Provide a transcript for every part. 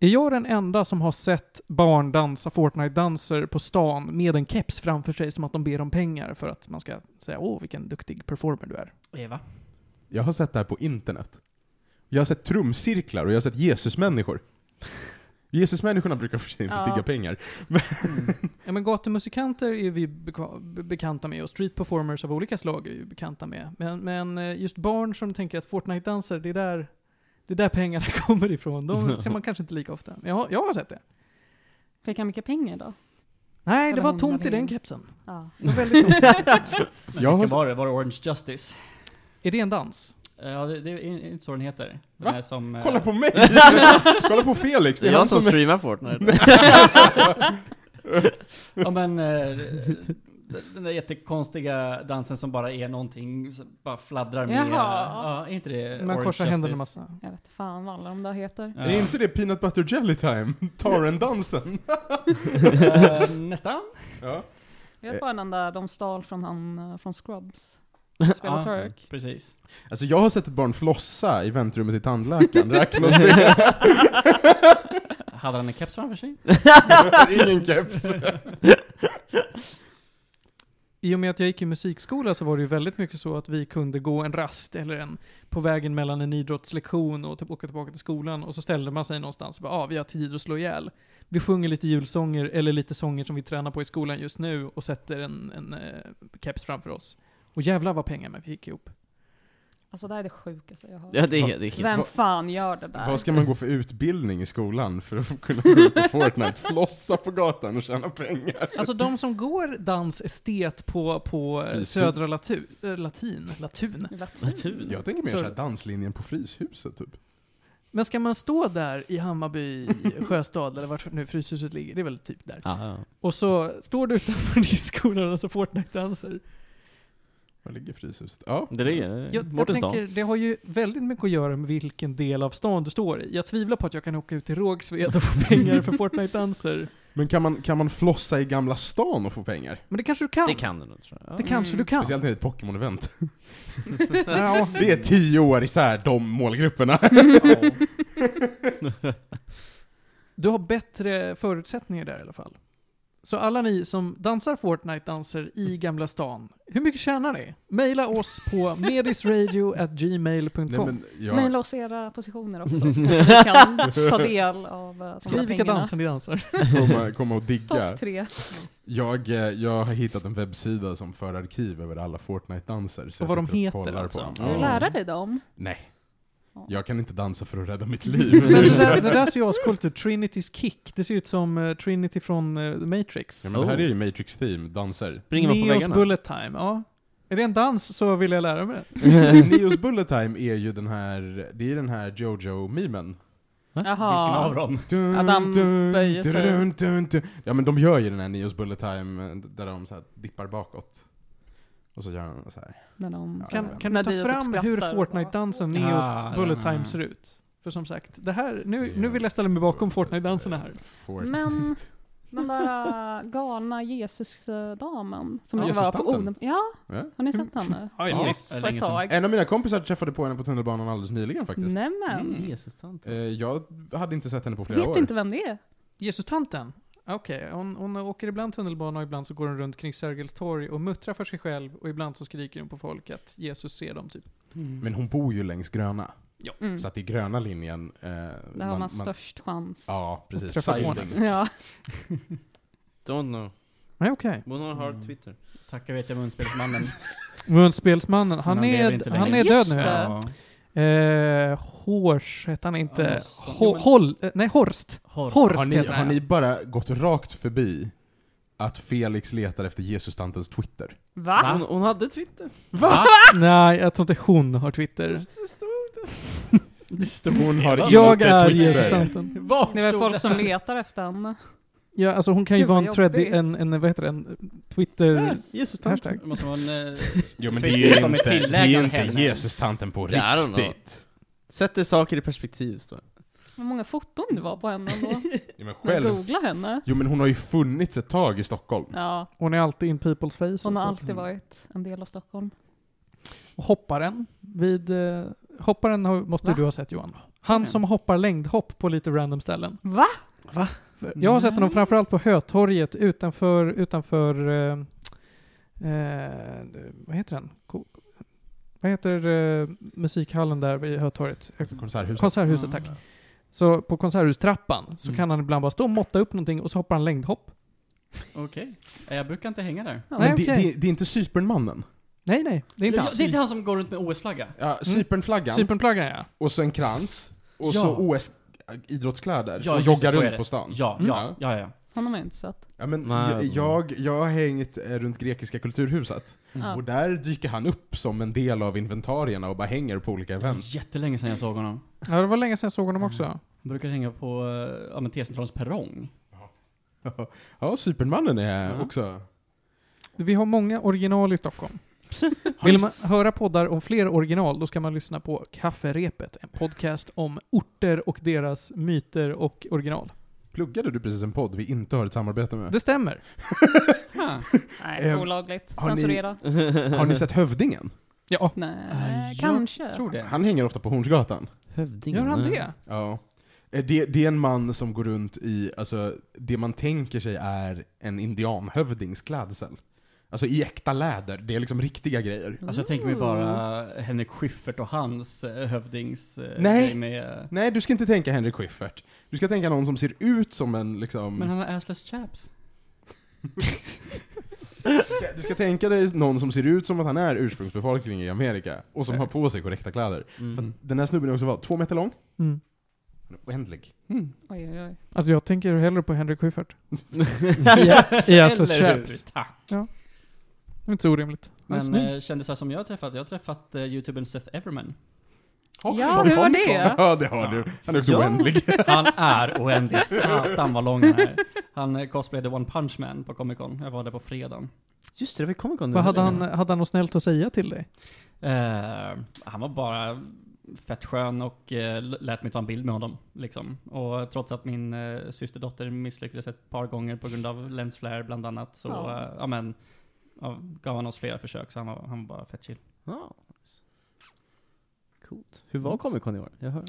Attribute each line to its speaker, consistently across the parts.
Speaker 1: Är jag den enda som har sett barn dansa Fortnite-danser på stan med en keps framför sig som att de ber om pengar för att man ska säga åh vilken duktig performer du är?
Speaker 2: Eva?
Speaker 3: Jag har sett det här på internet. Jag har sett trumcirklar och jag har sett Jesusmänniskor. Jesusmänniskorna brukar för sig inte
Speaker 4: Ja.
Speaker 3: tigga pengar.
Speaker 1: Ja men gatumusikanter är vi beka- be- bekanta med och street performers av olika slag är vi bekanta med. Men, men eh, just barn som tänker att Fortnite-danser, det är där, det är där pengarna kommer ifrån. De ser man kanske inte lika ofta. Men jag, har- jag har sett det.
Speaker 4: Fick han mycket pengar då?
Speaker 1: Nej,
Speaker 4: Eller
Speaker 1: det var
Speaker 4: hon
Speaker 1: tomt
Speaker 4: eller
Speaker 1: i den
Speaker 4: hon.
Speaker 1: kepsen.
Speaker 4: Ja.
Speaker 1: Det var väldigt tomt.
Speaker 3: Jag har
Speaker 2: Vilken
Speaker 3: sett,
Speaker 2: var det? Var det Orange Justice?
Speaker 1: är det en dans?
Speaker 2: Eh, Ja, det, det är in- inte så den heter. Den
Speaker 3: Va?
Speaker 2: är som... eh,
Speaker 3: kolla på mig! kolla på Felix,
Speaker 5: Det är
Speaker 3: han
Speaker 5: jag som
Speaker 3: som är-
Speaker 5: streamar Fortnite.
Speaker 2: Ja men... eh, Den där jättekonstiga dansen som bara är någonting som bara fladdrar med...
Speaker 4: Jaha.
Speaker 2: Ja, är inte det
Speaker 1: Man
Speaker 2: Orange
Speaker 1: korsar
Speaker 2: Justice?
Speaker 1: händerna massa.
Speaker 4: Jag vet fan vad alla de där heter.
Speaker 2: Ja.
Speaker 3: Är inte det peanut butter jelly time? Taren-dansen?
Speaker 2: Eh, Nästan.
Speaker 3: Ja.
Speaker 4: Jag vet bara den där de stal från han eh, från Scrubs. Spelar
Speaker 2: Ja,
Speaker 4: Turk.
Speaker 2: Precis.
Speaker 3: Alltså jag har sett ett barn flossa i väntrummet i tandläkaren, räknas det?
Speaker 2: Hade han en keps framför sig?
Speaker 3: Ingen keps.
Speaker 1: I och med att jag gick i musikskola så var det ju väldigt mycket så att vi kunde gå en rast eller en på vägen mellan en idrottslektion och typ åka tillbaka till skolan och så ställde man sig någonstans och bara ah, vi har tid att slå ihjäl. Vi sjunger lite julsånger eller lite sånger som vi tränar på i skolan just nu och sätter en, en eh, keps framför oss. Och jävlar vad pengar man fick ihop.
Speaker 4: Alltså det här är det sjukaste jag har hört.
Speaker 5: ja, det är det. är-
Speaker 4: Vem
Speaker 3: Vad-
Speaker 4: fan gör det där?
Speaker 3: Vad ska man gå för utbildning i skolan för att kunna gå ut på Fortnite, flossa på gatan och tjäna pengar?
Speaker 1: Alltså de som går dans estet på, på eh,
Speaker 3: Fy,
Speaker 1: Södra latu, eh, Latin, Latun.
Speaker 4: Latin.
Speaker 2: typ? Mm.
Speaker 5: Natur.
Speaker 3: Jag tänker mer
Speaker 1: Så-
Speaker 3: såhär danslinjen på Fryshuset typ.
Speaker 1: Men ska man stå där i Hammarby, Sjöstad eller vart nu Fryshuset ligger, det är väl typ där.
Speaker 5: Ja, ja.
Speaker 1: Och så står du utanför diskolan och så
Speaker 5: Eh,
Speaker 1: Fortnite-danser.
Speaker 3: Var ligger Fryshuset? Ja.
Speaker 5: Det ligger
Speaker 1: Jag,
Speaker 5: jag,
Speaker 1: jag
Speaker 5: bort i stan.
Speaker 1: tänker, det har ju väldigt mycket att göra med vilken del av stan du står i. Jag tvivlar på att jag kan åka ut till Rågsved och få pengar för Fortnite-danser.
Speaker 3: Men kan man, kan man flossa i Gamla stan och få pengar?
Speaker 1: Men det kanske du kan.
Speaker 5: Det kan du nog tror jag.
Speaker 1: Det kanske du
Speaker 4: Mm.
Speaker 1: kan.
Speaker 3: Speciellt när det är ett Pokémon-event.
Speaker 1: Ja.
Speaker 3: Det är tio år isär de målgrupperna.
Speaker 1: Du har bättre förutsättningar där i alla fall. Så alla ni som dansar Fortnite-danser i Gamla stan, hur mycket tjänar ni? Maila oss på medisradio.gmail.com.
Speaker 3: jag-
Speaker 4: Mejla oss era positioner också så vi kan ta del av eh, de här
Speaker 1: Skriv vilka
Speaker 4: pengarna.
Speaker 1: danser ni dansar.
Speaker 3: komma, komma och digga.
Speaker 4: Topp
Speaker 1: typ-
Speaker 4: tre.
Speaker 3: Jag, eh, jag har hittat en webbsida som för arkiv över alla Fortnite-danser. så
Speaker 1: Och
Speaker 3: jag
Speaker 1: vad de
Speaker 3: sitter
Speaker 1: heter
Speaker 3: och kollar
Speaker 1: alltså.
Speaker 3: dem.
Speaker 4: Kan du
Speaker 3: Ja.
Speaker 4: lära dig dem?
Speaker 3: Nej.
Speaker 4: Ja.
Speaker 3: Jag kan inte dansa för att rädda mitt liv.
Speaker 1: Men det där, det där ser ju ascoolt ut. Trinity's kick. Det ser ut som eh, Trinity från eh, The Matrix.
Speaker 3: ja, men det här är ju Matrix Team, danser.
Speaker 5: Springer man på
Speaker 1: Neos
Speaker 5: väggarna?
Speaker 1: bullet time, ja. Är det en dans så vill jag lära mig det.
Speaker 3: Neos Bullet Time är ju den här, det är den här Jojo-memen.
Speaker 2: Vilken av
Speaker 4: Jaha.
Speaker 2: dem?
Speaker 3: Dun,
Speaker 4: Att han
Speaker 3: dun,
Speaker 4: böjer sig.
Speaker 3: dun, dun, dun. Ja men de gör ju den här Neos Bullet Time eh, där de så här dippar bakåt. Och så gör han så här.
Speaker 4: När de,
Speaker 1: Kan,
Speaker 3: Ja.
Speaker 1: kan
Speaker 4: när
Speaker 1: du ta
Speaker 4: Dio typ
Speaker 1: fram
Speaker 4: skrattar
Speaker 1: hur
Speaker 4: och
Speaker 1: Fortnite-dansen
Speaker 2: bara-
Speaker 1: Neos
Speaker 2: Ah,
Speaker 1: bullet
Speaker 2: den här.
Speaker 1: time ser ut? För som sagt, det här, nu, nu vill jag ställa mig bakom Fortnite-danserna här.
Speaker 3: Fortnite.
Speaker 4: Men- Den där äh, galna Jesus-damen som
Speaker 3: Ja,
Speaker 4: det var på
Speaker 3: Jesus-tanten.
Speaker 4: Odem. Ja,
Speaker 3: Ja.
Speaker 4: har ni sett henne?
Speaker 1: Ja,
Speaker 2: Ja,
Speaker 1: yes.
Speaker 2: det är
Speaker 4: För
Speaker 2: länge
Speaker 4: ett
Speaker 2: sedan.
Speaker 4: tag.
Speaker 3: En av mina kompisar träffade på henne på tunnelbanan alldeles nyligen faktiskt.
Speaker 2: Mm.
Speaker 4: Nämen.
Speaker 1: Mm.
Speaker 5: Jesus-tant.
Speaker 3: Eh, jag hade inte sett henne på flera
Speaker 4: Vet
Speaker 3: år.
Speaker 4: du inte vem det är?
Speaker 1: Jesus-tanten? Okej, hon, hon åker ibland tunnelbana och ibland så går hon runt kring Sergels torg och muttrar för sig själv och ibland så skriker hon på folk att Jesus ser dem typ.
Speaker 2: Mm.
Speaker 3: Men hon bor ju längs gröna.
Speaker 4: Mm.
Speaker 3: Så att i gröna linjen... Eh,
Speaker 4: Där har man störst chans.
Speaker 3: Ja, precis.
Speaker 1: träffar på
Speaker 3: Siding.
Speaker 4: Ja.
Speaker 5: Don't know.
Speaker 1: Nej okej.
Speaker 5: Bono har
Speaker 2: Mm.
Speaker 5: Twitter.
Speaker 2: Tackar vet jag munspelsmannen.
Speaker 1: Munspelsmannen, han,
Speaker 2: han lever inte
Speaker 1: är, han
Speaker 2: längre.
Speaker 1: är död
Speaker 4: Just
Speaker 1: nu.
Speaker 4: det.
Speaker 2: Ja.
Speaker 1: Eh, Hors hette han
Speaker 2: Ja,
Speaker 1: inte.
Speaker 2: så- jo,
Speaker 1: Ho,
Speaker 2: men-
Speaker 1: Holl, eh, nej, Horst.
Speaker 2: Horst.
Speaker 1: Horst
Speaker 3: Har ni,
Speaker 1: heter
Speaker 3: har
Speaker 1: han.
Speaker 3: ni bara gått rakt förbi att Felix letar efter Jesus-tantens Twitter?
Speaker 4: Va?
Speaker 5: Hon, hon hade Twitter.
Speaker 3: Va?
Speaker 1: Nej, jag tror inte hon har Twitter.
Speaker 2: Det stod
Speaker 3: Hon har
Speaker 2: Eva.
Speaker 3: inte
Speaker 1: Jag är
Speaker 3: Twitter.
Speaker 1: Jesus-tanten.
Speaker 2: Var
Speaker 4: Det är väl
Speaker 2: stod
Speaker 4: folk som letar efter henne.
Speaker 1: Ja, alltså hon kan ju
Speaker 4: Gud, vad
Speaker 1: vara en, thread,
Speaker 4: jobbigt.
Speaker 1: en, en, vad heter det, en Twitter...
Speaker 5: Jesus-tanten.
Speaker 1: Hashtag.
Speaker 2: Det måste vara en... eh,
Speaker 3: Jo men det
Speaker 2: Twitter
Speaker 3: är ju
Speaker 2: som är
Speaker 3: inte, det är ju
Speaker 2: tillägnad
Speaker 3: inte
Speaker 2: henne.
Speaker 3: Jesus-tanten på
Speaker 5: I don't know.
Speaker 3: riktigt.
Speaker 5: Sätter saker i perspektiv, står det.
Speaker 4: Hur många foton det var på henne ändå.
Speaker 3: Jo men,
Speaker 4: Jag
Speaker 3: själv,
Speaker 4: googlar henne.
Speaker 3: jo men hon har ju funnits ett tag i Stockholm.
Speaker 4: Ja,
Speaker 1: Hon är alltid in people's faces.
Speaker 4: hon har
Speaker 1: så-
Speaker 4: alltid varit en del av Stockholm.
Speaker 1: Hopparen. Vid, eh, hopparen har, måste
Speaker 4: Va?
Speaker 1: du ha sett Johan. Han som hoppar längdhopp på lite random ställen.
Speaker 4: Va?
Speaker 1: För Jag har sett honom framförallt på Hötorget utanför, utanför eh, eh, vad heter den? Ko- Vad heter eh, musikhallen där vid Hötorget? Eh,
Speaker 3: Konserthuset.
Speaker 1: Konserthuset, tack. Så på konserthustrappan så
Speaker 2: Mm.
Speaker 1: kan han ibland bara stå och måtta upp någonting och så hoppar han längdhopp.
Speaker 2: Okej. Nej, Jag brukar inte hänga där.
Speaker 1: Nej,
Speaker 3: Men det,
Speaker 1: okej.
Speaker 3: det, det är inte Cypernmannen?
Speaker 1: Nej, nej. Det är inte
Speaker 2: Ja,
Speaker 1: han.
Speaker 2: det är inte han som går runt med OS-flagga.
Speaker 3: Ja,
Speaker 1: Mm.
Speaker 3: Cypernflaggan,
Speaker 1: Cypernplaggan ja.
Speaker 3: och så en krans, och
Speaker 2: Ja.
Speaker 3: så OS-idrottskläder,
Speaker 2: Ja,
Speaker 3: och
Speaker 2: just det,
Speaker 3: joggar
Speaker 2: så är
Speaker 3: runt
Speaker 2: det.
Speaker 3: på stan.
Speaker 2: Ja,
Speaker 3: Mm.
Speaker 2: ja, ja, ja.
Speaker 4: Honom har jag inte sett.
Speaker 3: Ja, men
Speaker 5: Nej.
Speaker 3: jag, jag, jag har hängt eh, runt Grekiska kulturhuset,
Speaker 4: Ja.
Speaker 3: och där dyker han upp som en del av inventarierna och bara hänger på olika
Speaker 2: Det var
Speaker 3: event.
Speaker 2: jättelänge sedan jag såg honom.
Speaker 1: Ja, det var länge sedan jag såg honom också.
Speaker 2: Han brukar hänga på eh, ja, men T-centralens perrong.
Speaker 3: Ja, Cypernmannen är
Speaker 5: Ja.
Speaker 3: också...
Speaker 1: Vi har många original i Stockholm. Vill man höra poddar om fler original, då ska man lyssna på Kafferepet, en podcast om orter och deras myter och original.
Speaker 3: Pluggade du precis en podd vi inte har ett samarbete med?
Speaker 1: Det stämmer.
Speaker 2: Ha.
Speaker 4: Nej,
Speaker 3: Ehm,
Speaker 4: olagligt.
Speaker 3: har ni-
Speaker 4: Censurera.
Speaker 3: Har ni sett Hövdingen?
Speaker 1: Ja.
Speaker 2: Eh,
Speaker 4: Nej,
Speaker 2: jag
Speaker 4: kanske.
Speaker 2: Tror det.
Speaker 3: Han hänger ofta på Hornsgatan.
Speaker 5: Hövdingen.
Speaker 1: Gör han
Speaker 5: nej.
Speaker 1: det?
Speaker 3: Ja. Eh, Det, det är en man som går runt i, alltså det man tänker sig är en indianhövdings klädsel. Alltså i äkta läder, det är liksom riktiga grejer.
Speaker 2: Alltså jag tänker mig bara Henrik Schyffert och hans eh, hövdings... eh,
Speaker 3: Nej.
Speaker 2: grej Med, eh,
Speaker 3: Nej, du ska inte tänka Henrik Schyffert. Du ska tänka någon som ser ut som en liksom...
Speaker 2: Mm. men han har assless chaps.
Speaker 3: Du ska- Du ska tänka dig någon som ser ut som att han är ursprungsbefolkning i Amerika och som har på sig korrekta kläder.
Speaker 5: Mm.
Speaker 3: Den här snubben är också vad, två meter lång?
Speaker 1: Mm.
Speaker 3: Han är Oändlig.
Speaker 2: hmm.
Speaker 4: Oj, oj, oj.
Speaker 1: Alltså jag tänker hellre på Henrik Schyffert. I- I Astless
Speaker 2: Eller hur?
Speaker 1: Chaps.
Speaker 2: Tack.
Speaker 1: Det är inte så orimligt. Han är
Speaker 2: Men
Speaker 1: snygg.
Speaker 2: eh, kändisar som jag har träffat, jag har träffat eh, youtubern Seth Everman.
Speaker 4: Ja, hur var det?
Speaker 3: Ja, det har du. Han är också
Speaker 2: Ja.
Speaker 3: oändlig.
Speaker 2: Han är oändlig. Satan vad lång han är. Han eh, cosplayade One Punch Man på Comic Con. Jag var där på fredagen.
Speaker 5: Just det, det var ju Comic Con. Mm. nu,
Speaker 1: Vad hade
Speaker 5: eller?
Speaker 1: han, hade han något snällt att säga till dig?
Speaker 2: Eh, han var bara fett skön och eh, lät mig ta en bild med honom. Liksom. Och trots att min eh, systerdotter misslyckades ett par gånger på grund av lensflare bland annat så
Speaker 4: Ja.
Speaker 2: eh, ja, men, ja, gav han oss flera försök så han var, han var bara fett chill.
Speaker 5: Ja. nice. Coolt. Hur var Comic Con i år? Jag hör.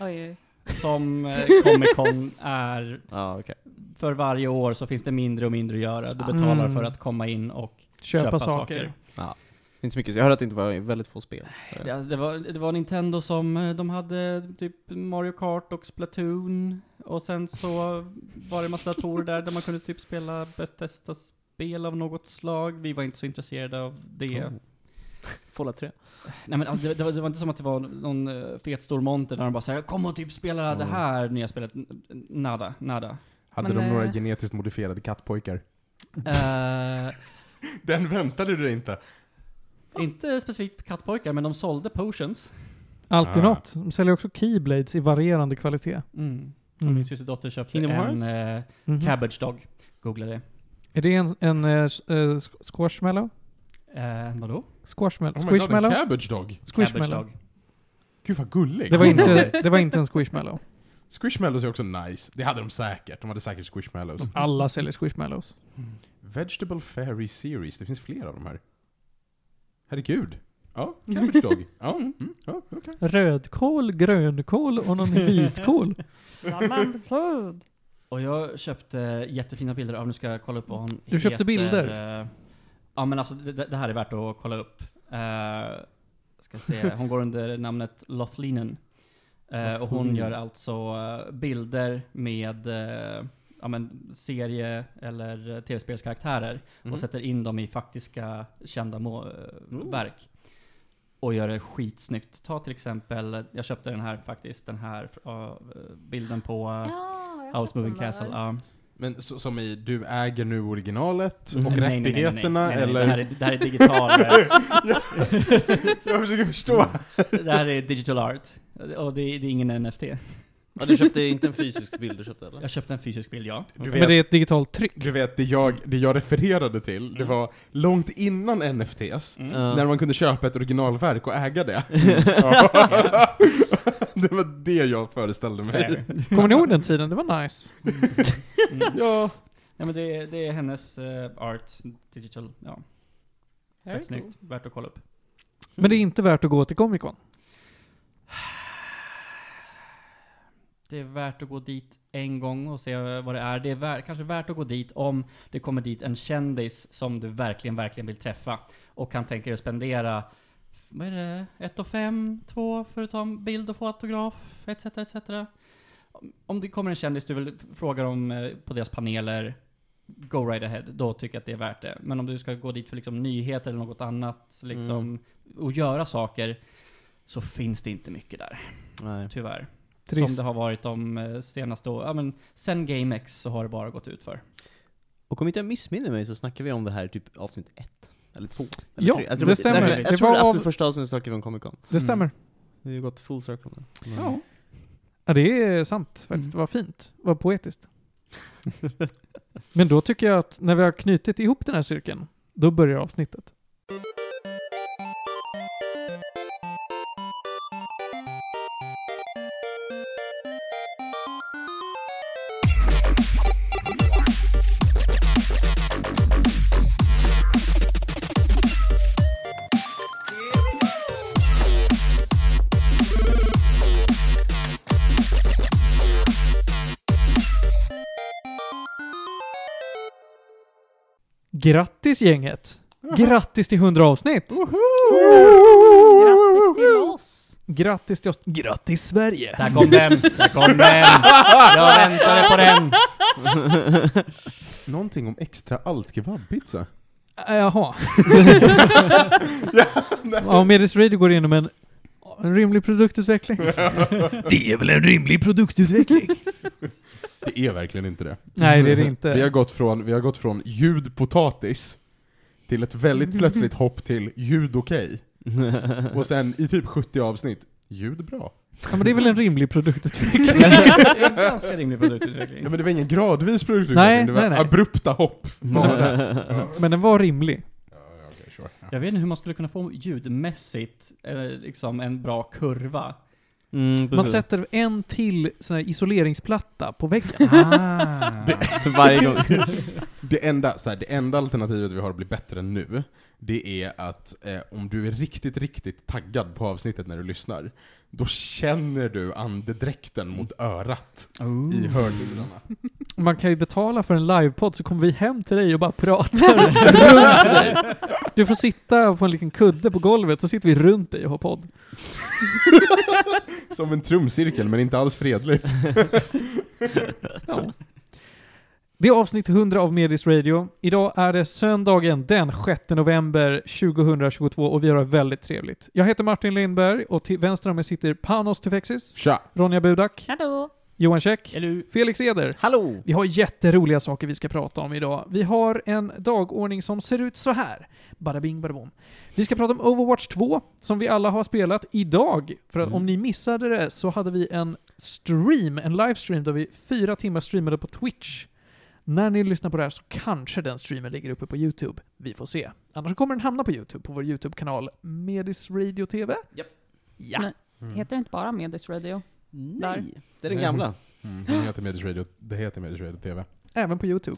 Speaker 4: oj, oj.
Speaker 2: Som eh, Comic Con är,
Speaker 5: Ja, okej.
Speaker 2: för varje år så finns det mindre och mindre att göra. Du
Speaker 1: Ja.
Speaker 2: betalar
Speaker 1: Mm.
Speaker 2: för att komma in och
Speaker 1: Köpa,
Speaker 2: Köpa
Speaker 1: saker.
Speaker 2: saker.
Speaker 5: Inte så mycket. Jag hörde att det inte var väldigt få spel.
Speaker 2: Ja, det, var, det var Nintendo som, eh, de hade typ Mario Kart och Splatoon. Och sen så var det en massa datorer där, där man kunde typ spela Bethesda-spel av något slag. Vi var inte så intresserade av det.
Speaker 5: Oh. Fallout 3.
Speaker 2: Nej men det, det, var, det var inte som att det var någon eh, fet stor monter där de bara såhär, kom och typ spela det
Speaker 3: Mm.
Speaker 2: här nya spelet. N- Nada, nada.
Speaker 3: Hade
Speaker 4: Men,
Speaker 3: de några
Speaker 4: eh,
Speaker 3: genetiskt modifierade kattpojkar?
Speaker 2: Eh,
Speaker 3: Den väntade du dig inte.
Speaker 2: inte specifikt kattpojkar, men de sålde potions.
Speaker 1: Alltid
Speaker 3: Ah.
Speaker 1: något. De säljer också keyblades i varierande kvalitet.
Speaker 2: Mm.
Speaker 1: Mm.
Speaker 2: Min systerdotter köpte
Speaker 5: Kingdom
Speaker 2: en
Speaker 5: Hearts?
Speaker 2: eh,
Speaker 1: Mhm.
Speaker 2: cabbage dog. Googla det.
Speaker 1: Är det en, en eh, s- eh, sk- squashmallow?
Speaker 2: Eh, vadå?
Speaker 1: Squashmallow?
Speaker 3: Oh my god, en
Speaker 1: squishmallow?
Speaker 3: cabbage dog.
Speaker 2: Cabbage
Speaker 1: squishmallow?
Speaker 2: Dog.
Speaker 3: Gud vad gullig.
Speaker 1: Det var, inte, det var inte en squishmallow.
Speaker 3: Squishmallows är också nice. Det hade de säkert. De hade säkert squishmallows.
Speaker 1: Alla säljer squishmallows.
Speaker 3: Vegetable Fairy Series. Det finns fler av de här. Herregud. Ja, cabbage dog. Ja, mm, ja okej.
Speaker 1: Rödkål, grönkål och någon vitkål.
Speaker 4: Blandad food.
Speaker 2: Och jag köpte jättefina bilder av, nu ska jag kolla upp vad hon
Speaker 1: Du köpte
Speaker 2: heter.
Speaker 1: bilder?
Speaker 2: Eh, Ja men alltså det, det här är värt att kolla upp. Eh, ska se, hon går under namnet Lothlinen. Eh, och hon
Speaker 3: Lothlinen.
Speaker 2: gör alltså eh, bilder med eh, ja, men serie eller eh, tv-spelskaraktärer
Speaker 5: Mhm.
Speaker 2: och sätter in dem i faktiska kända må- eh,
Speaker 5: Ooh.
Speaker 2: verk. Och gör det skitsnyggt. Ta till exempel, jag köpte den här faktiskt, den här av, eh, bilden på eh,
Speaker 4: Ja, jag har sett
Speaker 2: House Moving
Speaker 4: den där.
Speaker 2: Castle. Ja.
Speaker 3: Men så, som i, du äger nu originalet och
Speaker 2: Mm. Nej, nej, nej, nej, nej.
Speaker 3: rättigheterna
Speaker 2: Nej, nej, nej,
Speaker 3: eller?
Speaker 2: Det här är, det här är digital, eh,
Speaker 3: Jag försöker förstå.
Speaker 2: det här är digital art. Och det, är- det är ingen NFT.
Speaker 5: Ja, du köpte inte en fysisk bild du köpte eller?
Speaker 2: Jag köpte en fysisk Mm. bild, ja.
Speaker 3: Du
Speaker 1: Men det är
Speaker 3: vet,
Speaker 1: ett digitalt tryck.
Speaker 3: du vet det, jag, det jag refererade till,
Speaker 1: Mm.
Speaker 3: det var långt innan NFTs.
Speaker 2: Mm.
Speaker 5: Ja.
Speaker 3: När man kunde köpa ett originalverk och äga det. Ja. det var det jag föreställde mig.
Speaker 2: Fair.
Speaker 1: Kommer ni ihåg den tiden? Det var nice.
Speaker 2: Mm.
Speaker 3: Ja.
Speaker 2: Ja, men det, är- det är hennes eh, art, digital, ja.
Speaker 4: Very
Speaker 2: Fett snyggt, värt att kolla upp.
Speaker 1: Men det är inte värt att gå till Comic Con.
Speaker 2: Det är värt att gå dit en gång och se vad det är. Det är värt, kanske värt att gå dit om det kommer dit en kändis som du verkligen, verkligen vill träffa. Och kan tänka dig att spendera, vad är det, 1 fem, två för att ta en bild och få autograf, etc, etc. Om- Om det kommer en kändis du vill fråga om eh, på deras paneler, go right ahead. Då tycker jag att det är värt det. Men om du ska gå dit för liksom nyheter eller något annat, liksom, och göra saker, så finns det inte mycket där,
Speaker 5: Nej.
Speaker 2: tyvärr. Som
Speaker 1: Trist.
Speaker 2: det har varit de eh, senaste åren. Ja, men sen GameX så har det bara gått ut för.
Speaker 5: Och om inte jag missminner mig så snackade vi om det här i typ avsnitt ett. Eller två. Eller
Speaker 1: Ja,
Speaker 5: tre.
Speaker 1: det
Speaker 5: var-
Speaker 1: stämmer.
Speaker 5: Jag, tror-
Speaker 1: Det
Speaker 5: jag tror
Speaker 1: var
Speaker 5: det
Speaker 1: av-
Speaker 5: absolut första avsnittet snackade vi om Comic Con.
Speaker 1: Det stämmer.
Speaker 2: Mm.
Speaker 5: Det har ju gått full circle nu. Men-
Speaker 1: Ja. ja, det är sant faktiskt.
Speaker 2: Mm.
Speaker 1: Det var fint. Det var poetiskt. Men då tycker jag att när vi har knutit ihop den här cirkeln, då börjar avsnittet. Grattis gänget! Grattis till 100 avsnitt!
Speaker 4: Grattis till oss!
Speaker 1: Grattis till oss! Grattis Sverige!
Speaker 2: Där kom den! Där kom den! Jag väntade på den!
Speaker 3: Någonting om extra allt kebabpizza.
Speaker 1: Äh, Jaha. ja, Medis Radio går igenom en, en rimlig produktutveckling. det är väl en rimlig produktutveckling?
Speaker 3: Det är verkligen inte det.
Speaker 1: Nej, det är det
Speaker 3: Vi har
Speaker 1: inte.
Speaker 3: gått från, vi har gått från ljud potatis till ett väldigt
Speaker 1: Mm.
Speaker 3: plötsligt hopp till ljud okej.
Speaker 5: Mm,
Speaker 3: Och sen i typ 70 avsnitt, ljud bra.
Speaker 1: Ja, men det är väl en rimlig produktutveckling?
Speaker 2: Det är en ganska rimlig produktutveckling.
Speaker 3: Ja, men det var ingen gradvis produktutveckling,
Speaker 1: Nej,
Speaker 3: det var
Speaker 1: nej, nej.
Speaker 3: abrupta hopp. Bara. Ja.
Speaker 1: Men den var rimlig.
Speaker 3: Ja, okej, sure.
Speaker 2: Jag vet inte hur man skulle kunna få ljudmässigt eh, liksom en bra kurva.
Speaker 5: Mm,
Speaker 1: Man
Speaker 5: precis.
Speaker 1: sätter en till sån här isoleringsplatta på väggen.
Speaker 5: För varje gång.
Speaker 3: Det enda, så här, det enda alternativet vi har att bli bättre än nu, det är att eh, om du är riktigt, riktigt taggad på avsnittet när du lyssnar, då känner du andedräkten mot örat i hörlurarna.
Speaker 1: Man kan ju betala för en livepodd så kommer vi hem till dig och bara pratar runt dig. Du får sitta på en liten kudde på golvet så sitter vi runt dig och har podd.
Speaker 3: Som en trumcirkel, men inte alls fredligt.
Speaker 1: Ja. Det är avsnitt 100 av Medis Radio. Idag är det söndagen den 6 november 2022 och vi har det väldigt trevligt. Jag heter Martin Lindberg och till vänster om mig sitter Panos Tufexis,
Speaker 3: Tja!
Speaker 1: Ronja Budak,
Speaker 4: Hallå!
Speaker 1: Johan Käck,
Speaker 2: Eller
Speaker 1: Felix Eder.
Speaker 5: Hallå!
Speaker 1: Vi har jätteroliga saker vi ska prata om idag. Vi har en dagordning som ser ut så här. Bada bing, bada bom. Vi ska prata om Overwatch 2, som vi alla har spelat idag. För att
Speaker 5: Mm.
Speaker 1: om ni missade det så hade vi en stream, en livestream, där vi fyra timmar streamade på Twitch. När ni lyssnar på det här så kanske den streamen ligger uppe på YouTube. Vi får se. Annars kommer den hamna på YouTube, på vår YouTube-kanal Medis Radio TV.
Speaker 5: Japp.
Speaker 1: Ja.
Speaker 4: Nej.
Speaker 3: Mm.
Speaker 4: Heter det inte bara Medis Radio? Där.
Speaker 5: Nej, det är den gamla.
Speaker 3: Mm, det heter Medis Radio, det heter Medis Radio TV.
Speaker 1: Även på YouTube.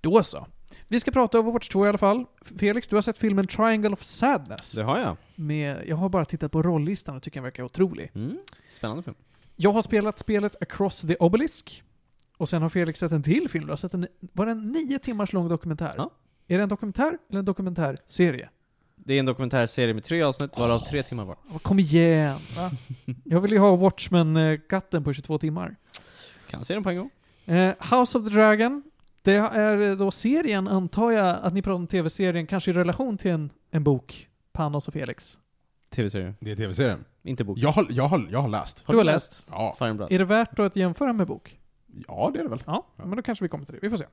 Speaker 1: Då så. Vi ska prata Overwatch 2 i alla fall. Felix, du har sett filmen Triangle of Sadness.
Speaker 5: Det har jag.
Speaker 1: Med, jag har bara tittat på rollistan och tycker den verkar otrolig.
Speaker 5: Mm. Spännande film.
Speaker 1: Jag har spelat spelet Across the Obelisk. Och sen har Felix sett en till film. Du har sett en, var det en nio timmars lång dokumentär?
Speaker 5: Ja.
Speaker 1: Är det en dokumentär eller en dokumentärserie?
Speaker 5: Det är en dokumentärserie med tre avsnitt, varav tre timmar var.
Speaker 1: Åh, kom igen! Va? jag vill ju ha Watchmen-katten på 22 timmar.
Speaker 5: Kan se den på en gång.
Speaker 1: Eh, House of the Dragon. Det är eh, då serien, antar jag, att ni pratar om tv-serien, kanske i relation till en, en bok. Panos och Felix.
Speaker 5: Tv-serie.
Speaker 3: Det är TV-serien.
Speaker 5: Inte bok.
Speaker 3: Jag har, jag, har, jag har läst.
Speaker 1: Du har läst?
Speaker 3: Ja.
Speaker 5: Fireblad.
Speaker 1: Är det värt då att jämföra med bok?
Speaker 3: ja, det är det väl.
Speaker 1: Ja, Mm. men då kanske vi kommer till det. Vi får se.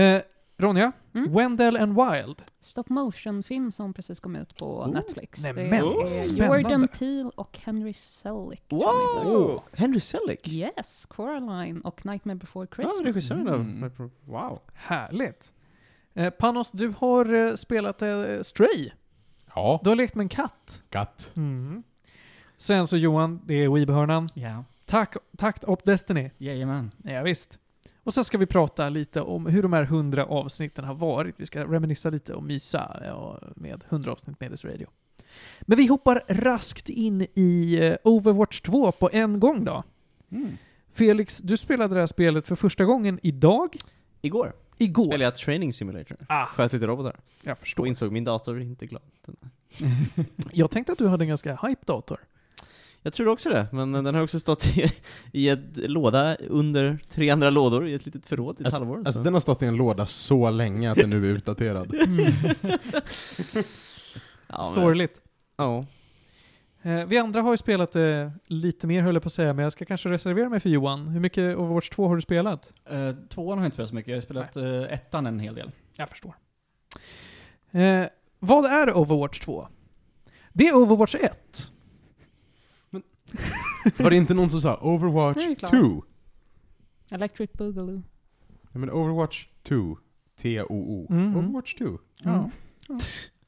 Speaker 1: Eh, Ronja,
Speaker 4: Mm.
Speaker 1: Wendell and Wild.
Speaker 4: Stop motion-film som precis kom ut på
Speaker 5: Oh,
Speaker 4: Netflix.
Speaker 1: nej
Speaker 4: Det
Speaker 1: men,
Speaker 4: är
Speaker 1: spännande.
Speaker 4: Jordan Peele och Henry Selick. tror jag de heter.
Speaker 5: Wow! Henry Selick?
Speaker 4: Yes, Coraline och Nightmare before
Speaker 5: Ja,
Speaker 4: Christmas.
Speaker 5: regissören av...
Speaker 3: Mm.
Speaker 5: Wow.
Speaker 1: Härligt. Eh, Panos, du har eh, spelat eh, Stray.
Speaker 3: Ja,
Speaker 1: Du har lekt med en katt.
Speaker 3: katt.
Speaker 1: Mm. Sen så Johan, det är Weebhörnan.
Speaker 2: Ja,
Speaker 1: Tack, Takt Op Destiny.
Speaker 2: jajamän.
Speaker 1: Ja, visst. Och sen ska vi prata lite om hur de här 100 avsnitten har varit. Vi ska reminissa lite och mysa ja, med 100 avsnitt Medis Radio. Men vi hoppar raskt in i eh, Overwatch 2 på en gång då.
Speaker 5: Mm.
Speaker 1: Felix, du spelade det här spelet för första gången idag?
Speaker 5: Igår
Speaker 1: Igår?
Speaker 5: spelade jag Training Simulator.
Speaker 1: Ah.
Speaker 5: Sköt lite robotar.
Speaker 1: Jag
Speaker 5: Då
Speaker 1: förstår.
Speaker 5: insåg min dator inte glad.
Speaker 1: Jag tänkte att du hade en ganska hype dator.
Speaker 5: Jag tror också det, men den har också stått i, i ett låda under tre andra lådor i ett litet förråd i ett
Speaker 3: Alltså-
Speaker 5: halvår.
Speaker 3: Alltså
Speaker 5: så.
Speaker 3: den har stått i en låda så länge att den nu är utdaterad.
Speaker 5: ja, men-
Speaker 1: Sorgligt.
Speaker 5: Ja.
Speaker 1: Eh, vi andra har ju spelat eh, lite mer höll jag på att säga, men jag ska kanske reservera mig för Johan. Hur mycket Overwatch 2 har du spelat?
Speaker 2: Eh, tvåan har jag inte spelat så mycket, jag har spelat eh, ettan en hel del.
Speaker 1: Jag förstår. Eh, vad är Overwatch 2? Det är Overwatch 1.
Speaker 3: Var det inte någon som sa Overwatch
Speaker 4: Det är klart.
Speaker 3: 2? Nej
Speaker 4: Electric Boogaloo.
Speaker 3: men Overwatch 2. T-O-O.
Speaker 1: Mhm.
Speaker 3: Overwatch 2.
Speaker 2: Ja.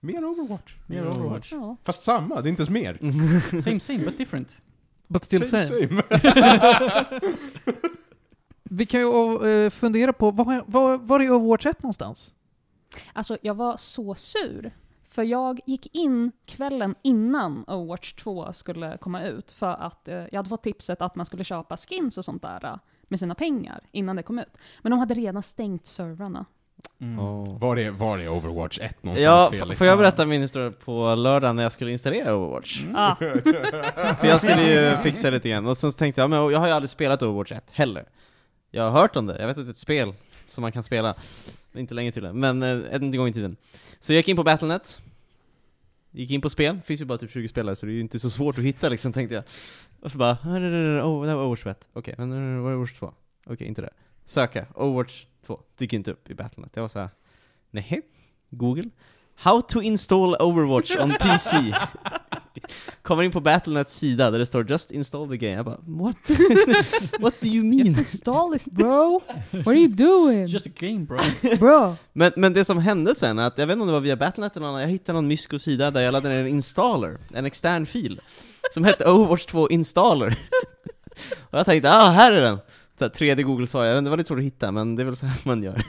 Speaker 3: Mer Overwatch.
Speaker 2: Mer Overwatch.
Speaker 4: Ja.
Speaker 3: Fast samma, det är inte ens mer.
Speaker 2: Same same but different.
Speaker 1: But Mm, still same.
Speaker 3: same.
Speaker 1: Vi kan ju eh, fundera på, var, var, var är Overwatch 1 någonstans?
Speaker 4: Alltså jag var så sur. För jag gick in kvällen innan Overwatch 2 skulle komma ut för att eh, jag hade fått tipset att man skulle köpa skins och sånt där eh, med sina pengar innan det kom ut. Men de hade redan stängt servrarna.
Speaker 2: Mm.
Speaker 5: Åh.
Speaker 3: Var är, var är Overwatch 1 någonstans
Speaker 5: Ja, f-
Speaker 3: Felix?
Speaker 5: får jag berätta min historia på lördagen när jag skulle installera Overwatch?
Speaker 4: Ah,
Speaker 5: För jag skulle ju fixa lite grann, och sen så tänkte jag, men jag har ju aldrig spelat Overwatch 1 heller. Jag har hört om det, jag vet att det är ett spel som man kan spela. Inte länge tydligen, men eh, en gång i tiden. Så jag gick in på Battlenet, gick in på spel, det finns ju bara typ 20 spelare så det är ju inte så svårt att hitta liksom, tänkte jag. Och så bara, "Ah, nej, nej, nej, oh, det här var Overwatch 1, okej, men nej, nej, nej, var det Overwatch 2? Okej, inte det. Söka, Overwatch 2, dyker inte upp i Battlenet. Jag var såhär, nej, Google. How to install Overwatch on PC. Kommer in på Battlenets sida där det står 'Just install the game' Jag bara 'What? What do you mean?'
Speaker 6: Just install it, bro. What are you doing,
Speaker 2: Just a game bro.
Speaker 6: bro?
Speaker 5: Men, men det som hände sen, är att jag vet inte om det var via Battlenet eller någon annan, jag hittade någon mysko-sida där jag laddade ner en installer, en extern fil, som hette Overwatch 2 Installer. Och jag tänkte 'Ah, här är den!' Så här, 3D Google-svar, jag vet inte, det var lite svårt att hitta, men det är väl så här man gör.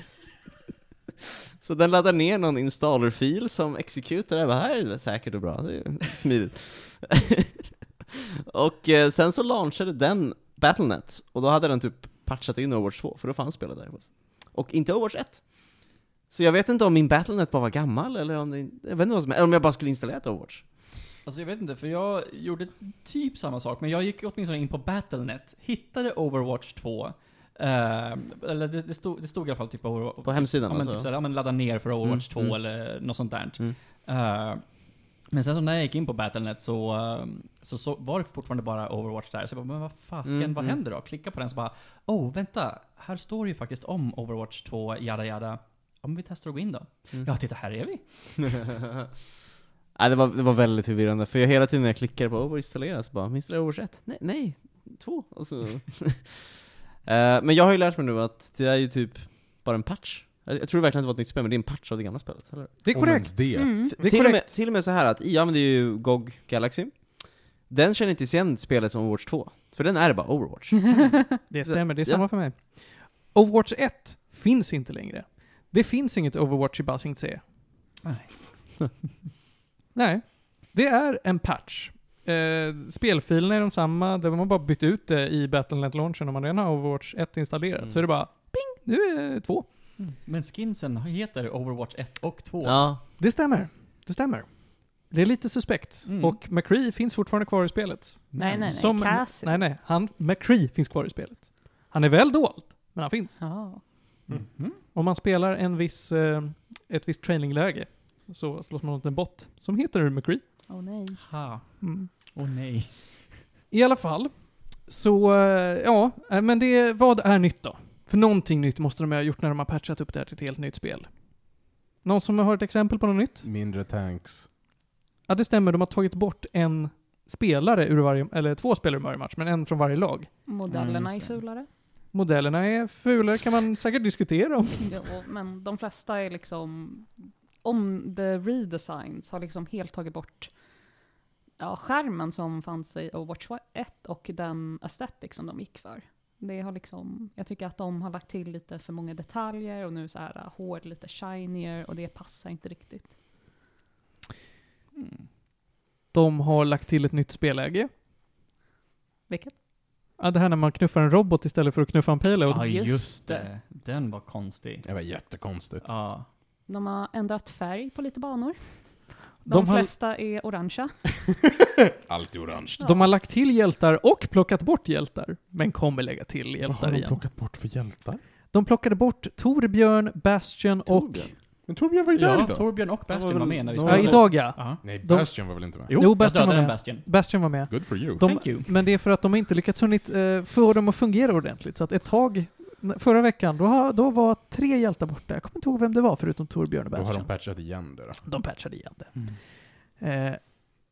Speaker 5: Så den laddar ner någon installer-fil som executar, jag bara 'Här är det säkert och bra, det är smidigt' Och eh, sen så launchade den Battlenet, och då hade den typ patchat in Overwatch 2, för då fanns spelet där. Och inte Overwatch 1. Så jag vet inte om min Battlenet bara var gammal eller om det, jag vet inte vad som, eller om jag bara skulle installera ett Overwatch.
Speaker 2: Alltså jag vet inte, för jag gjorde typ samma sak, men jag gick åtminstone in på Battlenet, hittade Overwatch 2, ehm, eller det, det, stod, det stod i alla fall typ Overwatch,
Speaker 5: På hemsidan
Speaker 2: ja, men
Speaker 5: alltså.
Speaker 2: typ såhär, ja men ladda ner för Overwatch
Speaker 5: Mm,
Speaker 2: 2
Speaker 5: mm.
Speaker 2: eller något sånt där.
Speaker 5: Mm.
Speaker 2: Eh, men sen så när jag gick in på Battlenet så, eh, så, så var det fortfarande bara Overwatch där, så jag bara, men vad fasken,
Speaker 5: Mm,
Speaker 2: vad
Speaker 5: mm.
Speaker 2: händer då? Klicka på den så bara, oh vänta, här står det ju faktiskt om Overwatch 2, jada jada. Ja men vi testar att gå in då.
Speaker 5: Mm.
Speaker 2: Ja titta, här är vi.
Speaker 5: nej, det var, det var väldigt förvirrande, för jag hela tiden när jag klickade på Overwatch installera så bara, "Men installera Overwatch 1? Nej, nej, 2. Och så. Eh, men jag har ju lärt mig nu att det är ju typ bara en patch. Jag, jag tror verkligen att det var ett nytt spel, men det är en patch av det gamla spelet, eller?
Speaker 1: Det är
Speaker 3: Om ens
Speaker 1: korrekt.
Speaker 3: Det.
Speaker 4: mm.
Speaker 1: Det är
Speaker 5: till, och med,
Speaker 1: korrekt.
Speaker 5: till och med så här att, jag använder ju GOG Galaxy. Den känner inte igen spelet som Overwatch 2, för den är bara Overwatch.
Speaker 4: Mm.
Speaker 1: Det stämmer, det är
Speaker 5: Ja.
Speaker 1: samma för mig. Overwatch 1 finns inte längre. Det finns inget Overwatch i Buzzing C.
Speaker 2: Nej.
Speaker 1: Nej. Det är en patch. Eh, spelfilerna är de samma, det har man bara bytt ut det i Battlenet-launchen. Om man redan har Overwatch 1 installerat
Speaker 5: Mm.
Speaker 1: så är det bara ping, nu är det 2.
Speaker 2: Mm. Men skinsen heter Overwatch 1 och 2.
Speaker 5: ja.
Speaker 1: Det stämmer. Det stämmer. Det är lite suspekt.
Speaker 2: Mm.
Speaker 1: Och McCree finns fortfarande kvar i spelet.
Speaker 4: Nej, nej, nej.
Speaker 1: Som-
Speaker 4: Cassie.
Speaker 1: Nej, nej. Han, McCree finns kvar i spelet. Han är väl dold, men han finns.
Speaker 4: Ja.
Speaker 2: Mhm.
Speaker 1: Om man spelar en viss, eh, ett visst trainingläge så slås man mot en bot som heter McCree.
Speaker 4: Åh nej.
Speaker 2: Ha. Åh nej.
Speaker 1: I alla fall, så eh, ja, eh, men det, vad är nytt då? För någonting nytt måste de ju ha gjort när de har patchat upp det här till ett helt nytt spel. Någon som har ett exempel på något nytt?
Speaker 3: Mindre tanks.
Speaker 1: Ja, det stämmer. De har tagit bort en spelare ur varje, eller två spelare ur varje match, men en från varje lag.
Speaker 2: Ja,
Speaker 4: Modellerna är
Speaker 2: just det.
Speaker 4: fulare.
Speaker 1: Modellerna är fulare, kan man säkert diskutera om.
Speaker 4: Ja, och- men de flesta är liksom, om the redesigns har liksom helt tagit bort ja, skärmen som fanns i Overwatch 1 och den aesthetic som de gick för. Det har liksom, jag tycker att de har lagt till lite för många detaljer och nu så här äh, hår lite shinier och det passar inte riktigt.
Speaker 1: De har lagt till ett nytt spelläge.
Speaker 4: Vilket?
Speaker 1: Ja, det här när man knuffar en robot istället för att knuffa en payload.
Speaker 2: Ja,
Speaker 4: just
Speaker 2: just
Speaker 4: det.
Speaker 2: det. Den var konstig.
Speaker 3: Det var jättekonstigt.
Speaker 2: Ja.
Speaker 4: De har ändrat färg på lite banor. De,
Speaker 1: De har-
Speaker 4: flesta är orangea.
Speaker 3: Allt i orange.
Speaker 4: Ja.
Speaker 1: De har lagt till hjältar och plockat bort hjältar, men kommer lägga till
Speaker 3: Vad har
Speaker 1: hjältar
Speaker 3: de
Speaker 1: igen.
Speaker 3: plockat bort för hjältar?
Speaker 1: De plockade bort Torbjörn, Bastion och...
Speaker 5: Torbjörn?
Speaker 3: Men Torbjörn var ju där
Speaker 2: ja,
Speaker 3: idag.
Speaker 2: Torbjörn och Bastion var,
Speaker 5: väl-
Speaker 2: med när vi
Speaker 5: de
Speaker 1: Ja,
Speaker 5: var
Speaker 2: spelade.
Speaker 5: väl-
Speaker 1: idag ja.
Speaker 2: Ja.
Speaker 3: Nej,
Speaker 1: De-
Speaker 3: Bastion var väl inte med?
Speaker 2: Jo,
Speaker 1: Jo,
Speaker 2: jo jag
Speaker 1: Bastion var
Speaker 2: dödade en
Speaker 1: med.
Speaker 2: Bastion.
Speaker 1: Bastion var med.
Speaker 3: Good for you.
Speaker 1: De-
Speaker 2: Thank you.
Speaker 1: Men det är för att de inte lyckats hunnit eh, få dem att fungera ordentligt. Så att ett tag, n- förra veckan, då, har- då var tre hjältar borta. Jag kommer inte ihåg vem det var förutom Torbjörn och
Speaker 3: Då har de
Speaker 1: Bastion.
Speaker 3: patchat igen det då.
Speaker 1: De patchade igen det. Eh,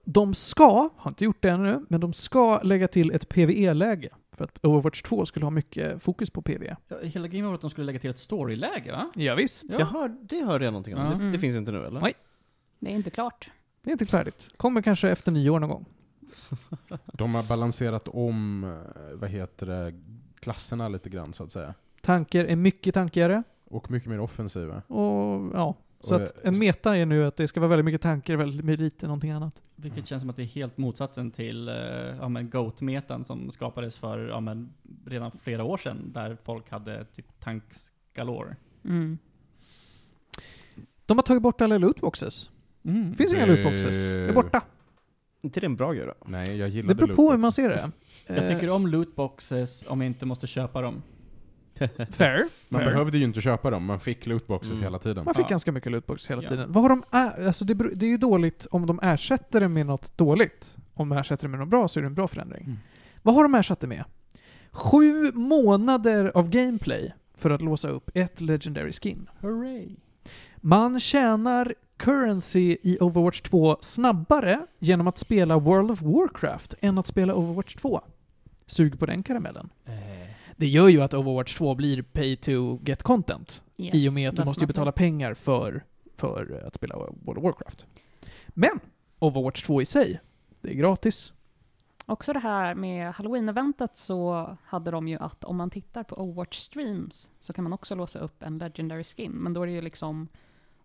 Speaker 1: de ska, har inte gjort det ännu, men de ska lägga till ett PVE-läge. För att Overwatch 2 skulle ha mycket fokus på E. PVE.
Speaker 2: Ja, Hela grejen var att de skulle lägga till ett storyläge va?
Speaker 1: Ja, visst.
Speaker 2: Ja.
Speaker 5: Jag hör, det hörde jag någonting om.
Speaker 2: Ja.
Speaker 5: Det, det
Speaker 4: Mm.
Speaker 5: finns inte nu eller?
Speaker 1: Nej.
Speaker 4: Det är inte klart.
Speaker 1: Det är inte färdigt. Kommer kanske efter nyår någon gång.
Speaker 3: De har balanserat om, eh, vad heter det, klasserna lite grann så att säga.
Speaker 1: Tanker är mycket tankigare
Speaker 3: Och mycket mer offensiva.
Speaker 1: och ja. Så
Speaker 3: Och,
Speaker 1: att
Speaker 3: eh,
Speaker 1: en meta är nu att det ska vara väldigt mycket tanker, väldigt mycket lite någonting annat.
Speaker 2: Vilket känns som att det är helt motsatsen till eh, ja, men GOAT-metan som skapades för ja, men redan flera år sedan där folk hade typ tanks galore.
Speaker 4: Mm.
Speaker 1: De har tagit bort alla lootboxes. Det finns inga
Speaker 3: Boo.
Speaker 1: lootboxes. Det är borta.
Speaker 5: inte det en bra grej då?
Speaker 3: Nej, jag
Speaker 1: Det
Speaker 3: gillade
Speaker 1: beror på hur man
Speaker 3: lootboxen.
Speaker 1: ser det.
Speaker 2: Jag
Speaker 1: Eh,
Speaker 2: tycker om lootboxes om jag inte måste köpa dem.
Speaker 1: fair.
Speaker 3: Man
Speaker 1: fair.
Speaker 3: behövde ju inte köpa dem, man fick lootboxes
Speaker 5: Mm.
Speaker 3: hela tiden.
Speaker 1: Man fick
Speaker 2: Ja.
Speaker 1: ganska mycket lootboxes hela
Speaker 2: Ja.
Speaker 1: tiden. Vad har de... ä- Alltså det, beror- det är ju dåligt om de ersätter det med något dåligt. Om de ersätter det med något bra så är det en bra förändring.
Speaker 2: Mm.
Speaker 1: Vad har de ersatt det med? Sju månader av gameplay för att låsa upp ett legendary skin.
Speaker 2: Hooray!
Speaker 1: Man tjänar currency i Overwatch 2 snabbare genom att spela World of Warcraft än att spela Overwatch 2. Sug på den karamellen.
Speaker 5: Eh,
Speaker 1: Det gör ju att Overwatch 2 blir pay to get content.
Speaker 4: Yes,
Speaker 1: I och med att du måste ju
Speaker 4: definitely.
Speaker 1: betala pengar för, för att spela World of Warcraft. Men Overwatch 2 i sig, det är gratis.
Speaker 4: Också det här med halloween-eventet så hade de ju att om man tittar på Overwatch streams så kan man också låsa upp en legendary skin. Men då är det ju liksom,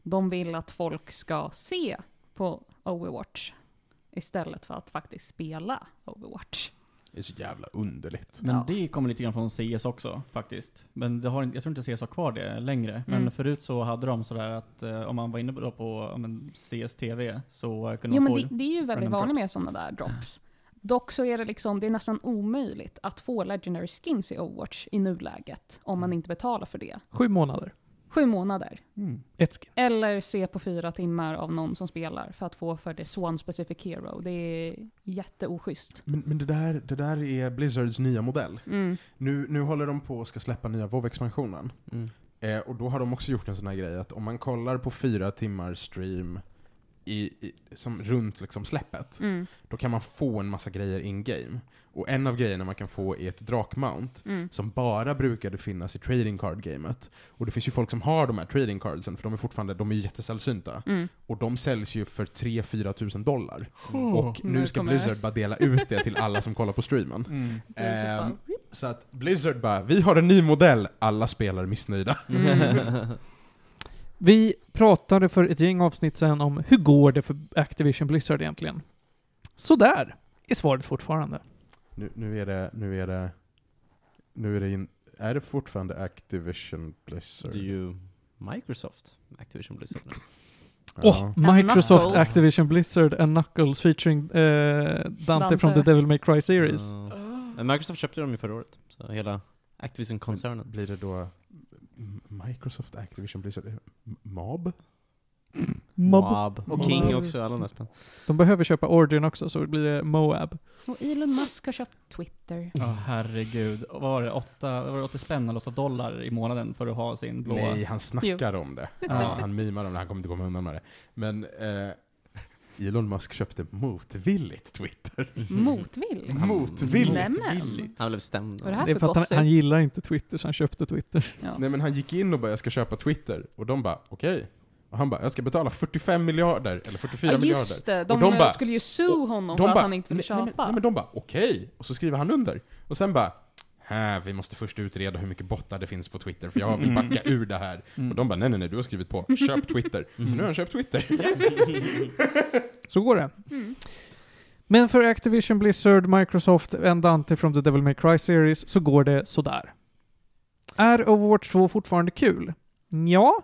Speaker 4: de vill att folk ska se på Overwatch istället för att faktiskt spela Overwatch.
Speaker 3: Det är så jävla underligt.
Speaker 2: Men
Speaker 4: Ja.
Speaker 2: det kommer lite grann från CS också faktiskt. Men det har, inte- jag tror inte CS har kvar det längre. Men
Speaker 4: Mm.
Speaker 2: förut så hade de sådär att eh, om man var inne på, då på ja, men CS-TV så eh, kunde
Speaker 4: Jo
Speaker 2: man
Speaker 4: men
Speaker 2: få...
Speaker 4: det, det är ju väldigt
Speaker 2: random drops.
Speaker 4: vanligt
Speaker 2: Ah.
Speaker 4: med sådana där drops. Dock så är det liksom, det är nästan omöjligt att få legendary skins i Overwatch i nuläget om
Speaker 2: Mm.
Speaker 4: man inte betalar för det.
Speaker 1: Sju månader.
Speaker 4: Sju månader.
Speaker 1: Ett skin.
Speaker 4: Eller se på fyra timmar av någon som spelar för att få för det Swan Specific Hero. Det är jätteoschysst.
Speaker 3: Men, men det, där, det där är Blizzards nya modell.
Speaker 4: Mm.
Speaker 3: Nu, nu håller de på och ska släppa nya wow expansionen
Speaker 5: Mm.
Speaker 3: Eh, och då har de också gjort en sån här grej att om man kollar på fyra timmar stream i, i, som runt liksom släppet,
Speaker 4: Mm.
Speaker 3: då kan man få en massa grejer in-game. Och en av grejerna man kan få är ett drakmount
Speaker 4: Mm.
Speaker 3: som bara brukade finnas i trading card-gamet. Och det finns ju folk som har de här trading cardsen, för de är fortfarande, de är ju jättesällsynta.
Speaker 4: Mm.
Speaker 3: Och de säljs ju för 3-4 tusen dollar.
Speaker 2: Mm.
Speaker 3: Och nu
Speaker 4: Nu
Speaker 3: ska
Speaker 4: kommer-
Speaker 3: Blizzard bara dela ut det till alla som kollar på streamen.
Speaker 2: Mm.
Speaker 4: Det är så
Speaker 3: Ehm,
Speaker 4: fan.
Speaker 3: så att Blizzard bara, vi har en ny modell, alla spelare missnöjda.
Speaker 4: Mm.
Speaker 1: Vi pratade för ett gäng avsnitt sen om hur går det för Activision Blizzard egentligen? Sådär, är svaret fortfarande.
Speaker 3: Nu, nu är det, nu är det, nu är det in, är det fortfarande Activision
Speaker 5: Det
Speaker 3: Blizzard?
Speaker 5: är ju Microsoft, Activision Blizzard nu.
Speaker 3: Ja.
Speaker 1: Åh, Microsoft
Speaker 4: Knuckles.
Speaker 1: Activision Blizzard and Knuckles featuring eh, Dante,
Speaker 4: Dante.
Speaker 1: från The Devil May Cry Series.
Speaker 5: Ja. Men Microsoft köpte dem ju förra året, så hela Activision-koncernen.
Speaker 3: Blir det då M- Microsoft Activision Blizzard? M- MAB?
Speaker 1: Mob.
Speaker 5: Och King också, alla de där spelen.
Speaker 1: De behöver köpa Origin också så blir det Moab.
Speaker 4: Och Elon Musk har köpt Twitter.
Speaker 2: Ja, herregud. Vad var det? 8, var det 80 spänn eller 8 dollar i månaden för att ha sin blåa?
Speaker 3: Nej, han snackar om det.
Speaker 2: Ja.
Speaker 3: Han mimar om det, han kommer inte komma undan med det. Men eh, Elon Musk köpte motvilligt Twitter.
Speaker 4: Motvill.
Speaker 3: Motvilligt?
Speaker 4: Nämen.
Speaker 2: Motvilligt.
Speaker 5: Mm. Han blev stämd.
Speaker 4: Vad är det här
Speaker 1: Det är för
Speaker 4: för
Speaker 1: att han,
Speaker 4: gossip?
Speaker 1: han gillar inte Twitter så han köpte Twitter.
Speaker 4: Ja.
Speaker 3: Nej men han gick in och bara 'Jag ska köpa Twitter' och de bara 'Okej' Och han bara 'Jag ska betala 45 miljarder' eller 44
Speaker 4: Ja,
Speaker 3: miljarder.
Speaker 4: just det.
Speaker 3: Och
Speaker 4: De, eh,
Speaker 3: de bara-
Speaker 4: skulle ju sue
Speaker 3: och
Speaker 4: honom för att han inte ville
Speaker 3: nej, nej,
Speaker 4: köpa.
Speaker 3: men, nej, men de bara 'Okej' och så skriver han under. Och sen bara "Hä, vi måste först utreda hur mycket bottar det finns på Twitter för jag vill
Speaker 2: Mm.
Speaker 3: backa ur det här.
Speaker 2: Mm.
Speaker 3: Och de bara nej nej nej, du har skrivit på, köp Twitter. Så nu har han köpt Twitter.
Speaker 1: Så går det.
Speaker 4: Mm.
Speaker 1: Men för Activision, Blizzard, Microsoft, and Dante from the Devil May Cry series så går det sådär. Är Overwatch 2 fortfarande kul? Ja,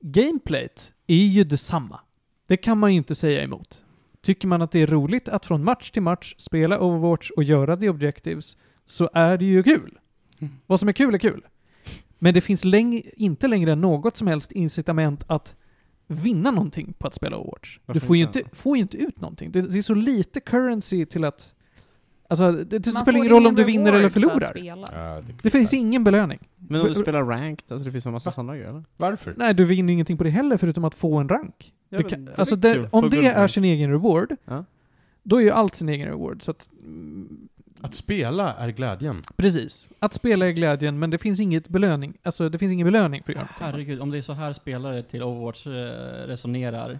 Speaker 1: gameplayt är ju detsamma. Det kan man ju inte säga emot. Tycker man att det är roligt att från match till match spela Overwatch och göra the objectives så är det ju kul.
Speaker 2: Mm.
Speaker 1: Vad som är kul är kul. Men det finns läng- inte längre något som helst incitament att vinna någonting på att spela Overwatch.
Speaker 5: Varför
Speaker 1: du får ju
Speaker 5: inte?
Speaker 1: inte, får ju inte ut någonting. Det, det är så lite currency till att... Alltså, det, det
Speaker 4: Man
Speaker 1: spelar
Speaker 4: får
Speaker 1: ingen roll om du
Speaker 4: reward
Speaker 1: vinner eller
Speaker 4: för att
Speaker 1: förlorar.
Speaker 4: spela.
Speaker 3: Ja, det-
Speaker 1: Det finns ingen belöning.
Speaker 5: Men om du spelar ranked, alltså det finns en massa sådana grejer eller?
Speaker 3: Varför?
Speaker 1: Nej, du vinner ingenting på det heller förutom att få en rank.
Speaker 5: Ja,
Speaker 1: Det
Speaker 5: men
Speaker 1: kan,
Speaker 5: det är
Speaker 1: alltså
Speaker 5: väl
Speaker 1: det,
Speaker 5: kul.
Speaker 1: om
Speaker 5: Få
Speaker 1: det
Speaker 5: guldkorn.
Speaker 1: är sin egen reward,
Speaker 5: Ja.
Speaker 1: då är ju allt sin egen reward. Så att, mm,
Speaker 3: Att spela är glädjen.
Speaker 1: precis. Att spela är glädjen, men det finns inget belöning. Alltså, det finns ingen belöning för att göra någonting.
Speaker 2: Herregud, om det är så här spelare till Overwatch eh, resonerar.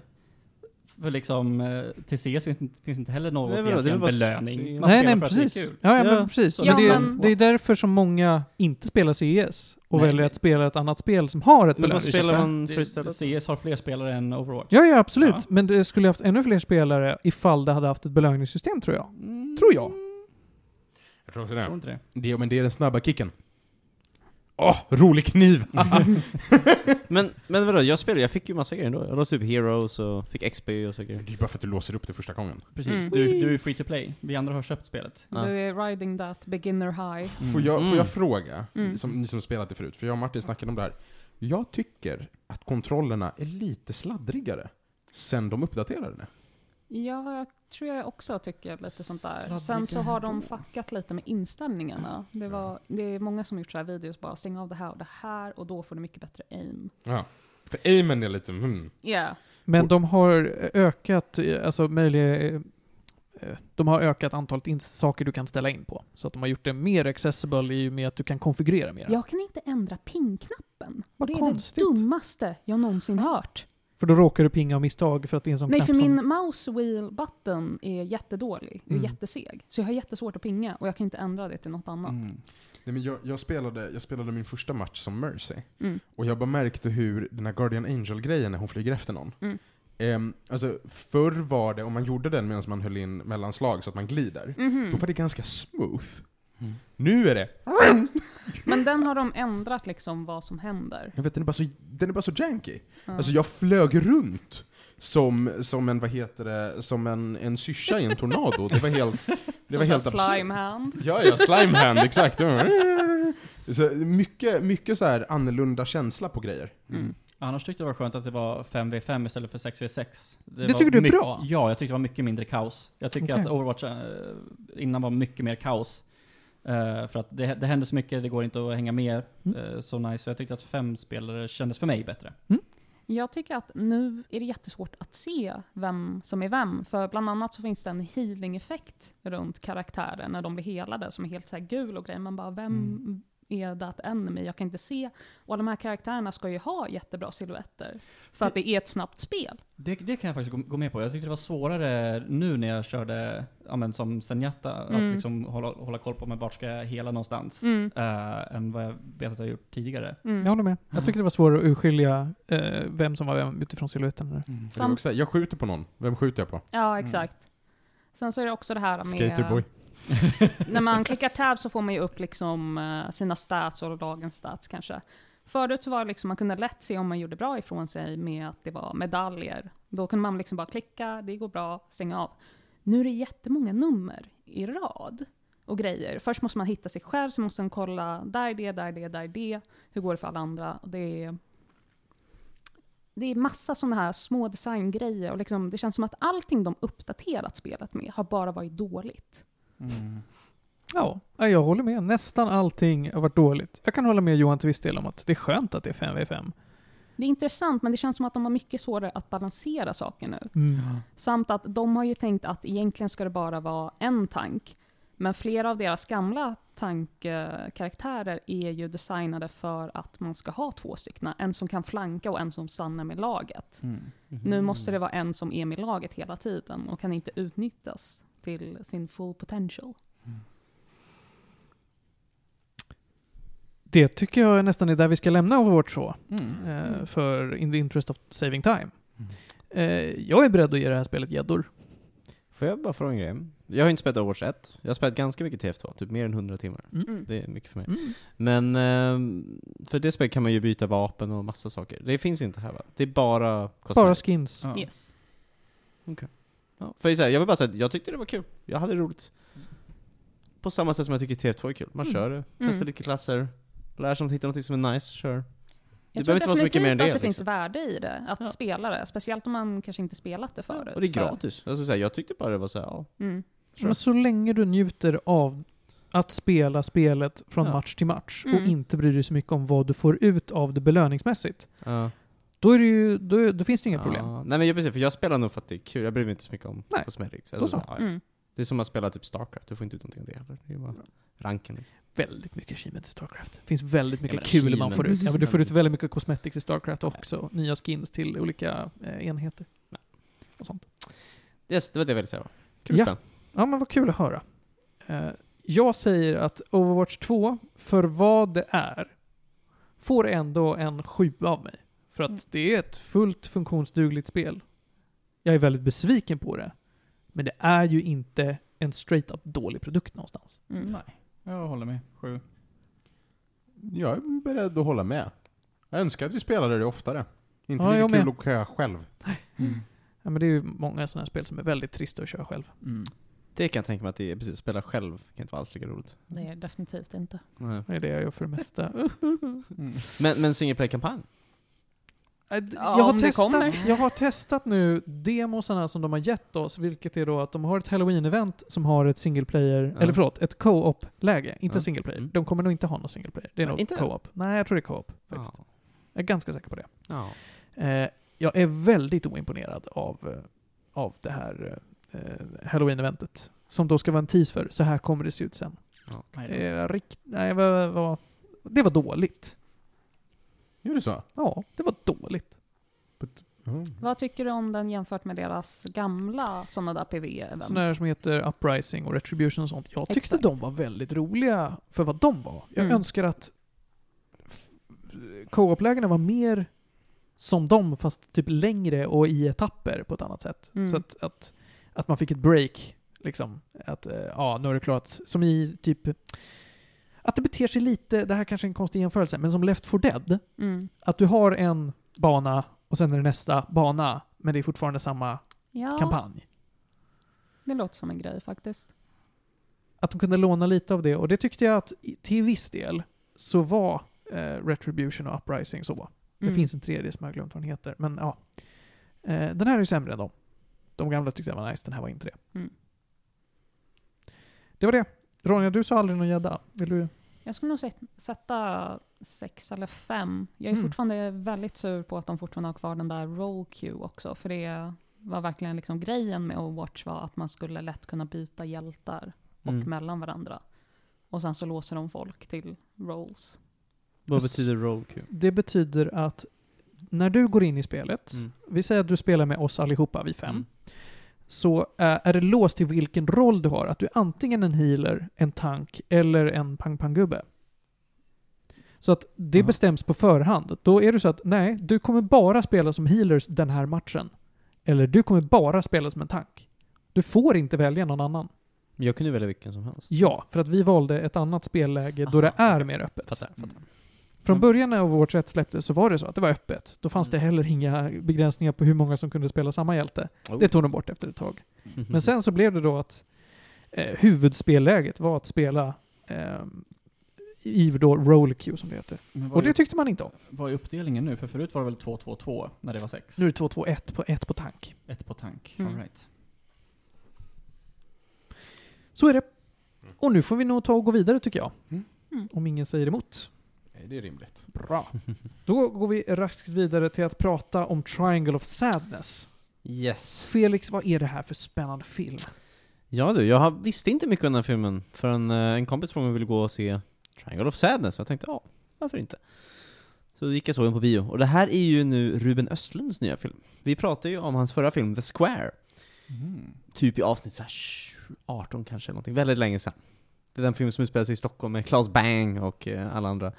Speaker 2: För liksom, eh, till CS finns, inte- finns inte heller något
Speaker 5: Nej, vadå, det är
Speaker 2: egentligen
Speaker 5: väl bara s-
Speaker 2: belöning.
Speaker 1: Nej,
Speaker 2: spelar
Speaker 1: nej,
Speaker 2: för att det är
Speaker 1: precis.
Speaker 2: kul.
Speaker 1: Ja, ja,
Speaker 5: Ja.
Speaker 1: men precis.
Speaker 4: Ja,
Speaker 1: men det, är-
Speaker 4: men-
Speaker 1: det är därför som många inte spelar CS och
Speaker 2: liksom- Nej,
Speaker 1: väljer
Speaker 2: men-
Speaker 1: att spela ett annat spel som har ett
Speaker 5: Men vad
Speaker 1: belöning.
Speaker 5: spelar man för
Speaker 2: Det-
Speaker 5: istället?
Speaker 2: CS har fler spelare än Overwatch.
Speaker 1: Ja, ja, absolut.
Speaker 2: Ja.
Speaker 1: Men det skulle haft ännu fler spelare ifall det hade haft ett belöningssystem, tror jag.
Speaker 2: Mm,
Speaker 1: Tror jag.
Speaker 3: Jag tror också
Speaker 2: tror
Speaker 3: det.
Speaker 2: inte det.
Speaker 3: det. Men det är den snabba kicken. Åh, rolig kniv!
Speaker 5: Men, men vadå, jag spelade, jag fick ju massa grejer ändå. Jag låste upp Heroes och fick XP och så grejer.
Speaker 3: Det är bara för att du låser upp det första gången.
Speaker 2: Precis,
Speaker 4: Mm.
Speaker 2: du, du är free to play. Vi andra har köpt spelet.
Speaker 5: Ja.
Speaker 4: Du är riding that beginner high.
Speaker 3: Får jag,
Speaker 5: Mm.
Speaker 3: får jag fråga,
Speaker 4: Mm.
Speaker 3: som, ni som spelat det förut, för jag och Martin snackade om det här. Jag tycker att kontrollerna är lite sladdrigare sen de uppdaterade det.
Speaker 4: Ja, jag tror jag också tycker lite sånt där.
Speaker 2: Sladdriga
Speaker 4: Sen så har de
Speaker 2: härvor.
Speaker 4: fuckat lite med inställningarna. Det, var, det är många som gjort så här videos, bara stäng av det här och det här och då får du mycket bättre aim.
Speaker 3: Ja. För aimen är lite hmm.
Speaker 4: Yeah.
Speaker 1: Men
Speaker 3: Och-
Speaker 1: de har ökat, eh, alltså möjliga, eh, de har ökat antalet ins- saker du kan ställa in på. Så att de har gjort det mer accessible i och med att du kan konfigurera mer.
Speaker 4: Jag kan inte ändra pingknappen. Och
Speaker 1: Vad
Speaker 4: det är
Speaker 1: konstigt.
Speaker 4: det dummaste jag någonsin hört.
Speaker 1: För då råkar du pinga av misstag för att det är en sån
Speaker 4: Nej,
Speaker 1: knapp
Speaker 4: för
Speaker 1: som...
Speaker 4: min mouse wheel button är jättedålig. och
Speaker 1: Mm.
Speaker 4: jätteseg. Så jag har jättesvårt att pinga och jag kan inte ändra det till något annat.
Speaker 3: Nej, men jag, jag, spelade, jag spelade min första match som Mercy.
Speaker 4: Mm.
Speaker 3: Och jag bara märkte hur den här Guardian Angel-grejen när hon flyger efter någon.
Speaker 4: Mm.
Speaker 3: Ehm, alltså, förr var det, om man gjorde den medan man höll in mellanslag så att man glider,
Speaker 4: Mhm.
Speaker 3: då var det ganska smooth.
Speaker 2: Mm.
Speaker 3: Nu är det,
Speaker 4: Men den har de ändrat liksom vad som händer.
Speaker 3: jag vet, den är bara så, den är bara så janky.
Speaker 4: Ja.
Speaker 3: Alltså jag flög runt som, som en, vad heter det, som en, en syrsa i en tornado. Det var helt, det var
Speaker 4: Som
Speaker 3: helt
Speaker 4: så här slime hand.
Speaker 3: Ja, ja, slimehand, exakt. Så mycket, mycket så här annorlunda känsla på grejer.
Speaker 4: Mm.
Speaker 2: Annars tyckte jag det var skönt att det var 5v5 istället för 6v6.
Speaker 1: Det
Speaker 2: var
Speaker 1: tycker du är
Speaker 2: myck-
Speaker 1: bra?
Speaker 2: Ja, jag tyckte det var mycket mindre kaos. Jag tycker
Speaker 1: Okej.
Speaker 2: att Overwatch eh, innan var mycket mer kaos. Eh, för att det, det händer så mycket, det går inte att hänga med
Speaker 1: Mm.
Speaker 2: eh, så nice. Så jag tyckte att fem spelare kändes för mig bättre.
Speaker 4: Jag tycker att nu är det jättesvårt att se vem som är vem. För bland annat så finns det en healing-effekt runt karaktärer när de blir helade som är helt så här gul och grejer. Man bara, vem
Speaker 2: Mm.
Speaker 4: är that enemy? Jag kan inte se. Och de här karaktärerna ska ju ha jättebra silhuetter. För att det är ett snabbt spel.
Speaker 2: Det, det kan jag faktiskt gå, gå med på. Jag tyckte det var svårare nu när jag körde, ja, men som Senjata,
Speaker 4: Mm.
Speaker 2: att liksom hålla, hålla koll på mig vart ska jag hela någonstans.
Speaker 4: Mm.
Speaker 2: eh, än vad jag vet att jag gjort tidigare.
Speaker 4: Mm.
Speaker 1: Jag håller med. Jag
Speaker 2: Mm.
Speaker 1: tycker det var svårare att urskilja eh, vem som var vem utifrån silhuetten.
Speaker 4: Sam-
Speaker 3: Jag, också, jag skjuter på någon, vem skjuter jag på?
Speaker 4: Ja, exakt. Sen så är det också det här med...
Speaker 3: Skaterboy.
Speaker 4: när man klickar tab så får man ju upp liksom eh, sina stats och dagens stats kanske. Förut så var det liksom, man kunde lätt se om man gjorde bra ifrån sig med att det var medaljer. Då kunde man liksom bara klicka, det går bra, stänga av. Nu är det jättemånga nummer i rad och grejer. Först måste man hitta sig själv, så måste man kolla, där är det, där är det, där är det. Hur går det för alla andra? Och Det är, det är massa sådana här små designgrejer och liksom, det känns som att allting de uppdaterat spelet med har bara varit dåligt.
Speaker 2: Mm.
Speaker 1: Ja, ja, jag håller med. Nästan allting har varit dåligt. Jag kan hålla med Johan till viss del om att det är skönt att det är 5v5.
Speaker 4: Det är intressant, men det känns som att de har mycket svårare att balansera saker nu.
Speaker 1: Mm.
Speaker 4: Samt att de har ju tänkt att egentligen ska det bara vara en tank. Men flera av deras gamla tankkaraktärer är ju designade för att man ska ha två stycken. En som kan flanka och en som stannar med laget.
Speaker 2: Mm.
Speaker 4: Nu måste det vara en som är med laget hela tiden och kan inte utnyttjas till sin full potential.
Speaker 1: Det tycker jag nästan är där vi ska lämna Overwatch 2.
Speaker 2: Mm.
Speaker 1: eh,
Speaker 4: Mm.
Speaker 1: för in the interest of saving time. Eh, jag är beredd att ge det här spelet gäddor.
Speaker 5: Får jag bara fråga en grej? Jag har inte spelat Overwatch 1. Jag har spelat ganska mycket TF2, typ mer än 100 timmar.
Speaker 4: Mm.
Speaker 5: Det är mycket för mig.
Speaker 1: Mm.
Speaker 5: Men, ehm, för det spelet kan man ju byta vapen och massa saker. Det finns inte här va? Det är bara
Speaker 1: Bara
Speaker 5: cosmetics.
Speaker 1: skins.
Speaker 2: Ja.
Speaker 4: Yes.
Speaker 5: Ja, för så här, jag vill bara säga att jag tyckte det var kul. Jag hade roligt. På samma sätt som jag tycker TF2 är kul. Man
Speaker 1: Mm.
Speaker 5: kör det, testar
Speaker 4: Mm.
Speaker 5: lite klasser, lär sig att hitta något som är nice, kör.
Speaker 4: Jag
Speaker 5: Det
Speaker 4: tror
Speaker 5: behöver inte vara så mycket mer än
Speaker 4: definitivt
Speaker 5: det,
Speaker 4: att det
Speaker 5: liksom.
Speaker 4: finns värde i det, att
Speaker 5: Ja.
Speaker 4: spela det. Speciellt om man kanske inte spelat det förut.
Speaker 5: Och det är
Speaker 4: För-
Speaker 5: gratis. Alltså, så här, jag tyckte bara det var så här, ja.
Speaker 4: Mm.
Speaker 1: Men så länge du njuter av att spela spelet från
Speaker 5: Ja.
Speaker 1: match till match och
Speaker 4: Mm.
Speaker 1: inte bryr dig så mycket om vad du får ut av det belöningsmässigt.
Speaker 5: ja.
Speaker 1: Då, är det ju, då, då finns det inga
Speaker 5: Ja.
Speaker 1: problem.
Speaker 5: Nej men jag, precis, för jag spelar nog för att det är kul. Jag bryr mig inte så mycket om
Speaker 1: Nej.
Speaker 5: cosmetics.
Speaker 1: Då
Speaker 5: Alltså,
Speaker 1: så.
Speaker 5: så. här, ja, ja.
Speaker 4: Mm.
Speaker 5: Det är som att spela typ Starcraft, du får inte ut någonting av det heller. Det är bara ranken liksom.
Speaker 1: Väldigt mycket achievements i Starcraft. Det finns väldigt mycket
Speaker 5: men
Speaker 1: kul man får ut.
Speaker 5: achievements.
Speaker 1: Ja, men du får ut väldigt mycket cosmetics i Starcraft också. Nya skins till olika eh, enheter. Och sånt.
Speaker 5: Yes, det var det jag ville säga va? Kul
Speaker 1: Ja.
Speaker 5: spel.
Speaker 1: Ja, men vad kul att höra. Eh, jag säger att Overwatch 2, för vad det är, får ändå en 7 av mig. För att
Speaker 4: Mm.
Speaker 1: det är ett fullt funktionsdugligt spel. Jag är väldigt besviken på det. Men det är ju inte en straight up dålig produkt någonstans.
Speaker 4: Mm.
Speaker 2: Nej, jag håller med. Sju.
Speaker 3: Jag är beredd att hålla med. Jag önskar att vi spelade det oftare. Inte
Speaker 1: Ja, jag
Speaker 3: lika kul
Speaker 1: med.
Speaker 3: att köa själv.
Speaker 2: Mm.
Speaker 1: Ja, men det är ju många sådana här spel som är väldigt trista att köra själv.
Speaker 2: Mm.
Speaker 5: Det kan jag tänka mig att det är, precis, spela själv kan inte vara alls lika roligt.
Speaker 4: Det är definitivt inte.
Speaker 5: Nej.
Speaker 1: Det är det jag gör för det mesta.
Speaker 2: Mm.
Speaker 5: Men, men single play-kampanj?
Speaker 1: Äh, d-
Speaker 4: Ja,
Speaker 1: jag, har
Speaker 4: om det
Speaker 1: testat,
Speaker 4: kommer.
Speaker 1: jag har testat nu demosarna som de har gett oss, vilket är då att de har ett halloween-event som har ett single player,
Speaker 5: Ja.
Speaker 1: eller förlåt, ett co-op-läge. Inte
Speaker 5: Ja.
Speaker 1: single player.
Speaker 5: Mm.
Speaker 1: De kommer nog inte ha någon single player. Det är
Speaker 5: Nej,
Speaker 1: nog
Speaker 5: inte?
Speaker 1: co-op. Nej, jag tror det är co-op faktiskt.
Speaker 5: Ja.
Speaker 1: Jag är ganska säker på det.
Speaker 5: Ja.
Speaker 1: Eh, jag är väldigt oimponerad av, eh, av det här eh, halloween-eventet. Som då ska vara en tease för, så här kommer det se ut sen.
Speaker 2: Nej, det-
Speaker 1: Eh, rikt, nej, vad, vad, det var dåligt.
Speaker 3: Gör du så?
Speaker 1: Ja, det var dåligt.
Speaker 3: Mm.
Speaker 4: Vad tycker du om den jämfört med deras gamla sådana
Speaker 1: Sådana
Speaker 4: där
Speaker 1: här
Speaker 4: PV-event?
Speaker 1: som heter Uprising och Retribution och sånt. Jag tyckte
Speaker 4: Exakt.
Speaker 1: de var väldigt roliga för vad de var. Jag
Speaker 4: Mm.
Speaker 1: önskar att f- co-op-lägena var mer som dem fast typ längre och i etapper på ett annat sätt.
Speaker 4: Mm.
Speaker 1: Så att, att, att man fick ett break. Liksom. Att eh, ja, nu har det klarat. Som i typ... Att det beter sig lite, det här kanske är en konstig jämförelse, men som Left 4 Dead.
Speaker 4: Mm.
Speaker 1: Att du har en bana och sen är det nästa bana, men det är fortfarande samma
Speaker 4: Ja,
Speaker 1: kampanj.
Speaker 4: det låter som en grej faktiskt.
Speaker 1: att de kunde låna lite av det och det tyckte jag att i- till viss del så var eh, Retribution och Uprising så. Det
Speaker 4: Mm.
Speaker 1: finns en tredje som jag har glömt vad den heter, men ja. Eh, den här är ju sämre än dem. De gamla tyckte jag var nice, den här var inte det.
Speaker 4: Mm.
Speaker 1: Det var det. Ronja, du sa aldrig någon gädda. Vill du?
Speaker 4: Jag skulle nog sätt- sätta sex eller fem. Jag är
Speaker 1: Mm.
Speaker 4: fortfarande väldigt sur på att de fortfarande har kvar den där roll queue också, för det var verkligen liksom grejen med Overwatch var att man skulle lätt kunna byta hjältar och
Speaker 5: Mm.
Speaker 4: mellan varandra. Och sen så låser de folk till roles.
Speaker 5: Vad
Speaker 1: s-
Speaker 5: betyder rollqueue?
Speaker 1: Det betyder att när du går in i spelet,
Speaker 5: Mm.
Speaker 1: vi säger att du spelar med oss allihopa, vi fem,
Speaker 5: Mm.
Speaker 1: så eh, är det låst till vilken roll du har. Att du är antingen en healer, en tank eller en pang-pang-gubbe. Så att det
Speaker 5: Aha.
Speaker 1: bestäms på förhand. Då är det så att nej, du kommer bara spela som healers den här matchen. Eller du kommer bara spela som en tank. Du får inte välja någon annan.
Speaker 5: Jag kunde välja vilken som helst.
Speaker 1: Ja, för att vi valde ett annat spelläge då
Speaker 5: Aha,
Speaker 1: det är
Speaker 5: okej.
Speaker 1: mer öppet.
Speaker 5: Fattar, fattar.
Speaker 1: Från
Speaker 5: Mm.
Speaker 1: början när Overwatch 1 släpptes så var det så att det var öppet. Då fanns
Speaker 5: Mm.
Speaker 1: det heller inga begränsningar på hur många som kunde spela samma hjälte.
Speaker 5: Oh. Mm.
Speaker 1: Det tog de bort efter ett tag.
Speaker 5: Mhm.
Speaker 1: Men sen så blev det då att eh, huvudspelläget var att spela eh, i då roll queue som det heter.
Speaker 2: Men vad,
Speaker 1: Och det
Speaker 2: är,
Speaker 1: tyckte man inte om.
Speaker 2: vad är uppdelningen nu? För förut var det väl 2-2-2 när det var sex?
Speaker 1: Nu är det 2-2-1 på, 1 på tank.
Speaker 2: Ett på tank.
Speaker 4: Mm.
Speaker 2: All right.
Speaker 1: Så är det. Och nu får vi nog ta och gå vidare tycker jag.
Speaker 2: Mm.
Speaker 4: Mm.
Speaker 1: Om ingen säger emot.
Speaker 3: Nej, det är rimligt.
Speaker 1: Bra. Då går vi raskt vidare till att prata om Triangle of Sadness.
Speaker 5: yes.
Speaker 1: Felix, vad är det här för spännande film?
Speaker 5: Ja du, jag har- visste inte mycket om den här filmen förrän eh, en kompis från mig ville gå och se Triangle of Sadness, och jag tänkte ja, varför inte? Så då gick jag och såg den på bio, och det här är ju nu Ruben Östlunds nya film. Vi pratade ju om hans förra film, The Square,
Speaker 2: Mm.
Speaker 5: typ i avsnitt så här 18 kanske, eller någonting, väldigt länge sedan. Det är den film som utspelar sig i Stockholm med Claes Bang och eh, alla andra.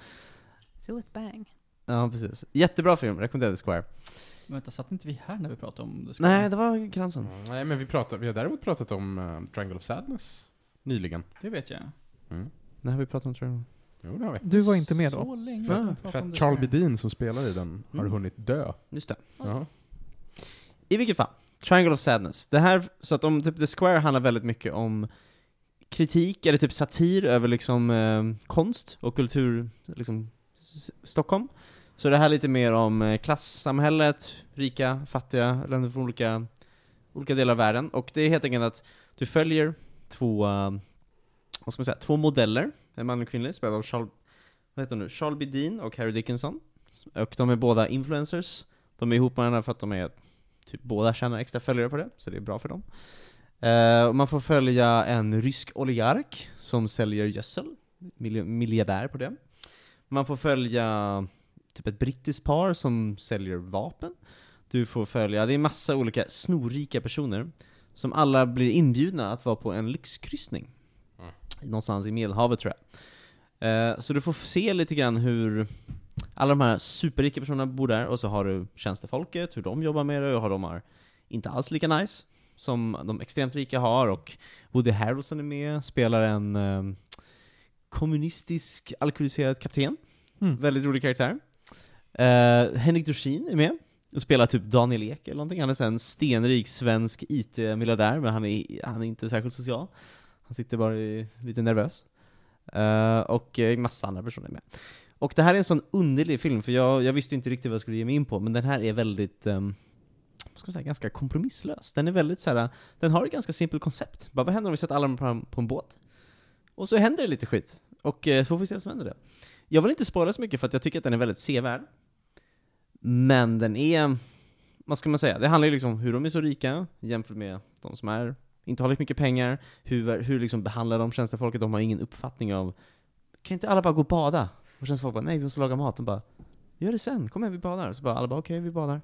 Speaker 4: Sillet bang.
Speaker 5: Ja, precis. Jättebra film, rekommenderade Square.
Speaker 2: Men vänta, satt inte vi här när vi pratade om det? skulle-
Speaker 5: Nej, det var kransen.
Speaker 3: Mm, Nej, men vi, pratar, vi har däremot pratat om eh, Triangle of Sadness nyligen.
Speaker 2: Det vet jag.
Speaker 3: Mm.
Speaker 5: Nej, vi pratade om Triangle.
Speaker 3: Jo, det har vi.
Speaker 1: Du var inte med då?
Speaker 2: Så länge
Speaker 5: För-
Speaker 3: Ah.
Speaker 2: sedan vi pratade
Speaker 3: För
Speaker 2: om
Speaker 3: att
Speaker 2: det.
Speaker 3: Charles Bedin som spelar i den har
Speaker 5: Mm.
Speaker 3: hunnit dö.
Speaker 5: Just det.
Speaker 3: Ja.
Speaker 5: I vilket fall, Triangle of Sadness. Det här, så att om typ The Square handlar väldigt mycket om kritik, eller typ satir över liksom eh, konst och kultur, liksom S- Stockholm. Så det här är lite mer om eh, klassamhället, rika, fattiga, länder från olika, olika delar av världen. Och det är helt enkelt att du följer två, eh, vad ska man säga, två modeller, en man och en kvinnlig, spelade av Charles, vad heter hon nu, Charles Bedin och Harry Dickinson. Och de är båda influencers. De är ihop med varandra för att de är typ båda tjänar extra följare på det, så det är bra för dem. Eh, och man får följa en rysk oligark som säljer gödsel, mil- miljardär på det. Man får följa typ ett brittiskt par som säljer vapen. Du får följa, det är massa olika snorrika personer som alla blir inbjudna att vara på en lyxkryssning.
Speaker 3: Mm.
Speaker 5: Någonstans i Medelhavet tror jag. Eh, så du får se lite grann hur alla de här superrika personerna bor där, och så har du tjänstefolket, hur de jobbar med det, och har de har inte alls lika nice som de extremt rika har, och Woody Harrelson är med, spelar en eh, kommunistisk alkoholiserad kapten.
Speaker 1: Mm.
Speaker 5: Väldigt rolig karaktär. Eh, Henrik Dorsin är med och spelar typ Daniel Ek eller någonting. Han är så en stenrik svensk IT-miljardär, men han är, han är inte särskilt social. Han sitter bara i, lite nervös. Eh, och eh, massa andra personer med. Och det här är en sån underlig film, för jag, jag visste inte riktigt vad jag skulle ge mig in på, men den här är väldigt, ehm, vad ska man säga, ganska kompromisslös. Den är väldigt så här, den har ett ganska simpelt koncept. Bara, vad händer om vi sätter alla på, på en båt? Och så händer det lite skit. Och eh, så får vi se vad som händer där. Jag vill inte spoila så mycket för att jag tycker att den är väldigt sevärd. Men den är, vad ska man säga, det handlar ju liksom om hur de är så rika jämfört med de som är, inte har lika mycket pengar, hur, hur liksom behandlar de tjänstefolket, de har ingen uppfattning av, kan inte alla bara gå och bada? Och tjänstefolk bara, nej vi måste laga mat, de bara, gör det sen, kom igen vi badar. Så bara alla bara, okej vi badar.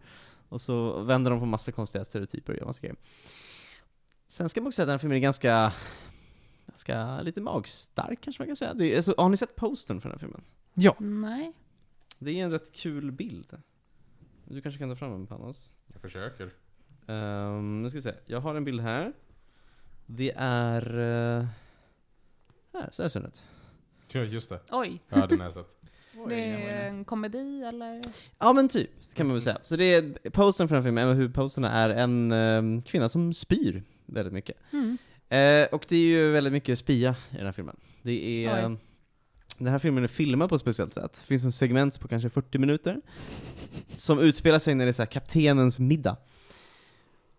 Speaker 5: Och så vänder de på massa konstiga stereotyper och gör massa grejer. Sen ska man också säga att den här filmen är ganska, ganska lite magstark kanske man kan säga. Det är, alltså, har ni sett posten för den här filmen?
Speaker 1: Ja.
Speaker 4: Nej.
Speaker 5: Det är en rätt kul bild. Du kanske kan ta fram den Panos?
Speaker 3: Jag försöker.
Speaker 5: Um, nu ska vi se, jag har en bild här. Det är... eh, här, så här ser den ut.
Speaker 3: Ja, just det.
Speaker 4: Oj.
Speaker 3: Ja, den har jag sett.
Speaker 2: Oj,
Speaker 4: det
Speaker 2: jag var
Speaker 4: är
Speaker 2: inne.
Speaker 4: en komedi eller?
Speaker 5: Ja men typ, kan man väl säga. Så det är posten för den här filmen, en av huvudposterna är en eh, kvinna som spyr väldigt mycket.
Speaker 4: Mm.
Speaker 5: Eh, och det är ju väldigt mycket spia i den här filmen. Det är...
Speaker 4: Oj.
Speaker 5: eh, Den här filmen är filmad på ett speciellt sätt. Det finns en segment på kanske 40 minuter som utspelar sig när det är så här kaptenens middag.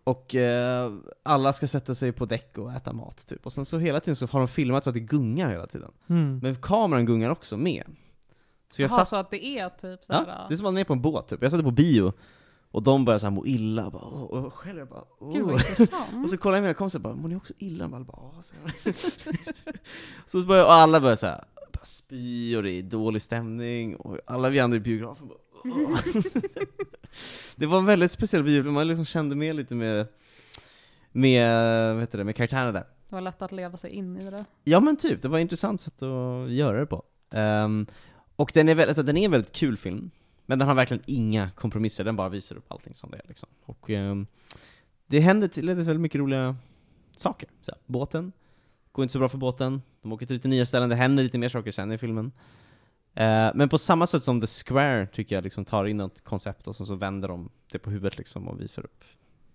Speaker 5: Och eh, alla ska sätta sig på däck och äta mat typ. Och sen så hela tiden så har de filmat så att det gungar hela tiden.
Speaker 1: Mm.
Speaker 5: Men kameran gungar också med. Så jag
Speaker 4: Jaha,
Speaker 5: satt...
Speaker 4: så att det är typ så
Speaker 5: Ja,
Speaker 4: här.
Speaker 5: det är som att man är på en båt typ. Jag satt på bio och de började så här må illa. Bara, åh, och själv jag bara åh.
Speaker 4: Gud vad intressant.
Speaker 5: Och så kollar jag mina kompisar och bara, mår ni också illa? Man bara, "Ja", så här. så börjar, och alla börjar såhär, bara spy och det är dålig stämning och alla vi andra i biografen bara, "Åh." Det var en väldigt speciell biograf, man liksom kände med lite med, med, vad heter det, med karaktärerna där.
Speaker 4: Det var lätt att leva sig in i det där.
Speaker 5: Ja men typ, det var ett intressant sätt att göra det på. Ehm, och den är, väl, alltså, den är en väldigt kul film, men den har verkligen inga kompromisser, den bara visar upp allting som det är liksom. Och ehm, det händer till det är väldigt mycket roliga saker. Så här, båten, går inte så bra för båten, de åker till lite nya ställen, det händer lite mer saker sen i filmen. Eh, men på samma sätt som The Square tycker jag liksom tar in något koncept och sen så vänder de det på huvudet liksom och visar upp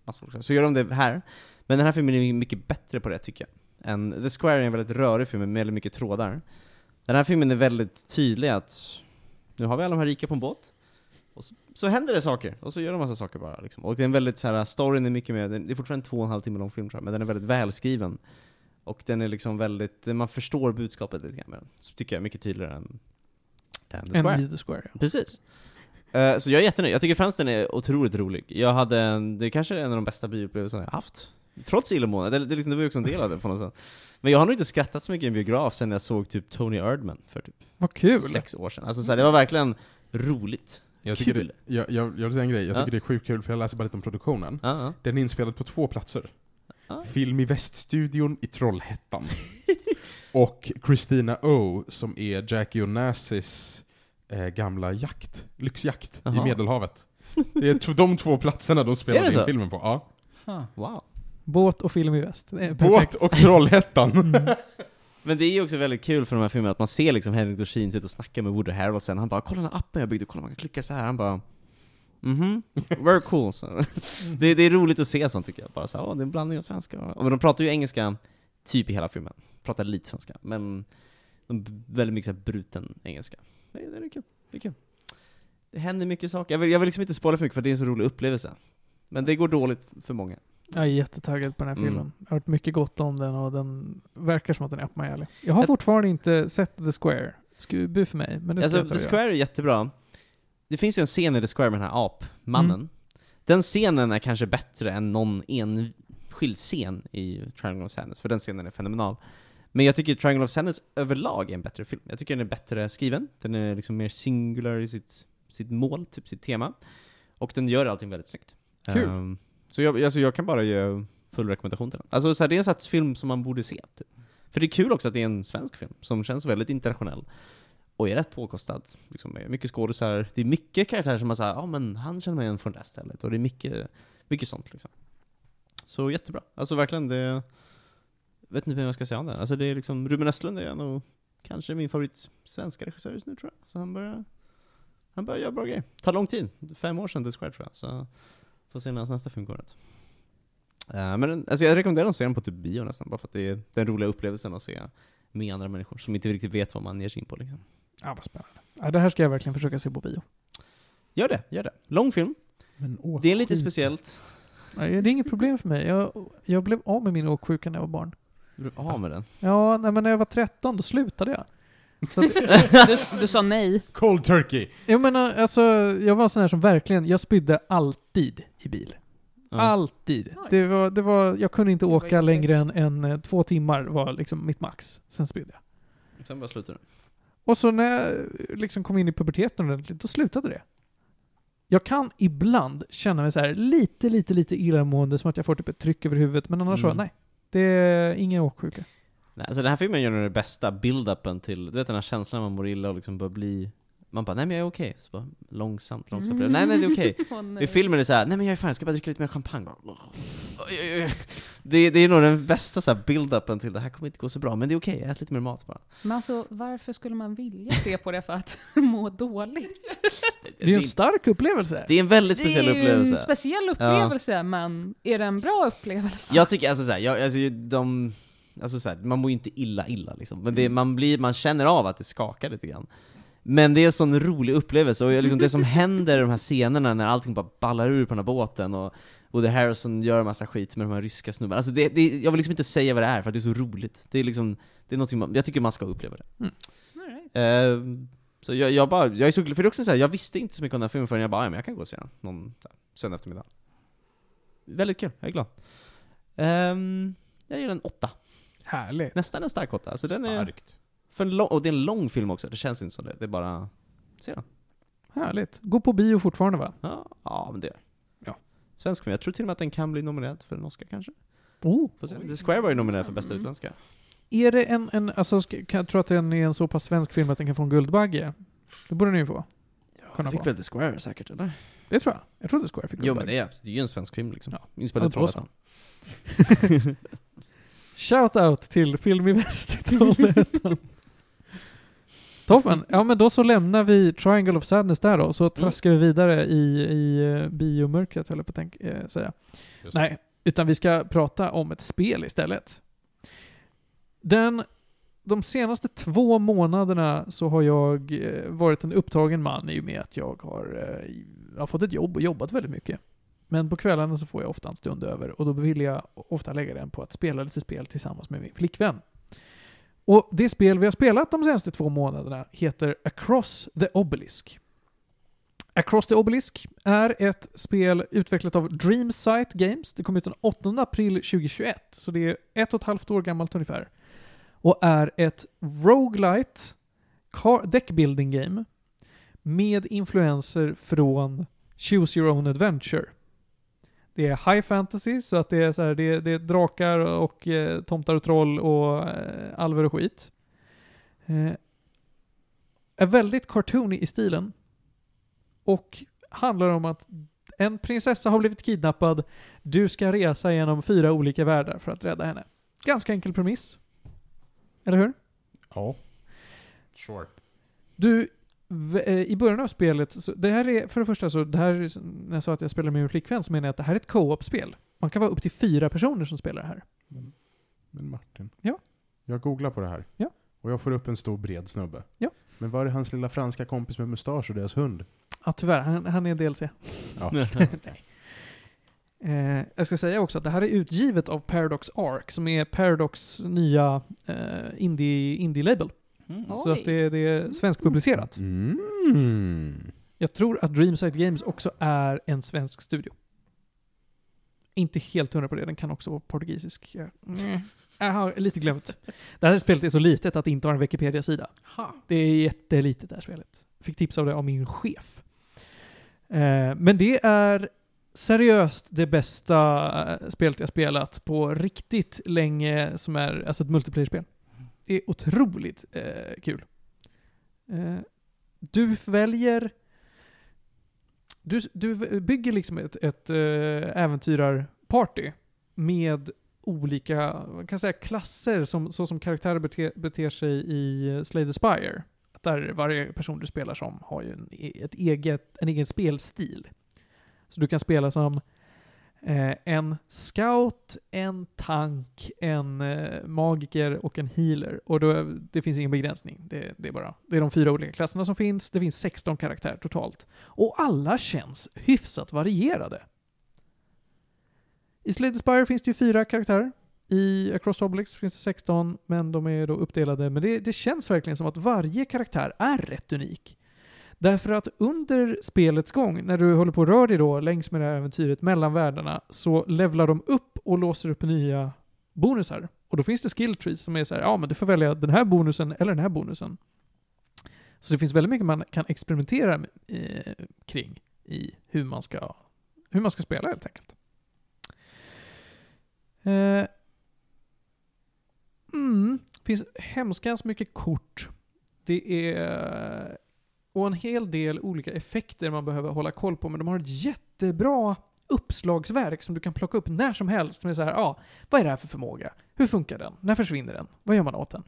Speaker 5: massor av saker. Så gör de det här. Men den här filmen är mycket bättre på det tycker jag en, The Square är en väldigt rörig film med väldigt mycket trådar. Den här filmen är väldigt tydlig att nu har vi alla de här rika på en båt, och så, så händer det saker, och så gör de massa saker bara. Liksom. Och det är en väldigt så här, storyn är mycket mer, den- det är fortfarande en två och en halv timme lång film tror jag, men den är väldigt välskriven. Och den är liksom väldigt, man förstår budskapet lite grann med den. Så tycker jag är mycket tydligare än, än The Square.
Speaker 1: En Leader Square. ja.
Speaker 5: Precis. Eh, Så jag är jättenöjd. Jag tycker främst den är otroligt rolig. Jag hade en, det är kanske en av de bästa bioupplevelserna jag haft. Trots illamåendet, det, det, liksom, det var ju också en del av det på något sätt. Men jag har nog inte skrattat så mycket i en biograf sen jag såg typ Tony Erdman för typ
Speaker 1: Vad kul!
Speaker 5: sex år sedan. Alltså så här, det var verkligen roligt.
Speaker 3: Jag, tycker
Speaker 5: Kul.
Speaker 3: det, jag, jag, jag vill säga en grej, jag
Speaker 5: Ja.
Speaker 3: tycker det är sjukt kul för jag läser bara lite om produktionen.
Speaker 5: Ja, ja.
Speaker 3: Den är inspelad på två platser.
Speaker 5: Ja.
Speaker 3: Film i Väststudion i Trollhättan. och Christina O som är Jackie Onassis eh, gamla jakt, lyxjakt
Speaker 5: Jaha.
Speaker 3: i Medelhavet. Det är t- de två platserna de
Speaker 5: Är
Speaker 3: spelade
Speaker 5: det
Speaker 3: in
Speaker 5: så?
Speaker 3: filmen på. Ja.
Speaker 2: Huh.
Speaker 5: Wow.
Speaker 1: Båt och film i väst. Det är
Speaker 3: Båt
Speaker 1: perfekt.
Speaker 3: och Trollhättan.
Speaker 5: Men det är ju också väldigt kul för de här filmerna att man ser liksom Henrik Dorsin sitta och snacka med Woody Harrelson. Han bara 'Kolla den här appen jag byggde, kolla man kan klicka så här. Han bara Mhm, very cool. Så, det, det är roligt att se sånt tycker jag. Bara så här, åh, det är en blandning av svenska och... Men de pratar ju engelska typ i hela filmen. Pratar lite svenska, men de b- väldigt mycket så här bruten engelska. Det, är- det är kul. Det är kul. Det händer mycket saker. Jag vill, jag vill liksom inte spoila för mycket för det är en så rolig upplevelse. Men det går dåligt för många.
Speaker 1: Jag är jättetaggad på den här
Speaker 5: Mm.
Speaker 1: filmen. Jag har hört mycket gott om den och den verkar som att den är up my alley. Jag har
Speaker 5: Jag-
Speaker 1: fortfarande inte sett The Square. Skubu för mig, men det ska
Speaker 5: Alltså,
Speaker 1: jag ta
Speaker 5: The
Speaker 1: och göra.
Speaker 5: Square är jättebra. Det finns ju en scen i The Square med den här apmannen.
Speaker 1: Mm.
Speaker 5: Den scenen är kanske bättre än någon enskild scen i Triangle of Sadness, för den scenen är fenomenal. Men jag tycker Triangle of Sadness överlag är en bättre film. Jag tycker den är bättre skriven, den är liksom mer singular i sitt, sitt mål, typ sitt tema. Och den gör allting väldigt snyggt.
Speaker 1: Kul.
Speaker 5: Ehm, så jag, alltså jag kan bara ge full rekommendation till den. Alltså så här, det är en sorts film som man borde se. Typ. För det är kul också att det är en svensk film som känns väldigt internationell. Och är rätt påkostad. Liksom, med mycket skådisar. Det är mycket karaktärer som man säger, ja ah, men han känner mig igen från det här stället. Och det är mycket, mycket sånt liksom. Så jättebra. Alltså verkligen, det... Vet inte vad jag ska säga om den. Alltså det är liksom, Ruben Östlund är nog kanske min favorit svenska regissör just nu tror jag. Så han börjar, han börjar göra bra grejer. Tar lång tid. Fem år sedan The Square tror jag. Så får se när hans nästa film går ut. Eh, men den- alltså jag rekommenderar att se den på typ bio nästan, bara för att det är den roliga upplevelsen att se med andra människor som inte riktigt vet vad man ger sig in på liksom.
Speaker 1: Ja, vad spännande. Ja, det här ska jag verkligen försöka se på bio.
Speaker 5: Gör det, gör det. Lång film.
Speaker 7: Men åh,
Speaker 5: Det är lite
Speaker 7: skit.
Speaker 5: speciellt.
Speaker 1: Nej, Det är inget problem för mig. Jag, jag blev av med min åksjuka när jag var barn.
Speaker 5: Du av med den.
Speaker 1: Ja, nej, men när jag var 13 då slutade jag. Så att,
Speaker 4: Du, du sa nej.
Speaker 3: Cold Turkey.
Speaker 1: jag menar, alltså, jag var sån här som verkligen, jag spydde alltid i bil.
Speaker 5: Ja.
Speaker 1: Ah, Alltid.
Speaker 4: Oj.
Speaker 1: Det var, det var, jag kunde inte
Speaker 4: Det var
Speaker 1: åka
Speaker 4: jobbigt.
Speaker 1: längre än, än eh, två timmar var liksom mitt max. Sen spydde jag.
Speaker 5: Sen bara slutar den.
Speaker 1: Och så när jag eh, liksom kom in i puberteten ordentligt, då slutade det. Jag kan ibland känna mig så här lite, lite, lite illamående, som att jag får typ ett tryck över huvudet, men annars så,
Speaker 5: Mm.
Speaker 1: nej. Det är ingen åksjuka.
Speaker 5: Nej, alltså den här filmen gör nog den bästa build-upen till, du vet den här känslan när man mår illa och liksom börjar bli man bara 'Nej men jag är okej' så bara långsamt, långsamt blir det, Nej nej det är okej
Speaker 4: Åh, nej.
Speaker 5: I filmen är det såhär, nej men jag är fan, jag ska bara dricka lite mer champagne. Bara, oj, oj, oj. Det, det är nog den bästa så här build-upen till det här kommer inte gå så bra, men det är okej, jag äter lite mer mat bara.
Speaker 4: Men alltså, varför skulle man vilja se på det för att må dåligt?
Speaker 1: Det är ju en
Speaker 5: det-
Speaker 1: stark upplevelse.
Speaker 5: Det är en väldigt speciell
Speaker 4: det är ju
Speaker 5: upplevelse.
Speaker 4: en speciell upplevelse, men är det en bra upplevelse?
Speaker 5: jag tycker alltså såhär, jag, alltså, de, alltså, så här, man mår ju inte illa illa liksom, men det, man, blir, man känner av att det skakar lite grann. Men det är en sån rolig upplevelse, och jag- liksom, det som händer i de här scenerna när allting bara ballar ur på den här båten och Woody Harrison gör en massa skit med de här ryska snubbarna. Alltså det, det, jag vill liksom inte säga vad det är för att det är så roligt. Det är liksom, det är någonting man, jag tycker man ska uppleva det.
Speaker 4: All right.
Speaker 5: Eh, så jag, jag bara, jag är så glad, för det är också så här, jag visste inte så mycket om den här filmen förrän jag bara, ja, men jag kan gå och se den någon så här, söndag eftermiddag. Väldigt kul, jag är glad. Ehm, jag ger den åtta.
Speaker 1: Härligt.
Speaker 5: Nästan en stark åtta. Alltså den är,
Speaker 3: Starkt.
Speaker 5: för en lång, och det är en lång film också, det känns inte som det. Det är bara, se den.
Speaker 1: Härligt. Gå på bio fortfarande va?
Speaker 5: Ja, ja men det gör
Speaker 1: Ja.
Speaker 5: Svensk film, jag tror till och med att den kan bli nominerad för en Oscar kanske.
Speaker 1: Oh.
Speaker 5: Får se. The Square var ju nominerad för bästa
Speaker 4: Mm.
Speaker 5: utländska.
Speaker 1: Är det en, en alltså, ska, kan jag tro att den är en så pass svensk film att den kan få en Guldbagge? Det borde den ju få. Kunna få.
Speaker 5: The Square säkert, eller?
Speaker 1: Det tror jag. Jag tror The Square fick
Speaker 5: Jo men
Speaker 1: Guldbagge.
Speaker 5: det är, det är ju en svensk film liksom.
Speaker 1: Ja.
Speaker 5: Inspelad
Speaker 1: Ja,
Speaker 5: i
Speaker 1: då så.
Speaker 5: Trollhättan.
Speaker 1: Shout-out till Film i Väst i Trollhättan. Toppen. Ja men då så lämnar vi Triangle of Sadness där då, så traskar vi vidare i, i eh, biomörkret höll jag på att tänk, eh, säga.
Speaker 3: Just det.
Speaker 1: Nej, utan vi ska prata om ett spel istället. Den, de senaste två månaderna så har jag eh, varit en upptagen man i och med att jag har, eh, jag har fått ett jobb och jobbat väldigt mycket. Men på kvällarna så får jag ofta en stund över och då vill jag ofta lägga den på att spela lite spel tillsammans med min flickvän. Och det spel vi har spelat de senaste två månaderna heter Across the Obelisk. Across the Obelisk är ett spel utvecklat av Dreamsight Games. Det kom ut den 8 april 2021, så det är ett och ett halvt år gammalt ungefär. Och är ett roguelite car- deckbuilding game med influenser från Choose Your Own Adventure. Det är high fantasy, så att det är, så här, det är, det är drakar och eh, tomtar och troll och eh, alver och skit. Eh, är väldigt cartoony i stilen. Och handlar om att en prinsessa har blivit kidnappad. Du ska resa genom fyra olika världar för att rädda henne. Ganska enkel premiss. Eller hur?
Speaker 3: Ja. Sure.
Speaker 1: Du, v- eh, i början av spelet, så det här är, för det första så, det här, är- när jag sa att jag spelar med min flickvän så menar jag att det här är ett co-op-spel. Man kan vara upp till fyra personer som spelar det här.
Speaker 3: Men, men Martin.
Speaker 1: Ja.
Speaker 3: Jag googlar på det här.
Speaker 1: Ja.
Speaker 3: Och jag får upp en stor bred snubbe.
Speaker 1: Ja.
Speaker 3: Men var är hans lilla franska kompis med mustasch och deras hund?
Speaker 1: Ja, tyvärr, han, han är DLC.
Speaker 3: Ja.
Speaker 1: Eh, jag ska säga också att det här är utgivet av Paradox Arc, som är Paradox nya eh, indie- indie-label.
Speaker 2: Mm.
Speaker 1: så att det, det är svenskpublicerat.
Speaker 3: Mm.
Speaker 1: Jag tror att Dreamside Games också är en svensk studio. Inte helt hundra på det, den kan också vara portugisisk. Jag, mm. jag har lite glömt. Det här spelet är så litet att det inte har en Wikipedia-sida.
Speaker 2: Ha.
Speaker 1: Det är jättelitet det här spelet. Fick tips av det av min chef. Eh, men det är seriöst det bästa eh, spelet jag spelat på riktigt länge som är alltså ett multiplayer-spel. Det är otroligt eh, kul. Eh, du väljer... Du, du bygger liksom ett, ett eh, äventyrarparty med olika, man kan säga klasser, som, så som karaktärer bete, beter sig i eh, Slay the Spire. Där varje person du spelar som har ju en, e- ett eget, en egen spelstil. Så du kan spela som eh, en scout, en tank, en eh, magiker och en healer. Och då, det finns ingen begränsning. Det, det, är bara, det är de fyra olika klasserna som finns. Det finns 16 karaktärer totalt. Och alla känns hyfsat varierade. I Slay the Spire finns det ju fyra karaktärer. I Across the Obelix finns det 16, men de är då uppdelade. Men det, det känns verkligen som att varje karaktär är rätt unik. Därför att under spelets gång, när du håller på och rör dig då längs med det här äventyret mellan världarna, så levlar de upp och låser upp nya bonusar. Och då finns det skill trees som är så här, ja men du får välja den här bonusen eller den här bonusen. Så det finns väldigt mycket man kan experimentera med, eh, kring i hur man ska, hur man ska spela helt enkelt. Eh, mm, finns hemskans mycket kort. Det är... Och en hel del olika effekter man behöver hålla koll på, men de har ett jättebra uppslagsverk som du kan plocka upp när som helst. Som är så här, ja, vad är det här för förmåga? Hur funkar den? När försvinner den? Vad gör man åt den?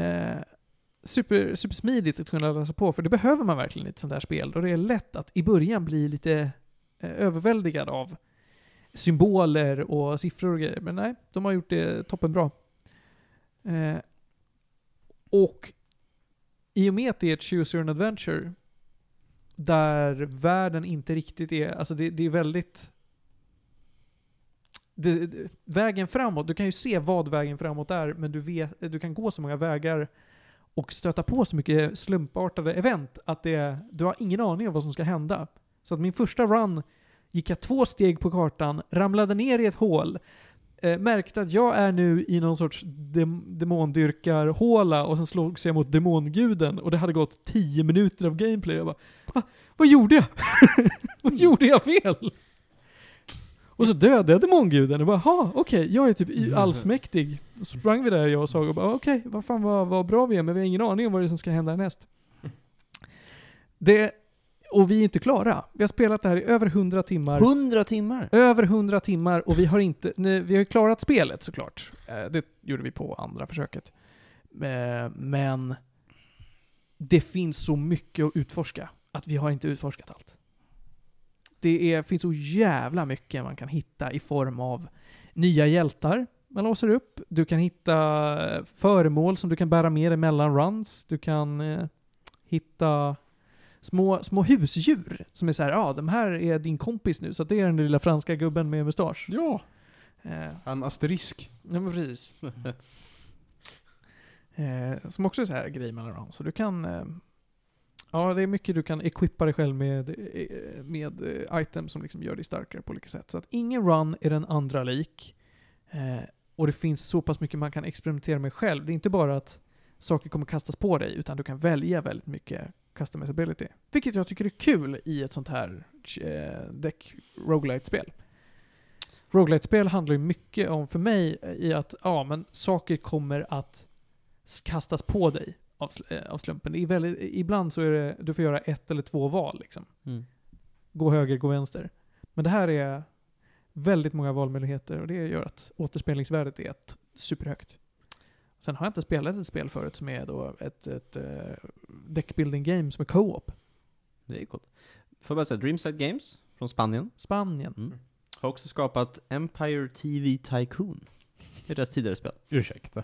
Speaker 1: Eh, super, supersmidigt att kunna läsa på, för det behöver man verkligen i ett sånt här spel. Och det är lätt att i början bli lite eh, överväldigad av symboler och siffror och grejer. Men nej, de har gjort det toppenbra. Eh, och i och med att det är ett Choose Your Own Adventure där världen inte riktigt är, alltså det, det är väldigt det, det- vägen framåt, du kan ju se vad vägen framåt är, men du, vet, du kan gå så många vägar och stöta på så mycket slumpartade event att det, du har ingen aning om vad som ska hända. Så att min första run gick jag två steg på kartan, ramlade ner i ett hål, eh, märkte att jag är nu i någon sorts dem- demondyrkarhåla och sen slogs jag mot demonguden och det hade gått tio minuter av gameplay. Jag bara, Va? Vad gjorde jag? Vad gjorde jag fel? Och så dödade jag demonguden och bara, ha, okej, jag är typ i- allsmäktig. Och så sprang vi där jag och Saga och bara, okej, vad fan vad, vad bra vi är, men vi har ingen aning om vad det är som ska hända härnäst. Det, och vi är inte klara. Vi har spelat det här i över 100 timmar.
Speaker 5: 100 timmar!
Speaker 1: Över 100 timmar och vi har inte, nej, vi har ju klarat spelet såklart. Eh, Det gjorde vi på andra försöket. Eh, Men det finns så mycket att utforska att vi har inte utforskat allt. Det är, finns så jävla mycket man kan hitta i form av nya hjältar man låser upp. Du kan hitta eh, föremål som du kan bära med dig mellan runs. Du kan eh, hitta små, små husdjur som är så här, ja, ah, de här är din kompis nu, så att det är den lilla franska gubben med mustasch.
Speaker 3: Ja,
Speaker 1: Eh,
Speaker 3: han asterisk.
Speaker 1: ja, men precis. Eh, som också är så här grej mellan dem. Så du kan... Eh, ja, det är mycket du kan equippa dig själv med, eh, med eh, items som liksom gör dig starkare på olika sätt. Så att ingen run är den andra lik. Eh, och det finns så pass mycket man kan experimentera med själv. Det är inte bara att saker kommer kastas på dig, utan du kan välja väldigt mycket customizability. Vilket jag tycker är kul i ett sånt här eh, deck roguelite spel Roguelite-spel handlar ju mycket om, för mig, eh, i att ja, men saker kommer att kastas på dig av, sl- eh, av slumpen. Det är väldigt, ibland så är det, du får göra ett eller två val liksom. gå höger, gå vänster. Men det här är väldigt många valmöjligheter och det gör att återspelningsvärdet är t- superhögt. Sen har jag inte spelat ett spel förut som är då ett, ett eh, deckbuilding game som är co-op.
Speaker 5: Det är coolt. Får jag bara säga, Dreamside Games från Spanien
Speaker 1: Spanien.
Speaker 5: Mm. har också skapat Empire TV Tycoon. Det är deras tidigare spel.
Speaker 3: Ursäkta.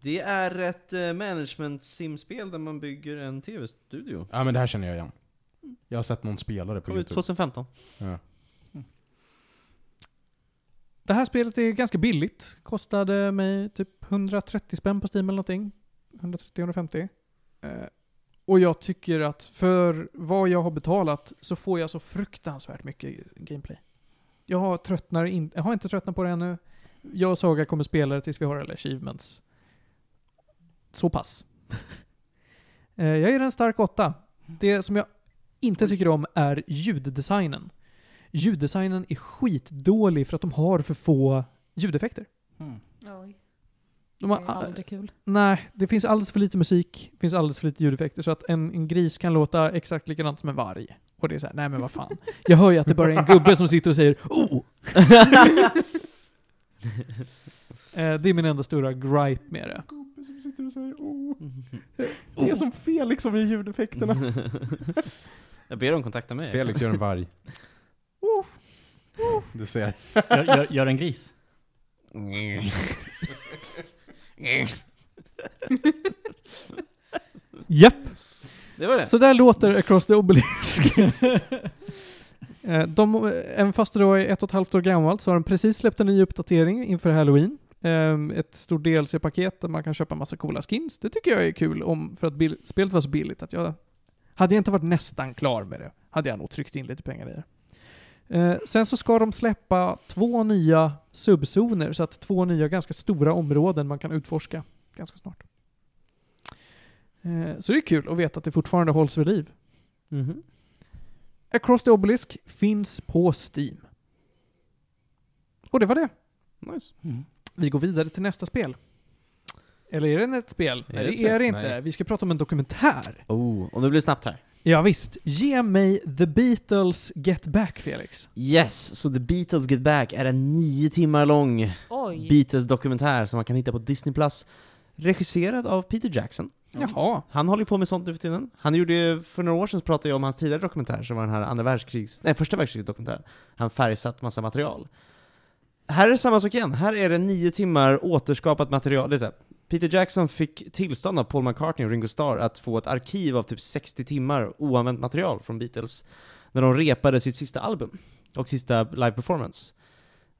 Speaker 5: Det är ett eh, management simspel där man bygger en tv-studio.
Speaker 3: Ja men det här känner jag igen. Jag har sett någon spelare på
Speaker 5: Kom ut
Speaker 3: Youtube.
Speaker 5: 2015.
Speaker 3: Ja.
Speaker 1: Det här spelet är ganska billigt. Kostade mig typ 130 spänn på Steam eller någonting. 130-150. Eh, och jag tycker att för vad jag har betalat så får jag så fruktansvärt mycket gameplay. Jag har, tröttnar in, jag har inte tröttnat på det ännu. Jag och Saga kommer spela det tills vi har alla achievements. Så pass. eh, jag ger en stark åtta. Det som jag inte tycker om är ljuddesignen ljuddesignen är skitdålig för att de har för få ljudeffekter.
Speaker 2: Mm.
Speaker 4: Oj,
Speaker 1: De
Speaker 4: det
Speaker 1: har,
Speaker 4: är aldrig kul.
Speaker 1: nej, det finns alldeles för lite musik, det finns alldeles för lite ljudeffekter så att en, en gris kan låta exakt likadant som en varg. Och det är såhär, nej men vad fan. Jag hör ju att det bara är en gubbe som sitter och säger oh! Eh, det är min enda stora gripe med det.
Speaker 3: Gubbe som sitter och säger oh. Det är som Felix som gör ljudeffekterna.
Speaker 5: jag ber dem kontakta mig.
Speaker 3: Felix gör en varg. Du ser.
Speaker 2: Gör, gör, gör en gris.
Speaker 1: Japp!
Speaker 5: Det var det.
Speaker 1: Så där låter Across the Obelisk.
Speaker 2: Mm,
Speaker 1: Eh, de, eh, även fast det då är ett och ett halvt år gammalt så har de precis släppt en ny uppdatering inför halloween. Eh, Ett stort DLC-paket där man kan köpa massa coola skins. Det tycker jag är kul om, för att bill- spelet var så billigt att jag... Hade jag inte varit nästan klar med det, hade jag nog tryckt in lite pengar i det. Eh, Sen så ska de släppa två nya subzoner, så att två nya ganska stora områden man kan utforska ganska snart. Eh, Så det är kul att veta att det fortfarande hålls vid liv.
Speaker 5: Mhm.
Speaker 1: Across the Obelisk finns på Steam. Och det var det.
Speaker 5: Nice.
Speaker 2: Mm.
Speaker 1: Vi går vidare till nästa spel. Eller är det ett spel?
Speaker 5: Är
Speaker 1: Nej,
Speaker 5: det
Speaker 1: det
Speaker 5: ett spel?
Speaker 1: är det inte.
Speaker 3: Nej.
Speaker 1: Vi ska prata om en dokumentär.
Speaker 5: Oh, och nu blir det snabbt här.
Speaker 1: Ja, visst. Ge mig The Beatles Get Back, Felix.
Speaker 5: Yes, så The Beatles Get Back är en nio timmar lång
Speaker 4: Oj.
Speaker 5: Beatles-dokumentär som man kan hitta på Disney+. Plus Regisserad av Peter Jackson.
Speaker 1: Jaha.
Speaker 5: Han håller ju på med sånt nu för tiden. Han gjorde, för några år sedan så pratade jag om hans tidigare dokumentär som var den här andra världskrigs, nej första världskrigets dokumentär. Han färgsatt massa material. Här är det samma sak igen. Här är det nio timmar återskapat material. Det är så här, Peter Jackson fick tillstånd av Paul McCartney och Ringo Starr att få ett arkiv av typ 60 timmar oanvänt material från Beatles när de repade sitt sista album och sista live performance.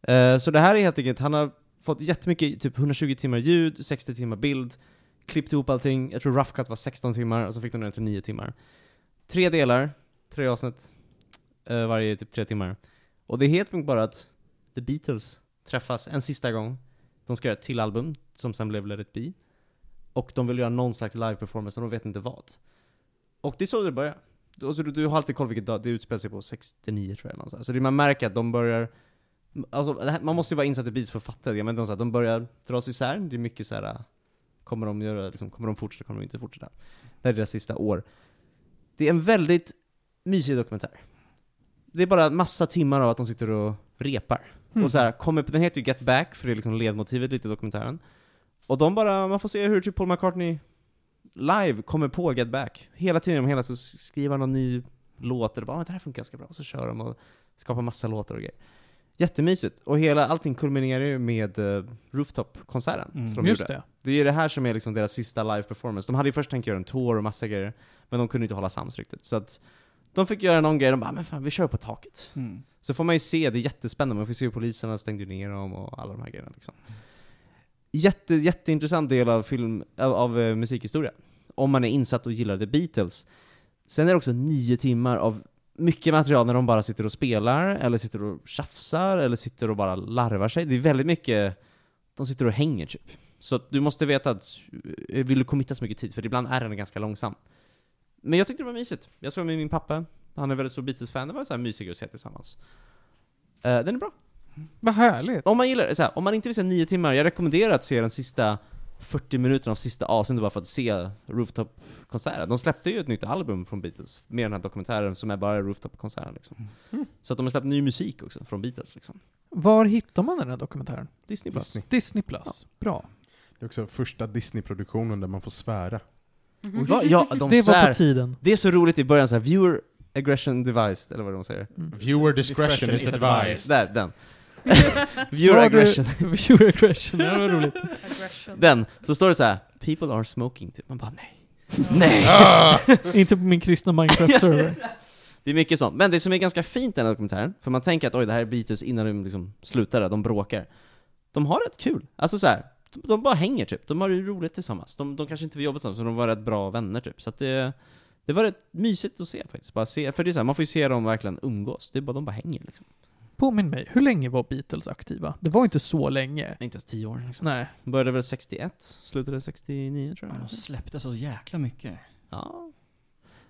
Speaker 5: Eh, Så det här är helt enkelt, han har fått jättemycket, typ 120 timmar ljud, 60 timmar bild, klippt ihop allting. Jag tror Rough Cut var 16 timmar och så fick de ner till 9 timmar. Tre delar, tre avsnitt. eh, varje typ tre timmar. Och det är helt enkelt bara att The Beatles träffas en sista gång. De ska göra ett till album som sen blev Let It Be. Och de vill göra någon slags live-performance och de vet inte vad. Och det är så det börjar. Du- Alltså, du, du har alltid koll vilket dag det utspelar sig på, 69 tror jag. eller något sånt. Så det man märker att de börjar Alltså, det här, man måste ju vara insatt i Beatles för att fatta det, men de, så här, de börjar dra sig isär, det är mycket så här. Kommer de göra, liksom, kommer de fortsätta, kommer de inte fortsätta? Det här är deras sista år. Det är en väldigt mysig dokumentär. Det är bara massa timmar av att de sitter och repar. Och så här, kommer, den heter ju Get Back, för det är liksom ledmotivet lite i dokumentären. Och de bara, man får se hur typ Paul McCartney live kommer på Get Back. Hela tiden, hela så skriver han någon ny låt, och bara ah, det här funkar ganska bra, så kör de och skapar massa låtar och grejer. Jättemysigt. Och hela, allting kulminerar ju med eh, Rooftop-konserten
Speaker 2: Mm.
Speaker 5: som de
Speaker 1: Just
Speaker 5: gjorde.
Speaker 1: det.
Speaker 5: Det är ju det här som är liksom deras sista live performance. De hade ju först tänkt göra en tour och massa grejer, men de kunde inte hålla sams riktigt. Så att de fick göra någon grej, de bara 'Men fan, vi kör på taket'
Speaker 2: Mm.
Speaker 5: Så får man ju se, det är jättespännande, man får se hur poliserna stängde ner dem och alla de här grejerna liksom. Jätte, jätteintressant del av film, av, av eh, musikhistoria. Om man är insatt och gillar The Beatles. Sen är det också nio timmar av mycket material när de bara sitter och spelar, eller sitter och tjafsar, eller sitter och bara larvar sig. Det är väldigt mycket, de sitter och hänger typ. Så att du måste veta att, eh, vill du committa så mycket tid? För ibland är den ganska långsam. Men jag tyckte det var mysigt. Jag såg med min pappa, han är väldigt stor Beatles-fan, det var så här mysigare att se tillsammans. Eh, den är bra.
Speaker 1: Vad härligt.
Speaker 5: Om man gillar det, så här, om man inte vill se nio timmar, jag rekommenderar att se den sista 40 minuter av sista avsnittet bara för att se rooftop-konserten. De släppte ju ett nytt album från Beatles, med den här dokumentären som är bara rooftop-konserten liksom.
Speaker 3: Mm.
Speaker 5: Så att de har släppt ny musik också från Beatles liksom.
Speaker 1: Var hittar man den här dokumentären?
Speaker 5: Disney Plus.
Speaker 3: Disney.
Speaker 1: Disney Plus. Bra.
Speaker 3: Det är också första Disney-produktionen där man får svära.
Speaker 4: Mhm.
Speaker 5: Va? Ja, de
Speaker 1: det var
Speaker 5: svär.
Speaker 1: på tiden.
Speaker 5: Det är så roligt i början så här, viewer aggression device, eller vad de säger.
Speaker 3: Viewer discretion
Speaker 2: Discretion
Speaker 3: is
Speaker 2: is
Speaker 3: advised.
Speaker 5: Där, den. viewer
Speaker 1: Sa du-
Speaker 5: aggression.
Speaker 1: Viewer aggression, det var roligt.
Speaker 4: Aggression.
Speaker 5: Den. Så står det så här, people are smoking typ. Man bara nej. Nej! Ah!
Speaker 1: Inte på min kristna Minecraft-server.
Speaker 5: Det är mycket sånt. Men det som är ganska fint i den här dokumentären, för man tänker att oj, det här är Beatles innan de liksom slutade, de bråkar. De har rätt kul. Alltså så här, de, de bara hänger typ. De har ju roligt tillsammans. De, de kanske inte vill jobba tillsammans, men de var rätt bra vänner typ. Så att det, det var rätt mysigt att se faktiskt. Bara se, för det är så här, man får ju se dem verkligen umgås. Det är bara, de bara hänger liksom.
Speaker 1: Påminn mig, hur länge var Beatles aktiva? Det var inte så länge.
Speaker 5: Inte ens tio år liksom.
Speaker 1: Nej.
Speaker 5: De började väl 61, slutade 69 tror
Speaker 2: Men
Speaker 5: jag.
Speaker 2: de släppte så jäkla mycket.
Speaker 5: Ja.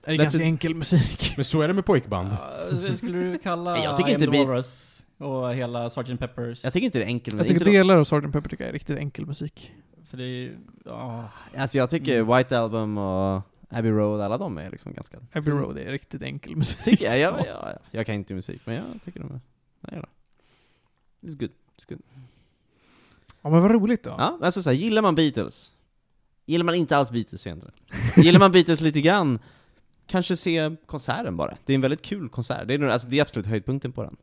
Speaker 1: Det är
Speaker 5: Lät
Speaker 1: ganska
Speaker 5: det-
Speaker 1: enkel musik.
Speaker 3: Men så är det med pojkband.
Speaker 2: Uh, skulle du kalla
Speaker 5: Nej, jag tycker
Speaker 2: I
Speaker 5: inte
Speaker 2: Am
Speaker 5: vi-
Speaker 2: the Walrus och hela Sgt. Peppers?
Speaker 5: Jag tycker inte det är enkelt. men
Speaker 1: Jag tycker
Speaker 5: inte de-
Speaker 1: delar av Sgt. Pepper tycker jag är riktigt enkel musik.
Speaker 2: För det är ju... ja.
Speaker 5: Alltså jag tycker
Speaker 2: Mm.
Speaker 5: White Album och Abbey Road, alla de är liksom ganska...
Speaker 1: Abbey Road är riktigt enkel musik.
Speaker 5: Tycker jag. Jag, jag, jag kan inte musik, men jag tycker de är... Jag gillar det. It's good. It's good.
Speaker 1: Ja men vad roligt då.
Speaker 5: Ja, alltså så här, gillar man Beatles? Gillar man inte alls Beatles egentligen? Gillar man Beatles lite grann? Kanske se konserten bara. Det är en väldigt kul konsert. Det är, nog- alltså, det är absolut höjdpunkten på den.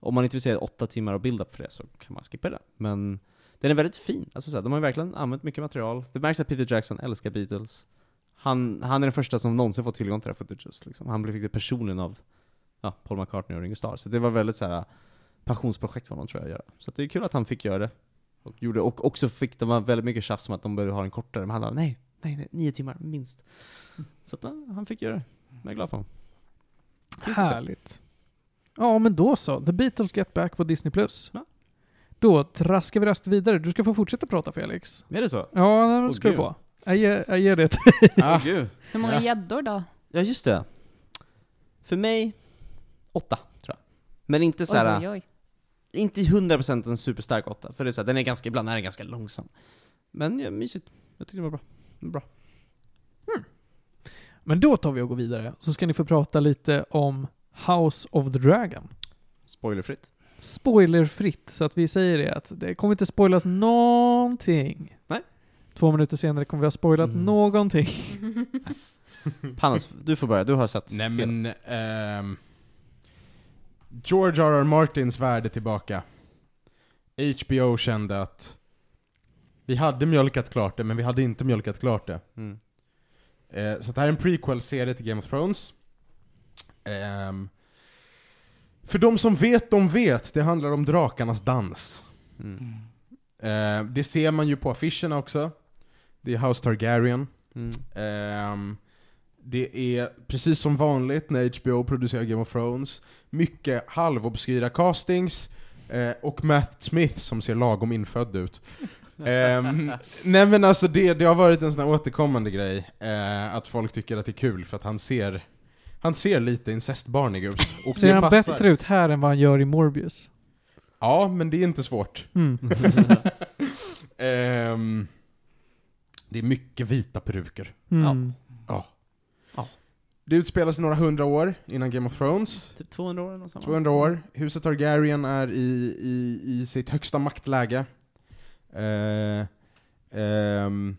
Speaker 5: Om man inte vill se åtta timmar av build-up för det så kan man skippa den. Men den är väldigt fin. Alltså, så här, de har ju verkligen använt mycket material. Det märks att Peter Jackson älskar Beatles. Han, han är den första som någonsin fått tillgång till det här footages, liksom. Han fick det personen av ja, Paul McCartney och Ringo Starr. Så det var väldigt så här passionsprojekt för honom tror jag att göra. Så att det är kul att han fick göra det. Och, gjorde, och också fick de ha väldigt mycket tjafs om att de började ha den kortare, men han bara nej, nej, nej nio timmar minst. Så att, ja, han fick göra det. Jag är glad för honom. Finns det så?
Speaker 1: Härligt. Ja men då så. The Beatles Get Back på Disney+. Plus.
Speaker 5: Ja.
Speaker 1: Då traskar vi rast vidare. Du ska få fortsätta prata Felix.
Speaker 5: Är det så?
Speaker 1: Ja, nej,
Speaker 5: Åh,
Speaker 1: men ska du
Speaker 5: gud.
Speaker 1: få. Jag ger, jag ger det till
Speaker 5: Åh
Speaker 3: Ah.
Speaker 5: gud.
Speaker 4: Hur många gäddor då?
Speaker 5: Ja, just det. För mig, åtta, tror jag. Men inte så här,
Speaker 4: Oj, oj, oj.
Speaker 5: inte 100% en superstark åtta, för det är så här, den är ganska, ibland är den ganska långsam. Men ja, mysigt. Jag tyckte det var bra. Bra.
Speaker 1: Men då tar vi och går vidare. Så ska ni få prata lite om House of the Dragon.
Speaker 5: Spoilerfritt.
Speaker 1: Spoilerfritt, så att vi säger det att det kommer inte spoilas någonting.
Speaker 5: Nej.
Speaker 1: Två minuter senare kommer vi ha spoilat
Speaker 3: Mm.
Speaker 1: någonting.
Speaker 5: Mm. Panos, du får börja. Du har sett.
Speaker 3: Nej men... ehm, George R. R. Martins värde tillbaka. HBO kände att vi hade mjölkat klart det, men vi hade inte mjölkat klart det.
Speaker 5: Mm.
Speaker 3: Eh, så det här är en prequel-serie till Game of Thrones. Ehm, för de som vet, de vet. Det handlar om drakarnas dans.
Speaker 5: Mm.
Speaker 3: Eh, det ser man ju på affischerna också. Det är House Targaryen.
Speaker 5: Mm.
Speaker 3: Ehm, det är precis som vanligt när HBO producerar Game of Thrones, mycket halvobskyra castings eh, och Matt Smith som ser lagom infödd ut. Ehm, nej men alltså det, det har varit en sån här återkommande grej, eh, att folk tycker att det är kul för att han ser, han ser lite incestbarnig ut. Och
Speaker 1: Ser
Speaker 3: det
Speaker 1: han
Speaker 3: passar.
Speaker 1: bättre ut här än vad han gör i Morbius?
Speaker 3: Ja, men det är inte svårt.
Speaker 1: Mm.
Speaker 3: Ehm, det är mycket vita peruker.
Speaker 1: Mm.
Speaker 3: Det utspelas några hundra år innan Game of Thrones.
Speaker 5: Typ 200 år eller något sånt, va?
Speaker 3: 200 år. Huset Targaryen är i, i, i sitt högsta maktläge. Eh, ehm,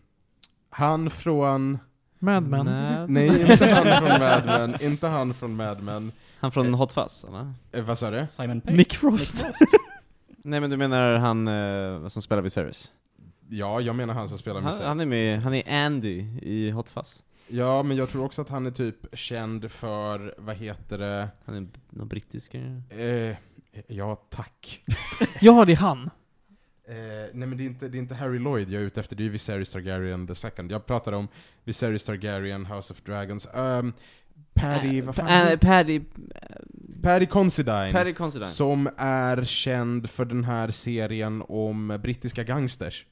Speaker 3: han från...
Speaker 1: Mad Men.
Speaker 5: Nej.
Speaker 3: Nej, inte han från Mad Men. Inte han från Mad Men.
Speaker 5: Han från Hot Fuzz, eller?
Speaker 3: Eh, vad sa du?
Speaker 2: Simon Pegg?
Speaker 1: Nick Frost.
Speaker 5: Nej men du menar han eh, som spelar Viserys?
Speaker 3: Ja, jag menar han som spelar
Speaker 5: Han,
Speaker 3: med sig.
Speaker 5: han är med, han är Andy i Hot Fuzz.
Speaker 3: Ja, men jag tror också att han är typ känd för, vad heter det?
Speaker 5: Han är b- någon brittisk eh,
Speaker 3: Eh, ja, tack.
Speaker 1: ja, det är han.
Speaker 3: Eh, nej men det är, inte, det är inte Harry Lloyd jag är ute efter, det är ju Viserys Targaryen the second. Jag pratade om Viserys Targaryen, House of Dragons. Ehm, Paddy, vad fan
Speaker 5: Äh,
Speaker 3: heter-
Speaker 5: Paddy,
Speaker 3: Paddy Considine.
Speaker 5: Paddy Considine.
Speaker 3: Som är känd för den här serien om brittiska gangsters.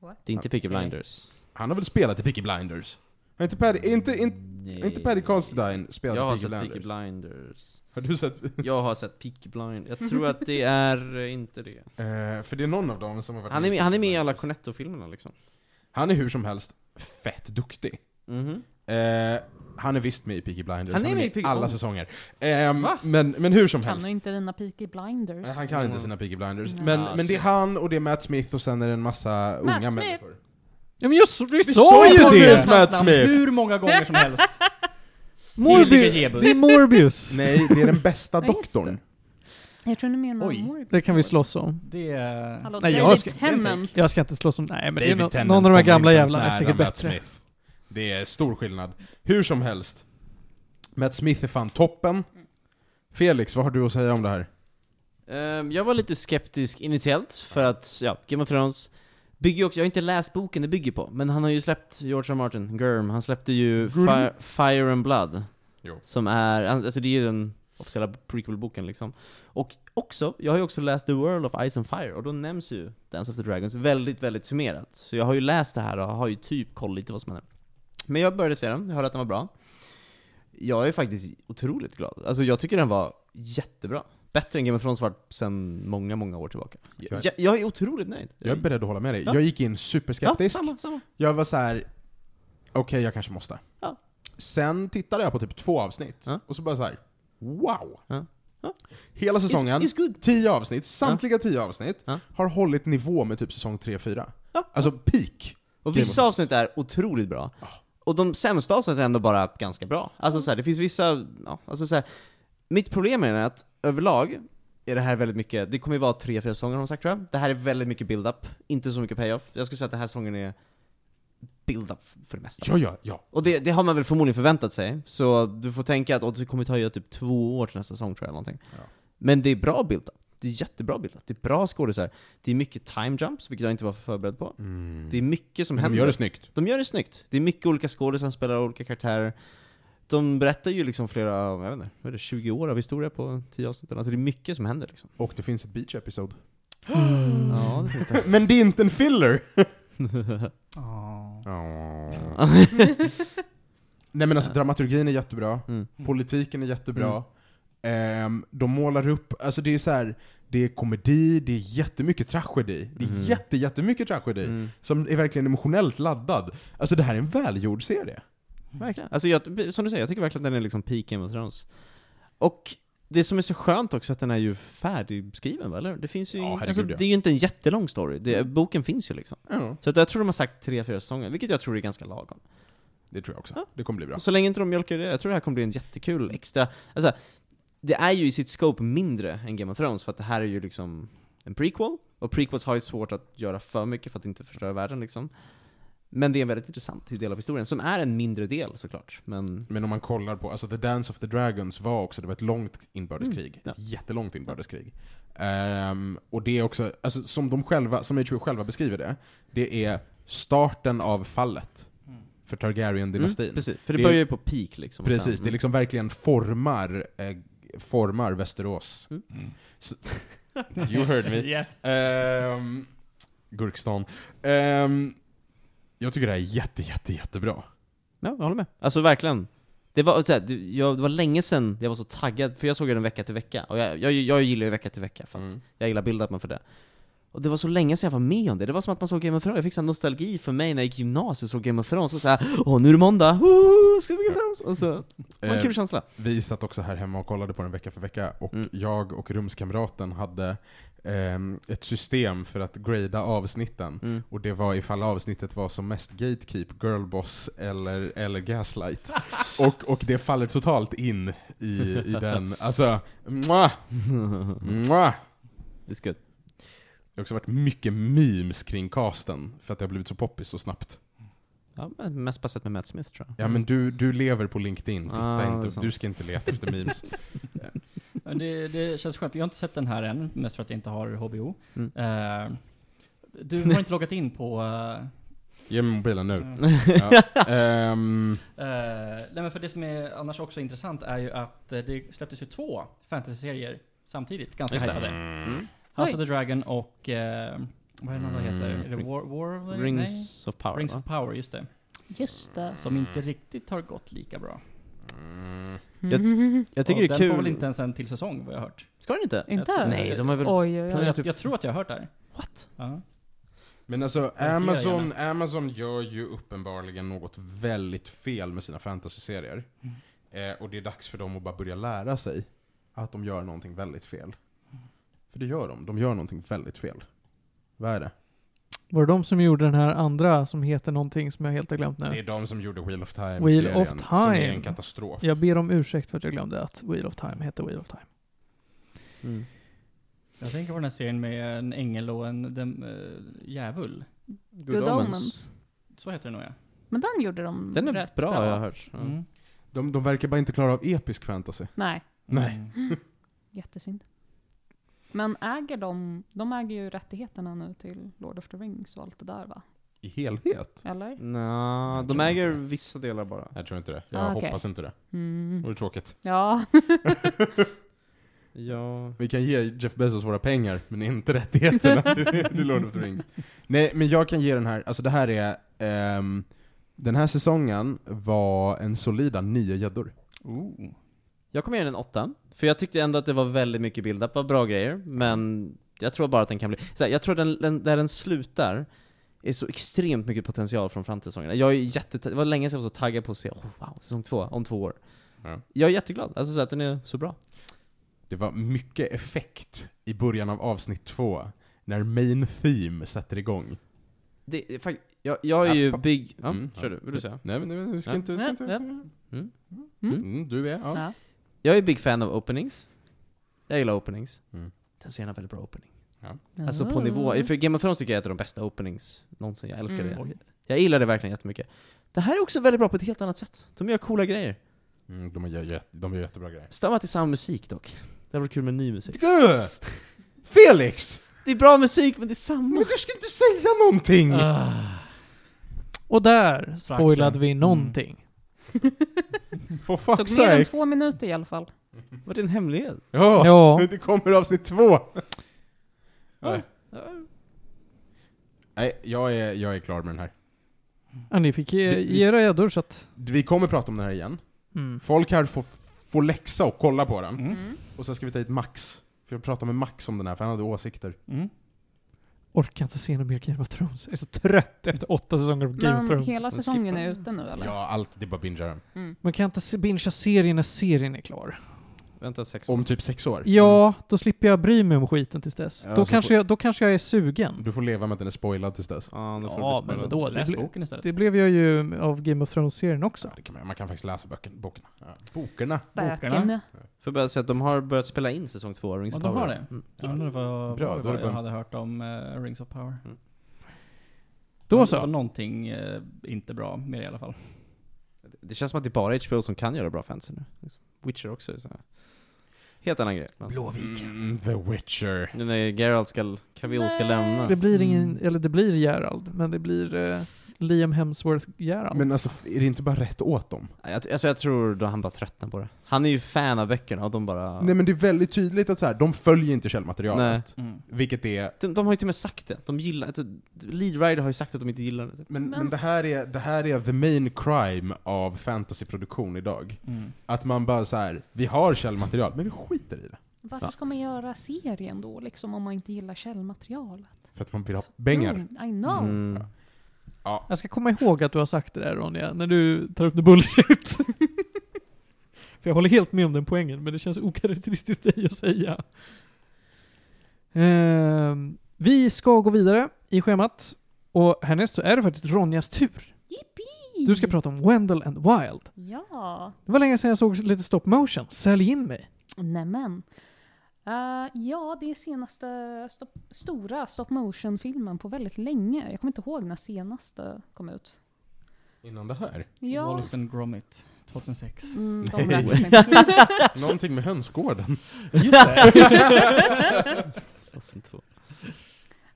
Speaker 5: Det är inte Peaky
Speaker 3: Okej.
Speaker 5: Blinders.
Speaker 3: Han har väl spelat i Peaky Blinders? Har inte Paddy, är inte, inte,
Speaker 5: Nej.
Speaker 3: inte Paddy Considine spelat
Speaker 5: Jag har
Speaker 3: i Peaky
Speaker 5: sett
Speaker 3: Blinders?
Speaker 5: Peaky Blinders.
Speaker 3: Har du sett?
Speaker 5: Jag har sett Peaky Blinders. Jag tror att det är eh, inte det.
Speaker 3: Eh, för det är någon av dem som har varit
Speaker 5: Han är
Speaker 3: i
Speaker 5: med, han är med i
Speaker 3: Peaky
Speaker 5: alla
Speaker 3: Blinders.
Speaker 5: Cornetto-filmerna liksom.
Speaker 3: Han är hur som helst fett duktig.
Speaker 5: Mhm.
Speaker 3: Eh, han är visst med i Peaky Blinders,
Speaker 5: Han är med i Peaky-
Speaker 3: alla
Speaker 5: oh.
Speaker 3: säsonger. Ehm,
Speaker 5: Va?
Speaker 3: men, men hur
Speaker 5: Mm.
Speaker 3: som
Speaker 4: Kan
Speaker 3: helst.
Speaker 4: du inte dina Peaky Blinders?
Speaker 3: Nej, Han kan inte sina Peaky Blinders.
Speaker 4: Nej.
Speaker 3: Men,
Speaker 5: Ah,
Speaker 3: men det är
Speaker 5: shit.
Speaker 3: han och det är Matt Smith och sen är det en massa
Speaker 4: Matt
Speaker 3: unga
Speaker 4: Smith.
Speaker 3: människor.
Speaker 1: Ja men jag s- vi
Speaker 3: Vi
Speaker 1: sa ju
Speaker 3: precis
Speaker 1: det!
Speaker 3: Matt Smith!
Speaker 2: Hur många gånger som helst. Heliga
Speaker 1: Morbius.
Speaker 2: Jebus.
Speaker 1: Det är Morbius.
Speaker 3: Nej, det är den bästa
Speaker 4: Ja, just det.
Speaker 3: doktorn.
Speaker 4: Jag tror ni menar
Speaker 2: Oj.
Speaker 4: Morbius.
Speaker 1: Det kan vi slåss om.
Speaker 2: Det är...
Speaker 4: Hallå,
Speaker 1: Nej, jag
Speaker 4: David
Speaker 1: ska-
Speaker 4: Tennant.
Speaker 1: Jag ska inte slåss om... Nej men det är
Speaker 3: David
Speaker 1: no-
Speaker 3: Tennant
Speaker 1: någon av de här
Speaker 3: kommer
Speaker 1: gamla
Speaker 3: inte ens
Speaker 1: jävlarna är
Speaker 3: nära
Speaker 1: säkert
Speaker 3: Matt
Speaker 1: bättre.
Speaker 3: Smith. Det är stor skillnad. Hur som helst. Matt Smith är fan toppen. Felix, vad har du att säga om det här?
Speaker 5: Ehm, jag var lite skeptisk initiellt, för att, ja, Game of Thrones bygger ju också, jag har inte läst boken det bygger på, men han har ju släppt George R. R. Martin, Gurm, han släppte ju
Speaker 3: Gurm?
Speaker 5: Fire, Fire and Blood.
Speaker 3: Jo.
Speaker 5: Som är, han- alltså det är ju den officiella prequel-boken liksom. Och också, jag har ju också läst The World of Ice and Fire, och då nämns ju Dance of the Dragons väldigt, väldigt summerat. Så jag har ju läst det här och har ju typ koll lite vad som händer. Men jag började se den, jag hörde att den var bra. Jag är faktiskt otroligt glad. Alltså jag tycker den var jättebra. Bättre än Game of Thrones varit sedan många, många år tillbaka. Jag, jag, jag är otroligt nöjd.
Speaker 3: Jag är beredd att hålla med dig.
Speaker 5: Ja.
Speaker 3: Jag gick in superskeptisk.
Speaker 5: Ja, samma, samma.
Speaker 3: Jag var så här. okej jag kanske måste.
Speaker 5: Ja.
Speaker 3: Sen tittade jag på typ två avsnitt,
Speaker 5: Ja.
Speaker 3: och så bara så här. wow!
Speaker 5: Ja. Ja.
Speaker 3: Hela säsongen,
Speaker 5: It's, it's good.
Speaker 3: tio avsnitt, samtliga tio avsnitt,
Speaker 5: Ja.
Speaker 3: har hållit nivå med typ säsong 3-4.
Speaker 5: Ja.
Speaker 3: Alltså peak.
Speaker 5: Och
Speaker 3: Game of
Speaker 5: vissa
Speaker 3: Thrones.
Speaker 5: avsnitt är otroligt bra. Och de sämsta avsnitten är ändå bara ganska bra. Alltså så här, det finns vissa, ja, alltså så här, Mitt problem är att överlag är det här väldigt mycket, det kommer ju vara tre, fyra säsonger har de sagt tror jag. Det här är väldigt mycket build-up, inte så mycket payoff. Jag skulle säga att den här säsongen är build-up för det mesta.
Speaker 3: Ja, ja, ja.
Speaker 5: Och det, det har man väl förmodligen förväntat sig, så du får tänka att och det kommer ta ju typ två år till nästa säsong tror jag, eller någonting.
Speaker 3: Ja.
Speaker 5: Men det är bra bildat. Det är jättebra bildat. Det är bra skådisar. Det är mycket time jumps, vilket jag inte var förberedd på. Det är mycket som
Speaker 3: Mm. Men
Speaker 5: händer.
Speaker 3: de gör det snyggt.
Speaker 5: De gör det snyggt. Det är mycket olika skådespelare som spelar olika karaktärer. De berättar ju liksom flera, jag vet inte, vad är det, 20 år av historia på 10 avsnitt. Alltså det är mycket som händer liksom.
Speaker 3: Och det finns ett beach episode.
Speaker 5: Ja, det finns det.
Speaker 3: Men det är inte en filler!
Speaker 2: Ah.
Speaker 3: Nej men alltså dramaturgin är jättebra,
Speaker 5: Mm.
Speaker 3: politiken är jättebra, Ehm, de målar upp, alltså det är så här. Det är komedi, det är jättemycket tragedi. Det är
Speaker 5: Mm.
Speaker 3: jätte, jättemycket tragedi.
Speaker 5: Mm.
Speaker 3: Som är verkligen emotionellt laddad. Alltså det här är en välgjord serie.
Speaker 5: Verkligen. Alltså jag, som du säger, jag tycker verkligen att den är liksom peak Game of Thrones. Och det som är så skönt också är att den är ju färdigskriven, va, eller? Det finns ju
Speaker 3: Ja, herregud,
Speaker 5: alltså,
Speaker 3: ja. Mm.
Speaker 5: det är ju inte en jättelång story. Det, boken finns ju liksom.
Speaker 3: Ja,
Speaker 5: Så att jag tror de har sagt tre, fyra säsonger, vilket jag tror är ganska lagom.
Speaker 3: det tror jag också.
Speaker 5: Ja.
Speaker 3: Det kommer bli bra.
Speaker 5: Och så länge inte de mjölkar det, jag tror det här kommer bli en jättekul extra... Alltså, det är ju i sitt scope mindre än Game of Thrones, för att det här är ju liksom en prequel, och prequels har ju svårt att göra för mycket för att inte förstöra världen liksom. Men det är en väldigt intressant del av historien, som är en mindre del såklart, men...
Speaker 3: Men om man kollar på, alltså The Dance of the Dragons var också, det var ett långt inbördeskrig.
Speaker 5: Mm. ja.
Speaker 3: Ett jättelångt inbördeskrig. Ehm, och det är också, alltså som de själva, som HBO själva beskriver det, det är starten av fallet
Speaker 2: Mm.
Speaker 3: för Targaryen-dynastin.
Speaker 5: Mm, precis, för det,
Speaker 3: Det är-
Speaker 5: börjar ju på peak liksom. och
Speaker 3: Precis,
Speaker 5: sen-
Speaker 3: det liksom verkligen formar, eh, formar Västerås.
Speaker 5: Mm.
Speaker 3: Så, you heard me.
Speaker 2: Yes.
Speaker 3: Ehm, Gurkstan. Ehm, jag tycker det här är jätte, jätte, jättebra.
Speaker 5: Ja, jag håller med. Alltså verkligen. Det var, så här, det, jag, det var länge sedan jag var så taggad, för jag såg den vecka till vecka. Och jag, jag, jag gillar ju vecka till vecka, för att
Speaker 3: Mm.
Speaker 5: jag gillar build-upen för det. Och det var så länge sedan jag var med om det. Det var som att man såg Game of Thrones. Jag fick sån nostalgi för mig när jag gick i gymnasiet och såg Game of Thrones. Och såhär, åh nu är det måndag! Woo! Ska vi Game of Thrones? Och så, det var en
Speaker 3: Eh,
Speaker 5: kul känsla.
Speaker 3: Vi satt också här hemma och kollade på den vecka för vecka, och
Speaker 5: Mm.
Speaker 3: jag och rumskamraten hade ehm, ett system för att grada avsnitten.
Speaker 5: Mm.
Speaker 3: Och det var ifall avsnittet var som mest Gatekeep, Girlboss eller, eller Gaslight. och, och det faller totalt in i, i den, alltså, mwah, mwah.
Speaker 5: It's good.
Speaker 3: Det har också varit mycket memes kring casten, för att det har blivit så poppis så snabbt.
Speaker 5: Ja, men mest passat med Matt Smith tror jag.
Speaker 3: Ja men du, du lever på LinkedIn, titta
Speaker 5: Mm. Ah, det är
Speaker 3: inte,
Speaker 5: sant.
Speaker 3: du ska inte leta efter memes.
Speaker 2: Ja, Det, det känns skönt. Jag har inte sett den här än, mest för att jag inte har HBO.
Speaker 5: Mm.
Speaker 2: Eh, du har inte loggat in på... eh,
Speaker 3: Ge mig mobilen nu.
Speaker 2: eh,
Speaker 3: Ja. Ehm,
Speaker 2: Eh, nej men för det som är annars också intressant är ju att eh, det släpptes ju två fantasy-serier samtidigt, ganska
Speaker 5: Just det.
Speaker 2: hypade.
Speaker 5: Mm.
Speaker 2: House
Speaker 4: Oj.
Speaker 2: of the Dragon och... eh, vad är den andra
Speaker 3: Mm.
Speaker 2: heter? Är det War, War of the... Nej?
Speaker 5: Rings of Power
Speaker 2: Rings
Speaker 5: va? Mm.
Speaker 2: of Power, just det.
Speaker 4: Just det.
Speaker 2: Som inte riktigt har gått lika bra.
Speaker 3: Mm.
Speaker 5: Jag-
Speaker 4: Mhm.
Speaker 5: Jag tycker
Speaker 2: och
Speaker 5: det
Speaker 2: den
Speaker 5: är kul.
Speaker 2: får väl inte ens en till säsong, vad jag har hört.
Speaker 5: Ska den inte?
Speaker 2: Jag
Speaker 4: Inte?
Speaker 2: tror-
Speaker 5: Nej, de har väl...
Speaker 6: Oj, oj,
Speaker 2: Jag,
Speaker 6: oj.
Speaker 5: planerat
Speaker 2: jag,
Speaker 5: typ-
Speaker 2: tror att jag har hört det här.
Speaker 5: What?
Speaker 2: Ja.
Speaker 3: Men alltså
Speaker 2: Verkligen.
Speaker 3: Amazon, Amazon gör ju uppenbarligen något väldigt fel med sina fantasyserier. Eh, och det är dags för dem att bara börja lära sig att de gör någonting väldigt fel. För det gör de, de gör någonting väldigt fel. Vad är det?
Speaker 1: Var det de som gjorde den här andra som heter någonting som jag helt har glömt
Speaker 3: Det
Speaker 1: nu?
Speaker 3: är de som gjorde Wheel of Time-serien.
Speaker 1: Wheel of
Speaker 3: Som är en
Speaker 1: Time.
Speaker 3: katastrof.
Speaker 1: Jag ber om ursäkt för att jag glömde att Wheel of Time hette Wheel of Time.
Speaker 5: Mm.
Speaker 2: Jag tänker på den här serien med en ängel och en dem, eh, djävul.
Speaker 4: Good Omens.
Speaker 2: Så heter det nog ja.
Speaker 4: Men den gjorde de
Speaker 5: Den är
Speaker 4: rätt
Speaker 5: bra, har jag har hört. Ja.
Speaker 2: Mm.
Speaker 3: De, de verkar bara inte klara av episk fantasy.
Speaker 4: Nej,
Speaker 3: Nej.
Speaker 2: Mm.
Speaker 4: jättesynd. Men äger de, de äger ju rättigheterna nu till Lord of the Rings och allt det där va?
Speaker 3: I helhet?
Speaker 4: Eller?
Speaker 5: Nå,
Speaker 3: Jag
Speaker 5: de
Speaker 3: tror
Speaker 5: äger
Speaker 3: inte.
Speaker 5: vissa delar bara.
Speaker 3: Jag tror inte det. Jag
Speaker 4: Jag Ah, okej.
Speaker 3: hoppas
Speaker 4: hoppas
Speaker 3: inte det. Det
Speaker 4: Mm.
Speaker 3: vore tråkigt.
Speaker 4: Ja,
Speaker 5: Ja.
Speaker 3: Vi kan ge Jeff Bezos våra pengar, men inte rättigheterna. det är Lord of the Rings. Nej, men jag kan ge den här, alltså det här är, ehm, den här säsongen var en solida nio gäddor.
Speaker 2: Ooh.
Speaker 5: Jag kommer ge den en åtta, för jag tyckte ändå att det var väldigt mycket build-up av bra grejer, men jag tror bara att den kan bli... Så här, jag tror den, den, där den slutar, är så extremt mycket potential från framtidssäsongerna. Jag är jätte... Det var länge sedan jag var så taggad på att se, oh, wow, säsong två, om två år.
Speaker 3: Ja.
Speaker 5: Jag är jätteglad, alltså så att den är så bra.
Speaker 3: Det var mycket effekt i början av avsnitt två, när main theme sätter igång.
Speaker 5: Det, är fakt- jag, jag är ju
Speaker 3: Ja, pa-
Speaker 5: big... Ja,
Speaker 3: Mm,
Speaker 5: kör du, vill du säga?
Speaker 3: Nej men nu, vi ska
Speaker 5: Ja.
Speaker 3: inte, vi ska
Speaker 4: Ja,
Speaker 3: inte.
Speaker 4: ja.
Speaker 3: Mm.
Speaker 5: Mm.
Speaker 3: Mm, du är, ja.
Speaker 4: ja.
Speaker 5: Jag är big fan av openings. Jag gillar openings.
Speaker 3: Mm.
Speaker 5: Den ser en väldigt bra opening.
Speaker 3: Ja.
Speaker 5: Alltså på
Speaker 3: Ah.
Speaker 5: nivå,
Speaker 2: Mm.
Speaker 5: för Game of Thrones tycker jag är ett av de bästa openings någonsin. Jag älskar
Speaker 4: Mm.
Speaker 5: det. Jag gillar det verkligen jättemycket. Det här är också väldigt bra på ett helt annat sätt. De gör coola grejer.
Speaker 3: Mm, de, gör, jätte- de gör jättebra grejer.
Speaker 5: Stör mig att det är samma musik dock. Det hade varit kul med ny musik.
Speaker 3: Gud! Felix!
Speaker 5: Det är bra musik, men det är
Speaker 3: Men
Speaker 4: Mm.
Speaker 5: samma.
Speaker 3: du ska inte säga någonting!
Speaker 2: Ah.
Speaker 1: Och där
Speaker 2: Exakt,
Speaker 1: spoilade
Speaker 2: ja.
Speaker 1: vi
Speaker 2: Mm.
Speaker 1: någonting.
Speaker 3: For
Speaker 4: Tog
Speaker 3: fuck's
Speaker 4: mer än
Speaker 3: sake!
Speaker 4: två minuter i alla fall.
Speaker 5: Var det en hemlighet?
Speaker 3: Ja,
Speaker 1: Ja.
Speaker 3: det kommer avsnitt två!
Speaker 5: Ja.
Speaker 3: Nej, jag är, jag är klar med den här.
Speaker 1: Ja, ni fick
Speaker 3: Mm. Det-
Speaker 1: ge,
Speaker 3: vi-
Speaker 1: ge era gäddor så att...
Speaker 3: Vi kommer prata om den här igen.
Speaker 1: Mm.
Speaker 3: Folk här får, får läxa och kolla på den.
Speaker 2: Mm.
Speaker 3: Och sen ska vi ta hit Max. För jag pratade med Max om den här, för han hade åsikter.
Speaker 2: Mm.
Speaker 1: Orkar inte se något mer Game of Thrones. Jag är så trött efter åtta säsonger av Game of
Speaker 4: Men
Speaker 1: Thrones.
Speaker 4: hela
Speaker 5: så
Speaker 4: säsongen
Speaker 5: skippa.
Speaker 4: är ute nu eller?
Speaker 3: Ja, allt, det är bara bingea den.
Speaker 4: Mm.
Speaker 1: Man kan inte se- bingea serien när serien är klar.
Speaker 3: Mm.
Speaker 5: Vänta sex
Speaker 3: Om typ sex år.
Speaker 1: Ja, då slipper jag bry mig om skiten tills dess.
Speaker 3: Ja,
Speaker 1: då,
Speaker 3: så
Speaker 1: kanske
Speaker 3: får-
Speaker 1: jag, då kanske jag är sugen.
Speaker 3: Du får leva med att den är spoilad tills dess.
Speaker 5: Ja, då får
Speaker 2: Ja,
Speaker 5: det bli
Speaker 2: men
Speaker 5: spännande.
Speaker 1: vadå?
Speaker 2: då,
Speaker 1: Det
Speaker 2: läs
Speaker 1: blir-
Speaker 2: boken istället.
Speaker 1: Det blev jag ju av Game of Thrones-serien också.
Speaker 3: Ja, det kan man, man kan faktiskt läsa böken, bokerna. Ja. Bokerna.
Speaker 4: Böken.
Speaker 5: Får jag bara säga att de har börjat spela in säsong två av Rings
Speaker 2: Ja, de
Speaker 5: Power.
Speaker 2: har det.
Speaker 5: Mm.
Speaker 2: Jag undrar vad,
Speaker 3: Bra,
Speaker 2: vad
Speaker 3: då är
Speaker 2: det
Speaker 3: det
Speaker 2: var jag
Speaker 3: bara-
Speaker 2: hade hört om eh, Rings of Power.
Speaker 1: Då
Speaker 2: Det var
Speaker 1: så.
Speaker 2: någonting eh, inte bra med det i alla fall.
Speaker 5: Det känns som att det är bara HBO som kan göra bra fantasy nu. Liksom. Witcher också är så här. Helt annan grej. Men.
Speaker 3: Mm, The Witcher.
Speaker 5: Nu när Geralt ska, Cavill ska
Speaker 4: Nej.
Speaker 5: lämna.
Speaker 1: Det blir ingen,
Speaker 2: Mm.
Speaker 1: eller det blir Gerald, men det blir eh, Liam Hemsworth Gerald.
Speaker 3: Men alltså, är det inte bara rätt åt dem?
Speaker 5: Ja, Jag, alltså jag tror då han bara tröttnar på det. Han är ju fan av böckerna och de bara...
Speaker 3: Nej men det är väldigt tydligt att så här, de följer inte källmaterialet.
Speaker 2: Mm.
Speaker 3: Vilket är
Speaker 5: de, de har ju till och med sagt det. De gillar... att- Lead Rider har ju sagt att de inte gillar det.
Speaker 3: Men, men.
Speaker 4: Men-
Speaker 3: det, här är, det här är the main crime av fantasyproduktion idag.
Speaker 2: Mm.
Speaker 3: Att man bara så här, vi har källmaterial, men vi skiter i det.
Speaker 4: Varför
Speaker 5: Ja.
Speaker 4: ska man göra serien då liksom om man inte gillar källmaterialet?
Speaker 3: För att man vill ha pengar.
Speaker 4: Dumt, I know.
Speaker 5: Mm.
Speaker 3: Ja.
Speaker 1: Jag ska komma ihåg att du har sagt det där Ronja, när du tar upp the bullshit. För jag håller helt med om den poängen, men det känns okaraktäristiskt dig att säga. Ehm, vi ska gå vidare i schemat. Och härnäst så är det faktiskt Ronjas tur.
Speaker 4: Yippee!
Speaker 1: Du ska prata om Wendell and Wild.
Speaker 4: Ja,
Speaker 1: Det var länge sedan jag såg lite stop motion. Sälj in mig.
Speaker 4: nämen. Eh, ja, det är senaste stop, stora stop motion-filmen på väldigt länge. Jag kommer inte ihåg när senaste kom ut.
Speaker 3: Innan det här.
Speaker 4: Ja,
Speaker 2: Wallace and Gromit, 2006.
Speaker 4: mm, de
Speaker 3: Nej.
Speaker 4: räknas inte.
Speaker 3: Någonting med hönsgården.
Speaker 5: Och sen två.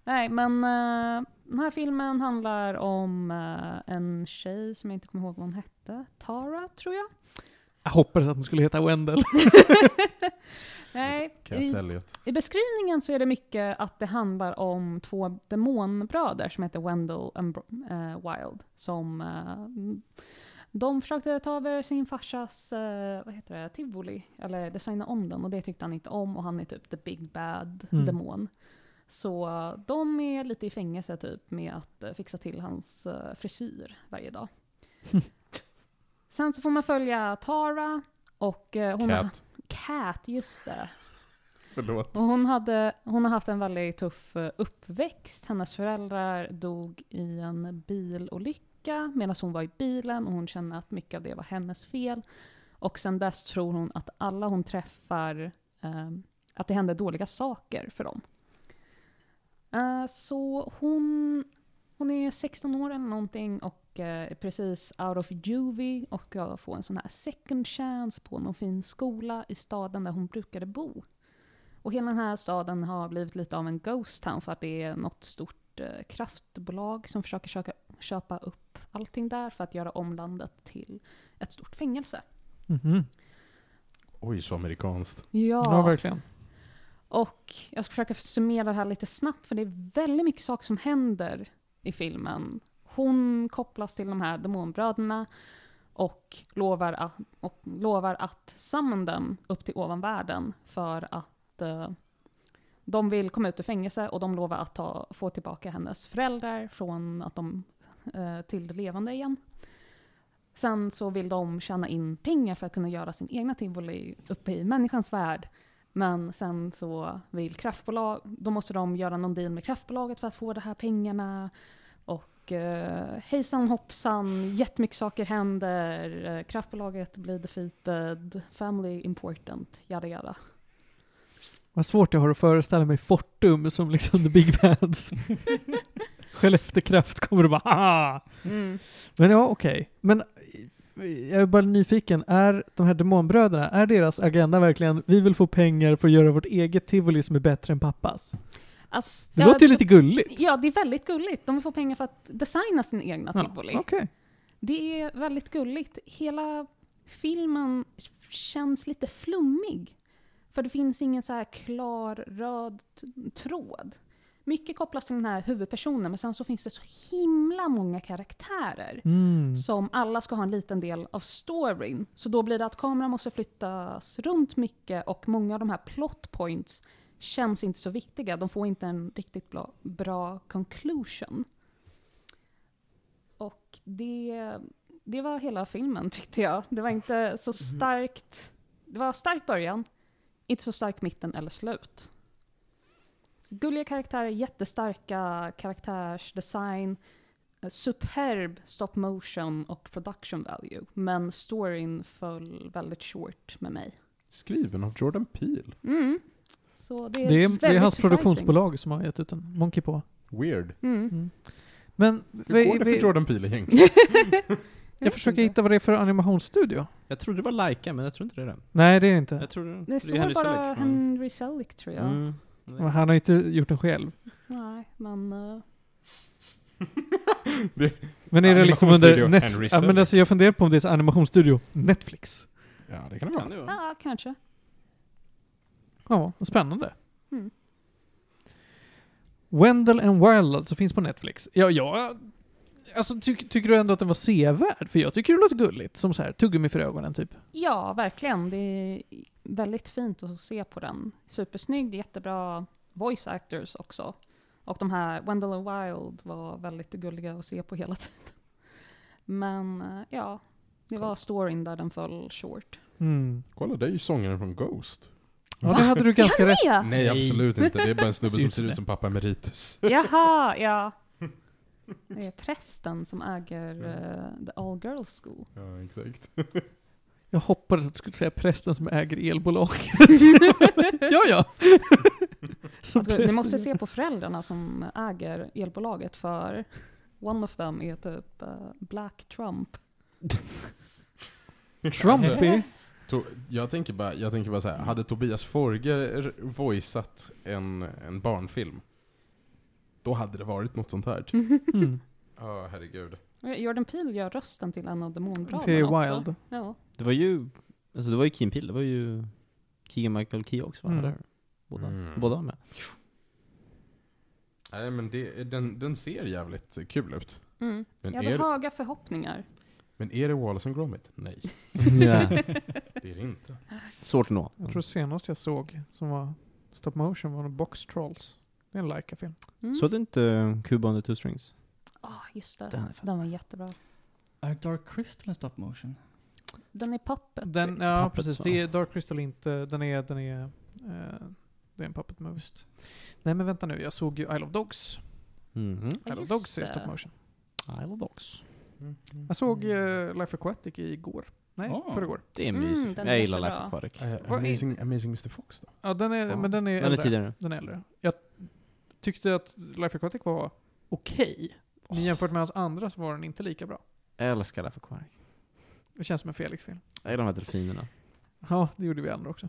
Speaker 4: Nej, men eh, den här filmen handlar om eh, en tjej som jag inte kommer ihåg vad hon hette. Tara, tror jag.
Speaker 1: Jag hoppades att den skulle heta Wendell.
Speaker 4: Nej,
Speaker 3: Cat
Speaker 4: i,
Speaker 3: Elliot.
Speaker 4: I beskrivningen så är det mycket att det handlar om två demonbröder som heter Wendell and Bro- eh, Wild. Som, eh, de försökte ta över sin farsas eh, vad heter det, tivoli, eller designa om den och det tyckte han inte om och han är typ the big bad
Speaker 1: Mm.
Speaker 4: demon. Så eh, de är lite i fängelse typ med att eh, fixa till hans eh, frisyr varje dag. Sen så får man följa Tara och eh, hon Har,
Speaker 3: Cat.
Speaker 4: Cat, just det.
Speaker 3: Förlåt.
Speaker 4: Och hon, hade, hon har haft en väldigt tuff eh, uppväxt. Hennes föräldrar dog i en bilolycka medan hon var i bilen och hon kände att mycket av det var hennes fel. Och sen dess tror hon att alla hon träffar, eh, att det händer dåliga saker för dem. Eh, så hon, hon är 16 år eller någonting och eh, är precis out of juvie och ska få en sån här second chance på någon fin skola i staden där hon brukade bo. Och hela den här staden har blivit lite av en ghost town för att det är något stort eh, kraftbolag som försöker köka, köpa upp allting där för att göra om landet till ett stort fängelse.
Speaker 1: Mhm.
Speaker 3: Oj, så amerikanskt.
Speaker 1: Ja, verkligen.
Speaker 4: Och jag ska försöka summera det här lite snabbt, för det är väldigt mycket saker som händer i filmen. Hon kopplas till de här demonbröderna och lovar att, och lovar att summon dem upp till ovanvärlden för att eh, de vill komma ut ur fängelse och de lovar att ta, få tillbaka hennes föräldrar från att de, eh, till det levande igen. Sen så vill de tjäna in pengar för att kunna göra sin egna tivoli uppe i människans värld. Men sen så vill kraftbolag, då måste de göra någon deal med kraftbolaget för att få de här pengarna. Och eh, hejsan hoppsan, jättemycket saker händer. Eh, kraftbolaget blir defeated, family important, yada yada.
Speaker 1: Vad svårt jag har att föreställa mig Fortum som liksom the big bands. Skellefteå Kraft kommer och bara haha. Men ja, okej. Men eh, jag är bara nyfiken, är de här demonbröderna, är deras agenda verkligen vi vill få pengar för att göra vårt eget tivoli som är bättre än pappas?
Speaker 4: Att-
Speaker 1: Det
Speaker 4: ja,
Speaker 1: låter ju
Speaker 4: d-
Speaker 1: lite gulligt.
Speaker 4: Ja, det är väldigt gulligt. De får pengar för att designa sin egna
Speaker 1: Ja,
Speaker 4: tivoli.
Speaker 1: Okej.
Speaker 4: Det är väldigt gulligt. Hela filmen känns lite flummig. För det finns ingen så här klar röd t- tråd. Mycket kopplas till den här huvudpersonen, men sen så finns det så himla många karaktärer
Speaker 1: Mm.
Speaker 4: som alla ska ha en liten del av storyn. Så då blir det att kameran måste flyttas runt mycket och många av de här plot points känns inte så viktiga. De får inte en riktigt bra, bra conclusion. Och det, det var hela filmen tyckte jag. Det var inte
Speaker 5: Mhm.
Speaker 4: så starkt. Det var stark början, inte så stark mitten eller slut. Gulliga karaktärer, jättestarka karaktärsdesign superb stop motion och production value. Men storyn föll väldigt short med mig.
Speaker 3: Skriven av Jordan Peele.
Speaker 4: Mm. Så det är,
Speaker 1: Det
Speaker 4: väldigt
Speaker 1: är, det är hans
Speaker 4: surprising.
Speaker 1: produktionsbolag som har gett ut den. Monkey på.
Speaker 3: Weird.
Speaker 4: Mm.
Speaker 1: Men
Speaker 3: Hur
Speaker 1: vi,
Speaker 3: går det för
Speaker 1: vi,
Speaker 3: Jordan Peele egentligen?
Speaker 4: Jag
Speaker 1: jag
Speaker 4: vet
Speaker 1: försöker
Speaker 4: inte.
Speaker 1: hitta vad det är för animationsstudio.
Speaker 5: Jag trodde det var Laika, men jag tror inte det är det.
Speaker 1: Nej, det är det inte.
Speaker 5: Jag tror det,
Speaker 4: Det
Speaker 5: är Henry
Speaker 4: står bara
Speaker 5: Selick. Mm.
Speaker 4: Henry Selick tror jag.
Speaker 5: Mm.
Speaker 1: Men Han har inte gjort den själv.
Speaker 4: Nej, men... eh,
Speaker 1: Men är det liksom under
Speaker 3: Animationsstudio Henry
Speaker 1: Netflix? Ja, men
Speaker 3: Selick.
Speaker 1: alltså jag funderar på om det är så animationsstudio Netflix.
Speaker 3: Ja, det kan det
Speaker 5: Kan
Speaker 3: vara.
Speaker 5: det vara.
Speaker 4: Ja, kanske.
Speaker 1: Ja, vad spännande.
Speaker 4: Mm.
Speaker 1: Wendell and Wild så finns på Netflix. Ja, jag... Alltså, tyck, tycker du ändå att den var sevärd? För jag tycker det låter gulligt. Som så här, tuggummi för ögonen, typ.
Speaker 4: Ja, verkligen. Det är väldigt fint att se på den. Supersnygg, jättebra voice actors också. Och de här, Wendell och Wild var väldigt gulliga att se på hela tiden. Men eh, ja, det var storyn där den föll short.
Speaker 1: Mm.
Speaker 3: Kolla, det är ju sångaren från Ghost.
Speaker 1: Ja, det hade du ganska rätt.
Speaker 4: Ja.
Speaker 3: Nej, absolut inte. Det är bara en snubbe
Speaker 1: Ser
Speaker 3: som
Speaker 1: ut
Speaker 3: ser
Speaker 1: som det.
Speaker 3: ut som pappa emeritus.
Speaker 1: Mm.
Speaker 4: Jaha, ja. Det är prästen som äger eh, The All Girls School.
Speaker 3: Ja, exakt.
Speaker 1: Jag hoppades att du skulle säga prästen som äger elbolaget. ja, ja. Som
Speaker 4: Alltså, ni
Speaker 1: prästen.
Speaker 4: måste se på föräldrarna som äger elbolaget för one of them är typ eh, Black Trump.
Speaker 1: Trumpy.
Speaker 3: To- Jag tänker bara, jag tänker bara så här. hade Tobias Forger voiceat en, en barnfilm, då hade det varit något sånt här. typ. Ja,
Speaker 1: Mm.
Speaker 3: herregud.
Speaker 4: Jordan Peele gör rösten till en av demonbröderna
Speaker 1: Det är
Speaker 4: också.
Speaker 1: Wild.
Speaker 4: Ja.
Speaker 5: Det var ju, alltså det var ju Kim Peel, det var ju Keegan Michael Key också va?
Speaker 1: Mm.
Speaker 5: Eller? Båda,
Speaker 3: Mm.
Speaker 5: båda var med.
Speaker 3: Nej men det, den, den ser jävligt kul ut.
Speaker 4: Mm.
Speaker 3: Men
Speaker 4: Jag hade
Speaker 3: är,
Speaker 4: höga förhoppningar.
Speaker 3: men är det Wallace and Gromit? Nej, det är det inte.
Speaker 5: Svårt att nå.
Speaker 1: Jag tror senast jag såg som var stop motion var nog Box Trolls. Det är en Laika-film.
Speaker 4: Mm.
Speaker 5: Såg du inte eh, Cuba and the Two Strings?
Speaker 4: Ah, just det.
Speaker 5: Den är fan-
Speaker 4: Den var jättebra.
Speaker 2: Är Dark Crystal en stop motion?
Speaker 4: Den är pappet.
Speaker 1: Den, ja
Speaker 5: Puppets,
Speaker 1: precis.
Speaker 5: va?
Speaker 1: Det är Dark Crystal inte, den är, den är, eh, det är en puppet movie. Nej men vänta nu, jag såg ju Isle of Dogs.
Speaker 5: Mhm.
Speaker 4: Ja,
Speaker 1: Isle of
Speaker 4: just
Speaker 1: Dogs är
Speaker 4: det.
Speaker 1: stop motion.
Speaker 5: I love dogs.
Speaker 1: Jag såg eh, Life Aquatic igår. Nej,
Speaker 2: Ah.
Speaker 1: förrgår.
Speaker 5: Det är
Speaker 4: Mm,
Speaker 5: mysigt.
Speaker 4: den är
Speaker 5: jag gillar Life
Speaker 4: jättebra.
Speaker 5: Aquatic.
Speaker 1: Vad är-
Speaker 3: Eh, amazing, amazing Mr Fox då?
Speaker 1: Ja, den är,
Speaker 5: Ja.
Speaker 1: men den är
Speaker 5: Den är
Speaker 1: äldre.
Speaker 5: tidigare.
Speaker 1: Den är äldre. Jag tyckte att Life Aquatic var okej. Men jämfört med hans andra så var den inte lika bra.
Speaker 5: Jag älskar Life Aquatic.
Speaker 1: Det känns som en Felix-film.
Speaker 5: Jag gillar de här delfinerna.
Speaker 1: Ja, det gjorde vi andra också.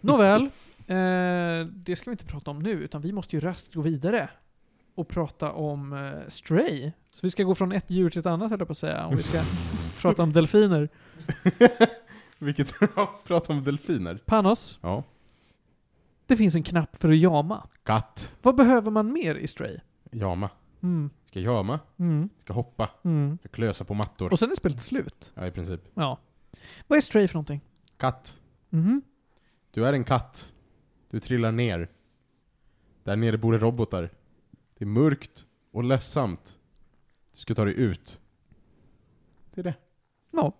Speaker 1: Nåväl, eh, det ska vi inte prata om nu, utan vi måste ju raskt gå vidare och prata om eh, Stray. Så vi ska gå från ett djur till ett annat höll jag på att säga, om vi ska prata om delfiner.
Speaker 3: Vilket, prata om delfiner.
Speaker 1: Panos,
Speaker 3: Ja.
Speaker 1: det finns en knapp för att jama.
Speaker 3: Katt.
Speaker 1: Vad behöver man mer i Stray?
Speaker 3: Jama.
Speaker 1: Mm,
Speaker 3: Ska jama.
Speaker 1: mm,
Speaker 3: Ska hoppa.
Speaker 1: mm.
Speaker 3: Ska klösa på mattor.
Speaker 1: Och sen är spelet slut.
Speaker 3: Ja, i princip.
Speaker 1: Ja. Vad är Stray för någonting?
Speaker 3: Katt.
Speaker 1: Mhm.
Speaker 3: Du är en katt. Du trillar ner. Där nere bor det robotar. Det är mörkt och ledsamt. Du ska ta dig ut. Det är det.
Speaker 1: Ja.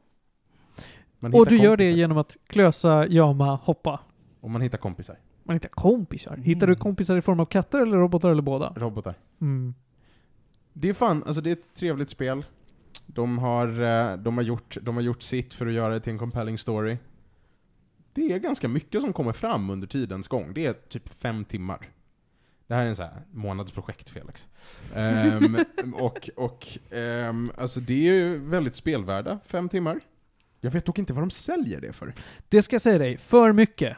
Speaker 3: Man
Speaker 1: Och
Speaker 3: hittar
Speaker 1: du gör det
Speaker 3: kompisar.
Speaker 1: genom att klösa, jama, hoppa.
Speaker 3: Om man hittar kompisar.
Speaker 1: Man hittar kompisar. Hittar du
Speaker 2: Mm.
Speaker 1: kompisar i form av katter eller robotar eller båda?
Speaker 3: Robotar.
Speaker 1: Mm.
Speaker 3: Det är fan, alltså det är ett trevligt spel. De har, eh, de, har gjort, de har gjort sitt för att göra det till en compelling story. Det är ganska mycket som kommer fram under tidens gång. Det är typ fem timmar. Det här är en så här månadsprojekt, Felix. Ehm, och och ehm, alltså det är ju väldigt spelvärda, fem timmar. Jag vet dock inte vad de säljer det för.
Speaker 1: Det ska jag säga dig, för mycket.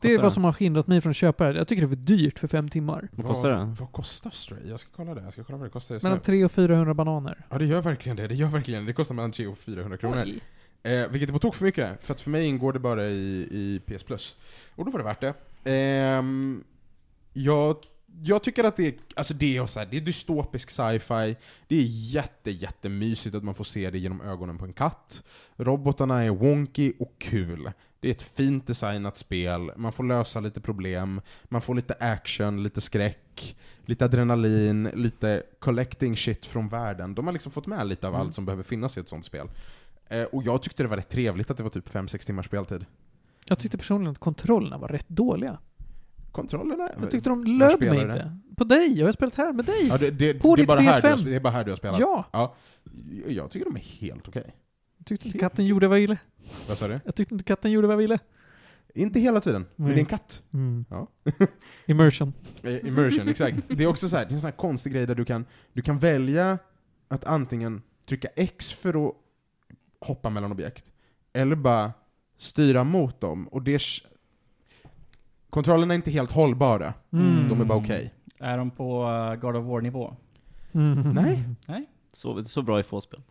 Speaker 1: Det är
Speaker 5: kostar
Speaker 1: vad
Speaker 5: det?
Speaker 1: som har hindrat mig från att köpa det. Jag tycker det är för dyrt för fem timmar.
Speaker 5: Vad kostar det?
Speaker 3: Vad kostar Stray? Jag ska kolla det. Jag ska kolla vad det kostar just nu.
Speaker 1: Mellan 300 och 400 bananer.
Speaker 3: Ja, det gör verkligen det. Det gör verkligen det. Det kostar mellan 300 och 400 kronor. Eh, vilket är på tok för mycket, för att för mig ingår det bara i, i PS Plus. Och då var det värt det. Ehm, jag, jag tycker att det är, alltså det är, så här, det är dystopisk sci-fi, det är jätte, jättemysigt att man får se det genom ögonen på en katt. Robotarna är wonky och kul. Det är ett fint designat spel, man får lösa lite problem, man får lite action, lite skräck, lite adrenalin, lite collecting shit från världen. De har liksom fått med lite av
Speaker 2: Mm.
Speaker 3: allt som behöver finnas i ett sånt spel. Eh, och jag tyckte det var rätt trevligt att det var typ 5-6 timmars speltid.
Speaker 1: Jag tyckte personligen att kontrollerna var rätt dåliga.
Speaker 3: Kontrollerna?
Speaker 1: Jag tyckte de löd mig
Speaker 3: spelar det?
Speaker 1: inte. På dig! Jag har spelat här med dig!
Speaker 3: ja, det, det,
Speaker 1: På
Speaker 3: det,
Speaker 1: ditt
Speaker 3: är bara här du har,
Speaker 1: PS5.
Speaker 3: sp- det är bara här du har spelat?
Speaker 1: Ja!
Speaker 3: Jag- Jag tycker de är helt okej.
Speaker 1: Jag tyckte inte katten gjorde vad jag ville.
Speaker 3: Vad sa du?
Speaker 1: Jag tyckte inte katten gjorde vad jag ville.
Speaker 3: Inte hela tiden, men
Speaker 1: Nej.
Speaker 3: det är en katt. Ja.
Speaker 1: Ja. Immersion.
Speaker 3: Eh, Immersion, exakt. Det är också så här, det är en sån här konstig grej där du kan, du kan välja att antingen trycka X för att hoppa mellan objekt, eller bara styra mot dem. Och det... är- Kontrollerna är inte helt hållbara,
Speaker 1: Mm.
Speaker 3: de är bara okej.
Speaker 2: Är de på uh, God of War-nivå?
Speaker 1: Mm.
Speaker 3: Nej.
Speaker 5: Så, så bra i få spel.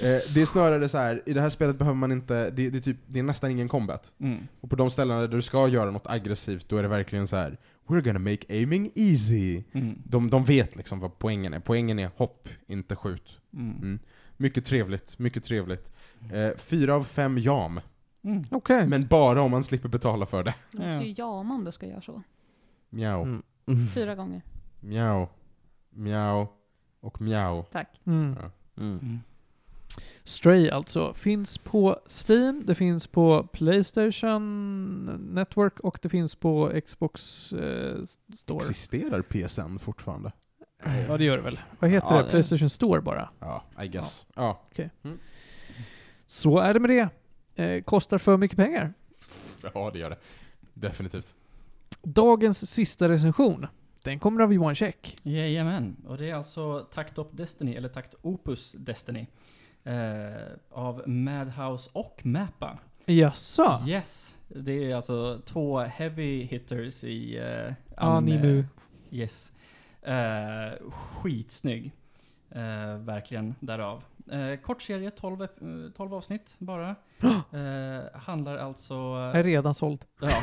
Speaker 3: Eh, det är snarare så här, i det här spelet behöver man inte, det, det, är typ, det är nästan ingen combat.
Speaker 2: Mm.
Speaker 3: Och på de ställena där du ska göra något aggressivt, då är det verkligen så här. We're gonna make aiming easy.
Speaker 2: Mm.
Speaker 3: De, de vet liksom vad poängen är. Poängen är hopp, inte skjut.
Speaker 2: Mm.
Speaker 3: Mm. Mycket trevligt, mycket trevligt. Eh, fyra av fem jam.
Speaker 2: Mm.
Speaker 1: Okej.
Speaker 3: Men bara om man slipper betala för det.
Speaker 4: Du måste ju
Speaker 2: Ja.
Speaker 4: jama om du ska göra så.
Speaker 3: Mjau,
Speaker 5: Mm.
Speaker 4: Fyra gånger.
Speaker 3: mjau, mjau och mjau.
Speaker 4: Tack.
Speaker 1: Mm.
Speaker 5: Mm.
Speaker 2: Mm.
Speaker 1: Stray alltså. Finns på Steam, det finns på Playstation Network och det finns på Xbox eh, Store.
Speaker 3: Existerar PSN fortfarande?
Speaker 1: Ja, det gör det väl. Vad heter
Speaker 5: Ja,
Speaker 1: det?
Speaker 5: det-
Speaker 1: Playstation Store bara.
Speaker 3: Ja, I guess. Ja.
Speaker 1: Så är det med det. Eh, kostar för mycket pengar.
Speaker 3: Ja, det gör det. Definitivt.
Speaker 1: Dagens sista recension. Den kommer av Johan Käck.
Speaker 2: Jajamän, och det är alltså Takt Op Destiny, eller Takt Opus Destiny. Eh, av Madhouse och Mappa.
Speaker 1: Jaså?
Speaker 2: Yes, det är alltså två heavy hitters i... Eh,
Speaker 1: Ja, ni nu.
Speaker 2: Yes. Eh, skitsnygg. Eh, verkligen därav. Eh, kort serie, 12, ep- eh, 12 avsnitt bara. Eh, handlar alltså...
Speaker 1: Jag är redan såld.
Speaker 2: Ja,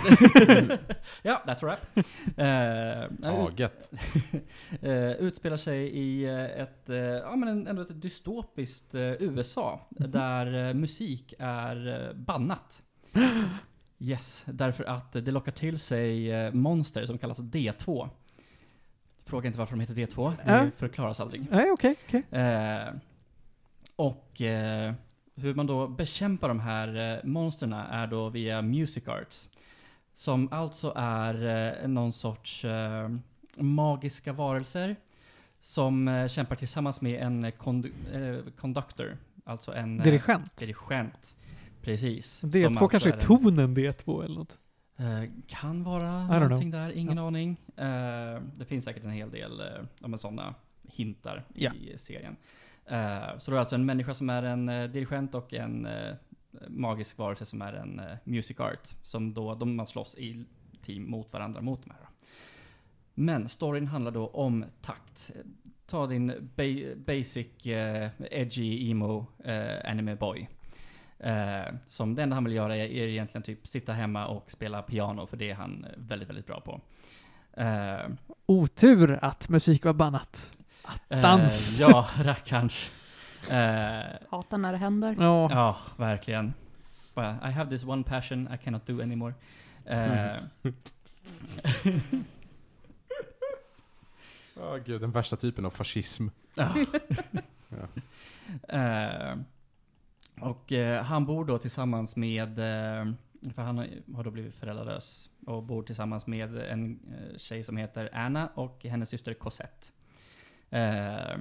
Speaker 2: ja that's a wrap. Eh,
Speaker 3: Taget.
Speaker 2: eh, utspelar sig i eh, ett, eh, ja, men en- ändå ett dystopiskt eh, USA, där eh, musik är eh, bannat. Yes, därför att eh, det lockar till sig eh, monster som kallas D2. Fråga inte varför de heter D2, det
Speaker 1: Äh?
Speaker 2: förklaras aldrig.
Speaker 1: Nej, okej, okej.
Speaker 2: Eh, och eh, hur man då bekämpar de här eh, monstren är då via music arts. Som alltså är eh, någon sorts eh, magiska varelser som eh, kämpar tillsammans med en kondu- eh, conductor, alltså en eh,
Speaker 1: Dirigent.
Speaker 2: dirigent. Precis.
Speaker 1: D2
Speaker 2: Som alltså
Speaker 1: kanske är
Speaker 2: en-
Speaker 1: tonen D2 eller något.
Speaker 2: Eh, kan vara
Speaker 1: don't
Speaker 2: någonting där, ingen aning. Eh, det finns säkert en hel del uh, sådana hintar
Speaker 1: Ja.
Speaker 2: i serien. Eh, så det är alltså en människa som är en eh, dirigent och en eh, magisk varelse som är en eh, music art. Som då, de man slåss i team mot varandra, mot de här. då. Men storyn handlar då om takt. Eh, Ta din ba- basic, eh, edgy, emo, eh, anime boy. Eh, som det enda han vill göra är, är egentligen typ sitta hemma och spela piano, för det är han eh, väldigt, väldigt bra på. Eh,
Speaker 1: Otur att musik var bannat. Dans.
Speaker 2: Eh, ja, rackarns. Eh,
Speaker 4: Hatar när det händer.
Speaker 1: Ja.
Speaker 2: ja, verkligen. Bara, I have this one passion I cannot do anymore. Eh,
Speaker 3: Ja, gud, den värsta typen av fascism.
Speaker 2: Ja. Eh, och eh, han bor då tillsammans med, eh, för han har- har då blivit föräldralös, och bor tillsammans med en eh, tjej som heter Anna och hennes syster Cosette. Eh,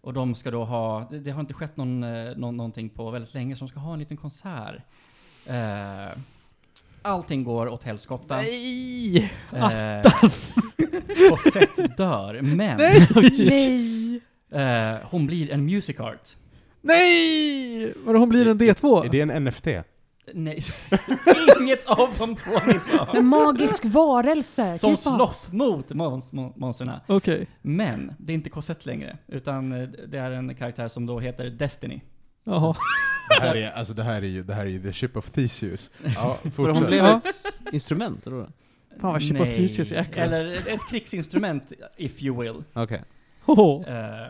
Speaker 2: och de ska då ha, det det har inte skett någon, eh, nå- någonting på väldigt länge, så de ska ha en liten konsert. Eh, allting går åt helskotta.
Speaker 1: Nej!
Speaker 2: Eh,
Speaker 1: Dans!
Speaker 2: Cosette dör, men
Speaker 6: Nej!
Speaker 2: eh, hon blir en music art.
Speaker 1: Nej! Vadå, hon blir en D2?
Speaker 3: Är det en NFT?
Speaker 2: Nej, inget av de två ni sa.
Speaker 4: En magisk varelse!
Speaker 2: Som
Speaker 4: keep up.
Speaker 2: slåss mot mons- mon- monsterna.
Speaker 1: Okej.
Speaker 2: Men det är inte Cosette längre, utan eh, det är en karaktär som då heter Destiny.
Speaker 1: Jaha.
Speaker 3: Det här är, alltså, det här är ju det här är ju the ship of Theseus. Ja,
Speaker 5: För hon
Speaker 3: fortsätt.
Speaker 5: blev
Speaker 1: Ja.
Speaker 5: ett instrument, eller vadå?
Speaker 1: Fan, vad Chip of Theseus är accurate.
Speaker 2: Eller ett krigsinstrument, if you will.
Speaker 5: Okej.
Speaker 1: Hoho,
Speaker 2: Eh,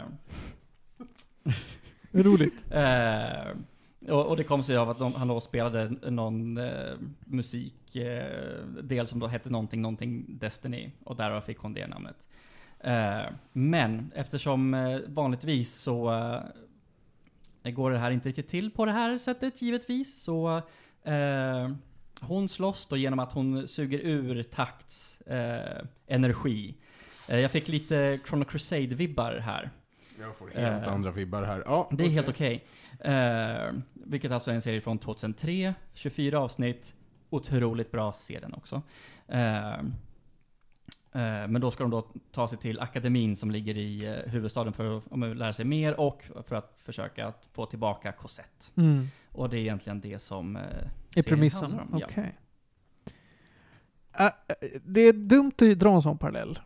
Speaker 1: roligt.
Speaker 2: Eh, och, och det kom sig av att de, han då spelade någon eh, musikdel som då hette någonting, någonting Destiny. Och därav fick hon det namnet. Eh, men eftersom eh, vanligtvis så eh, går det här inte riktigt till på det här sättet givetvis. Så eh, hon slåss då genom att hon suger ur takts eh, energi. Eh, jag fick lite Chrono Crusade-vibbar här.
Speaker 3: Jag får helt
Speaker 2: Eh,
Speaker 3: andra vibbar här. Ja,
Speaker 2: Det är helt okej. Eh, vilket alltså är en serie från 2003, 24 avsnitt. Otroligt bra, se den också. Eh, eh, men då ska de då ta sig till akademin som ligger i eh, huvudstaden för att om, lära sig mer och för att försöka att få tillbaka Cosette.
Speaker 1: Mm.
Speaker 2: Och det är egentligen det som... eh,
Speaker 1: Är
Speaker 2: serien
Speaker 1: premissen?
Speaker 2: handlar om,
Speaker 1: Okej.
Speaker 2: ja.
Speaker 1: Äh, äh, det är dumt att dra en sån parallell.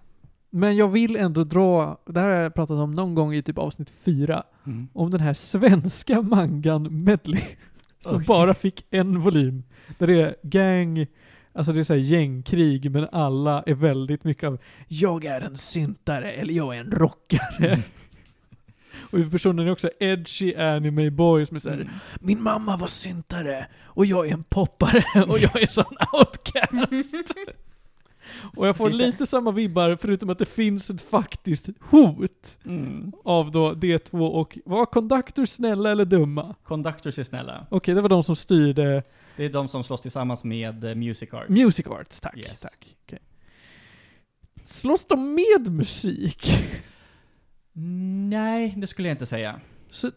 Speaker 1: Men jag vill ändå dra, det här har jag pratat om någon gång i typ avsnitt fyra,
Speaker 2: Mm.
Speaker 1: om den här svenska mangan Medley. Som
Speaker 2: Oj.
Speaker 1: bara fick en volym. Där det är gang, alltså det är så här gängkrig, men alla är väldigt mycket av jag är en syntare eller jag är en
Speaker 2: Mm.
Speaker 1: rockare. Och huvudpersonen är också edgy anime boy som är
Speaker 2: Mm.
Speaker 1: såhär Min mamma var syntare och jag är en poppare och jag är sån outcast. och jag får
Speaker 2: Finns det-
Speaker 1: lite samma vibbar förutom att det finns ett faktiskt hot
Speaker 2: Mm.
Speaker 1: av då D2 och var conductor snälla eller dumma?
Speaker 2: Conductors är snälla.
Speaker 1: Okej, det var de som styrde
Speaker 2: Det är de som slåss tillsammans med eh, Music Arts.
Speaker 1: Music Arts, tack.
Speaker 2: Yes.
Speaker 1: tack. Okej. Slåss de med musik?
Speaker 2: Nej, det skulle jag inte säga.
Speaker 1: Så,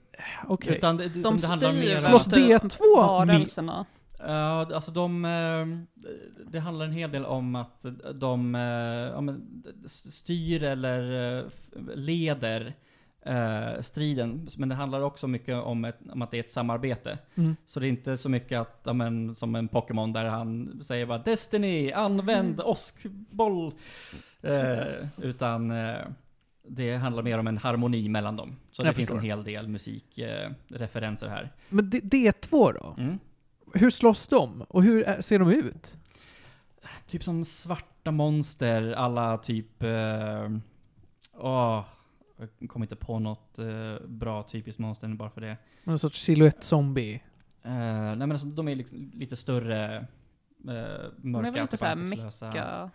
Speaker 1: okej.
Speaker 2: Utan det, det,
Speaker 4: De
Speaker 2: det handlar
Speaker 4: styr typ
Speaker 2: mer om-
Speaker 1: Slåss D2
Speaker 4: varelserna.
Speaker 2: Ja, alltså de... eh, Det handlar en hel del om att de eh, ja, men, styr eller eh, f- leder eh, striden. Men det handlar också mycket om, ett, om att det är ett samarbete.
Speaker 1: Mm.
Speaker 2: Så det är inte så mycket att, ja, men, som en Pokémon där han säger bara Destiny, använd
Speaker 1: Mm.
Speaker 2: åskboll! Eh, utan eh, det handlar mer om en harmoni mellan dem. Så
Speaker 1: Jag
Speaker 2: det finns en
Speaker 1: förstår.
Speaker 2: hel del musikreferenser här.
Speaker 1: Men D- D2 då?
Speaker 2: Mm.
Speaker 1: Hur slåss de? Och hur eh, ser de ut?
Speaker 2: Typ som svarta monster, alla typ... eh, Åh, jag kom inte på något eh, bra typiskt monster bara för det.
Speaker 1: Någon sorts silhuett zombie
Speaker 2: Eh, nej men alltså, de är liksom lite större eh,
Speaker 4: väl
Speaker 2: mörka
Speaker 4: lite såhär
Speaker 2: ansiktslösa-
Speaker 4: mecka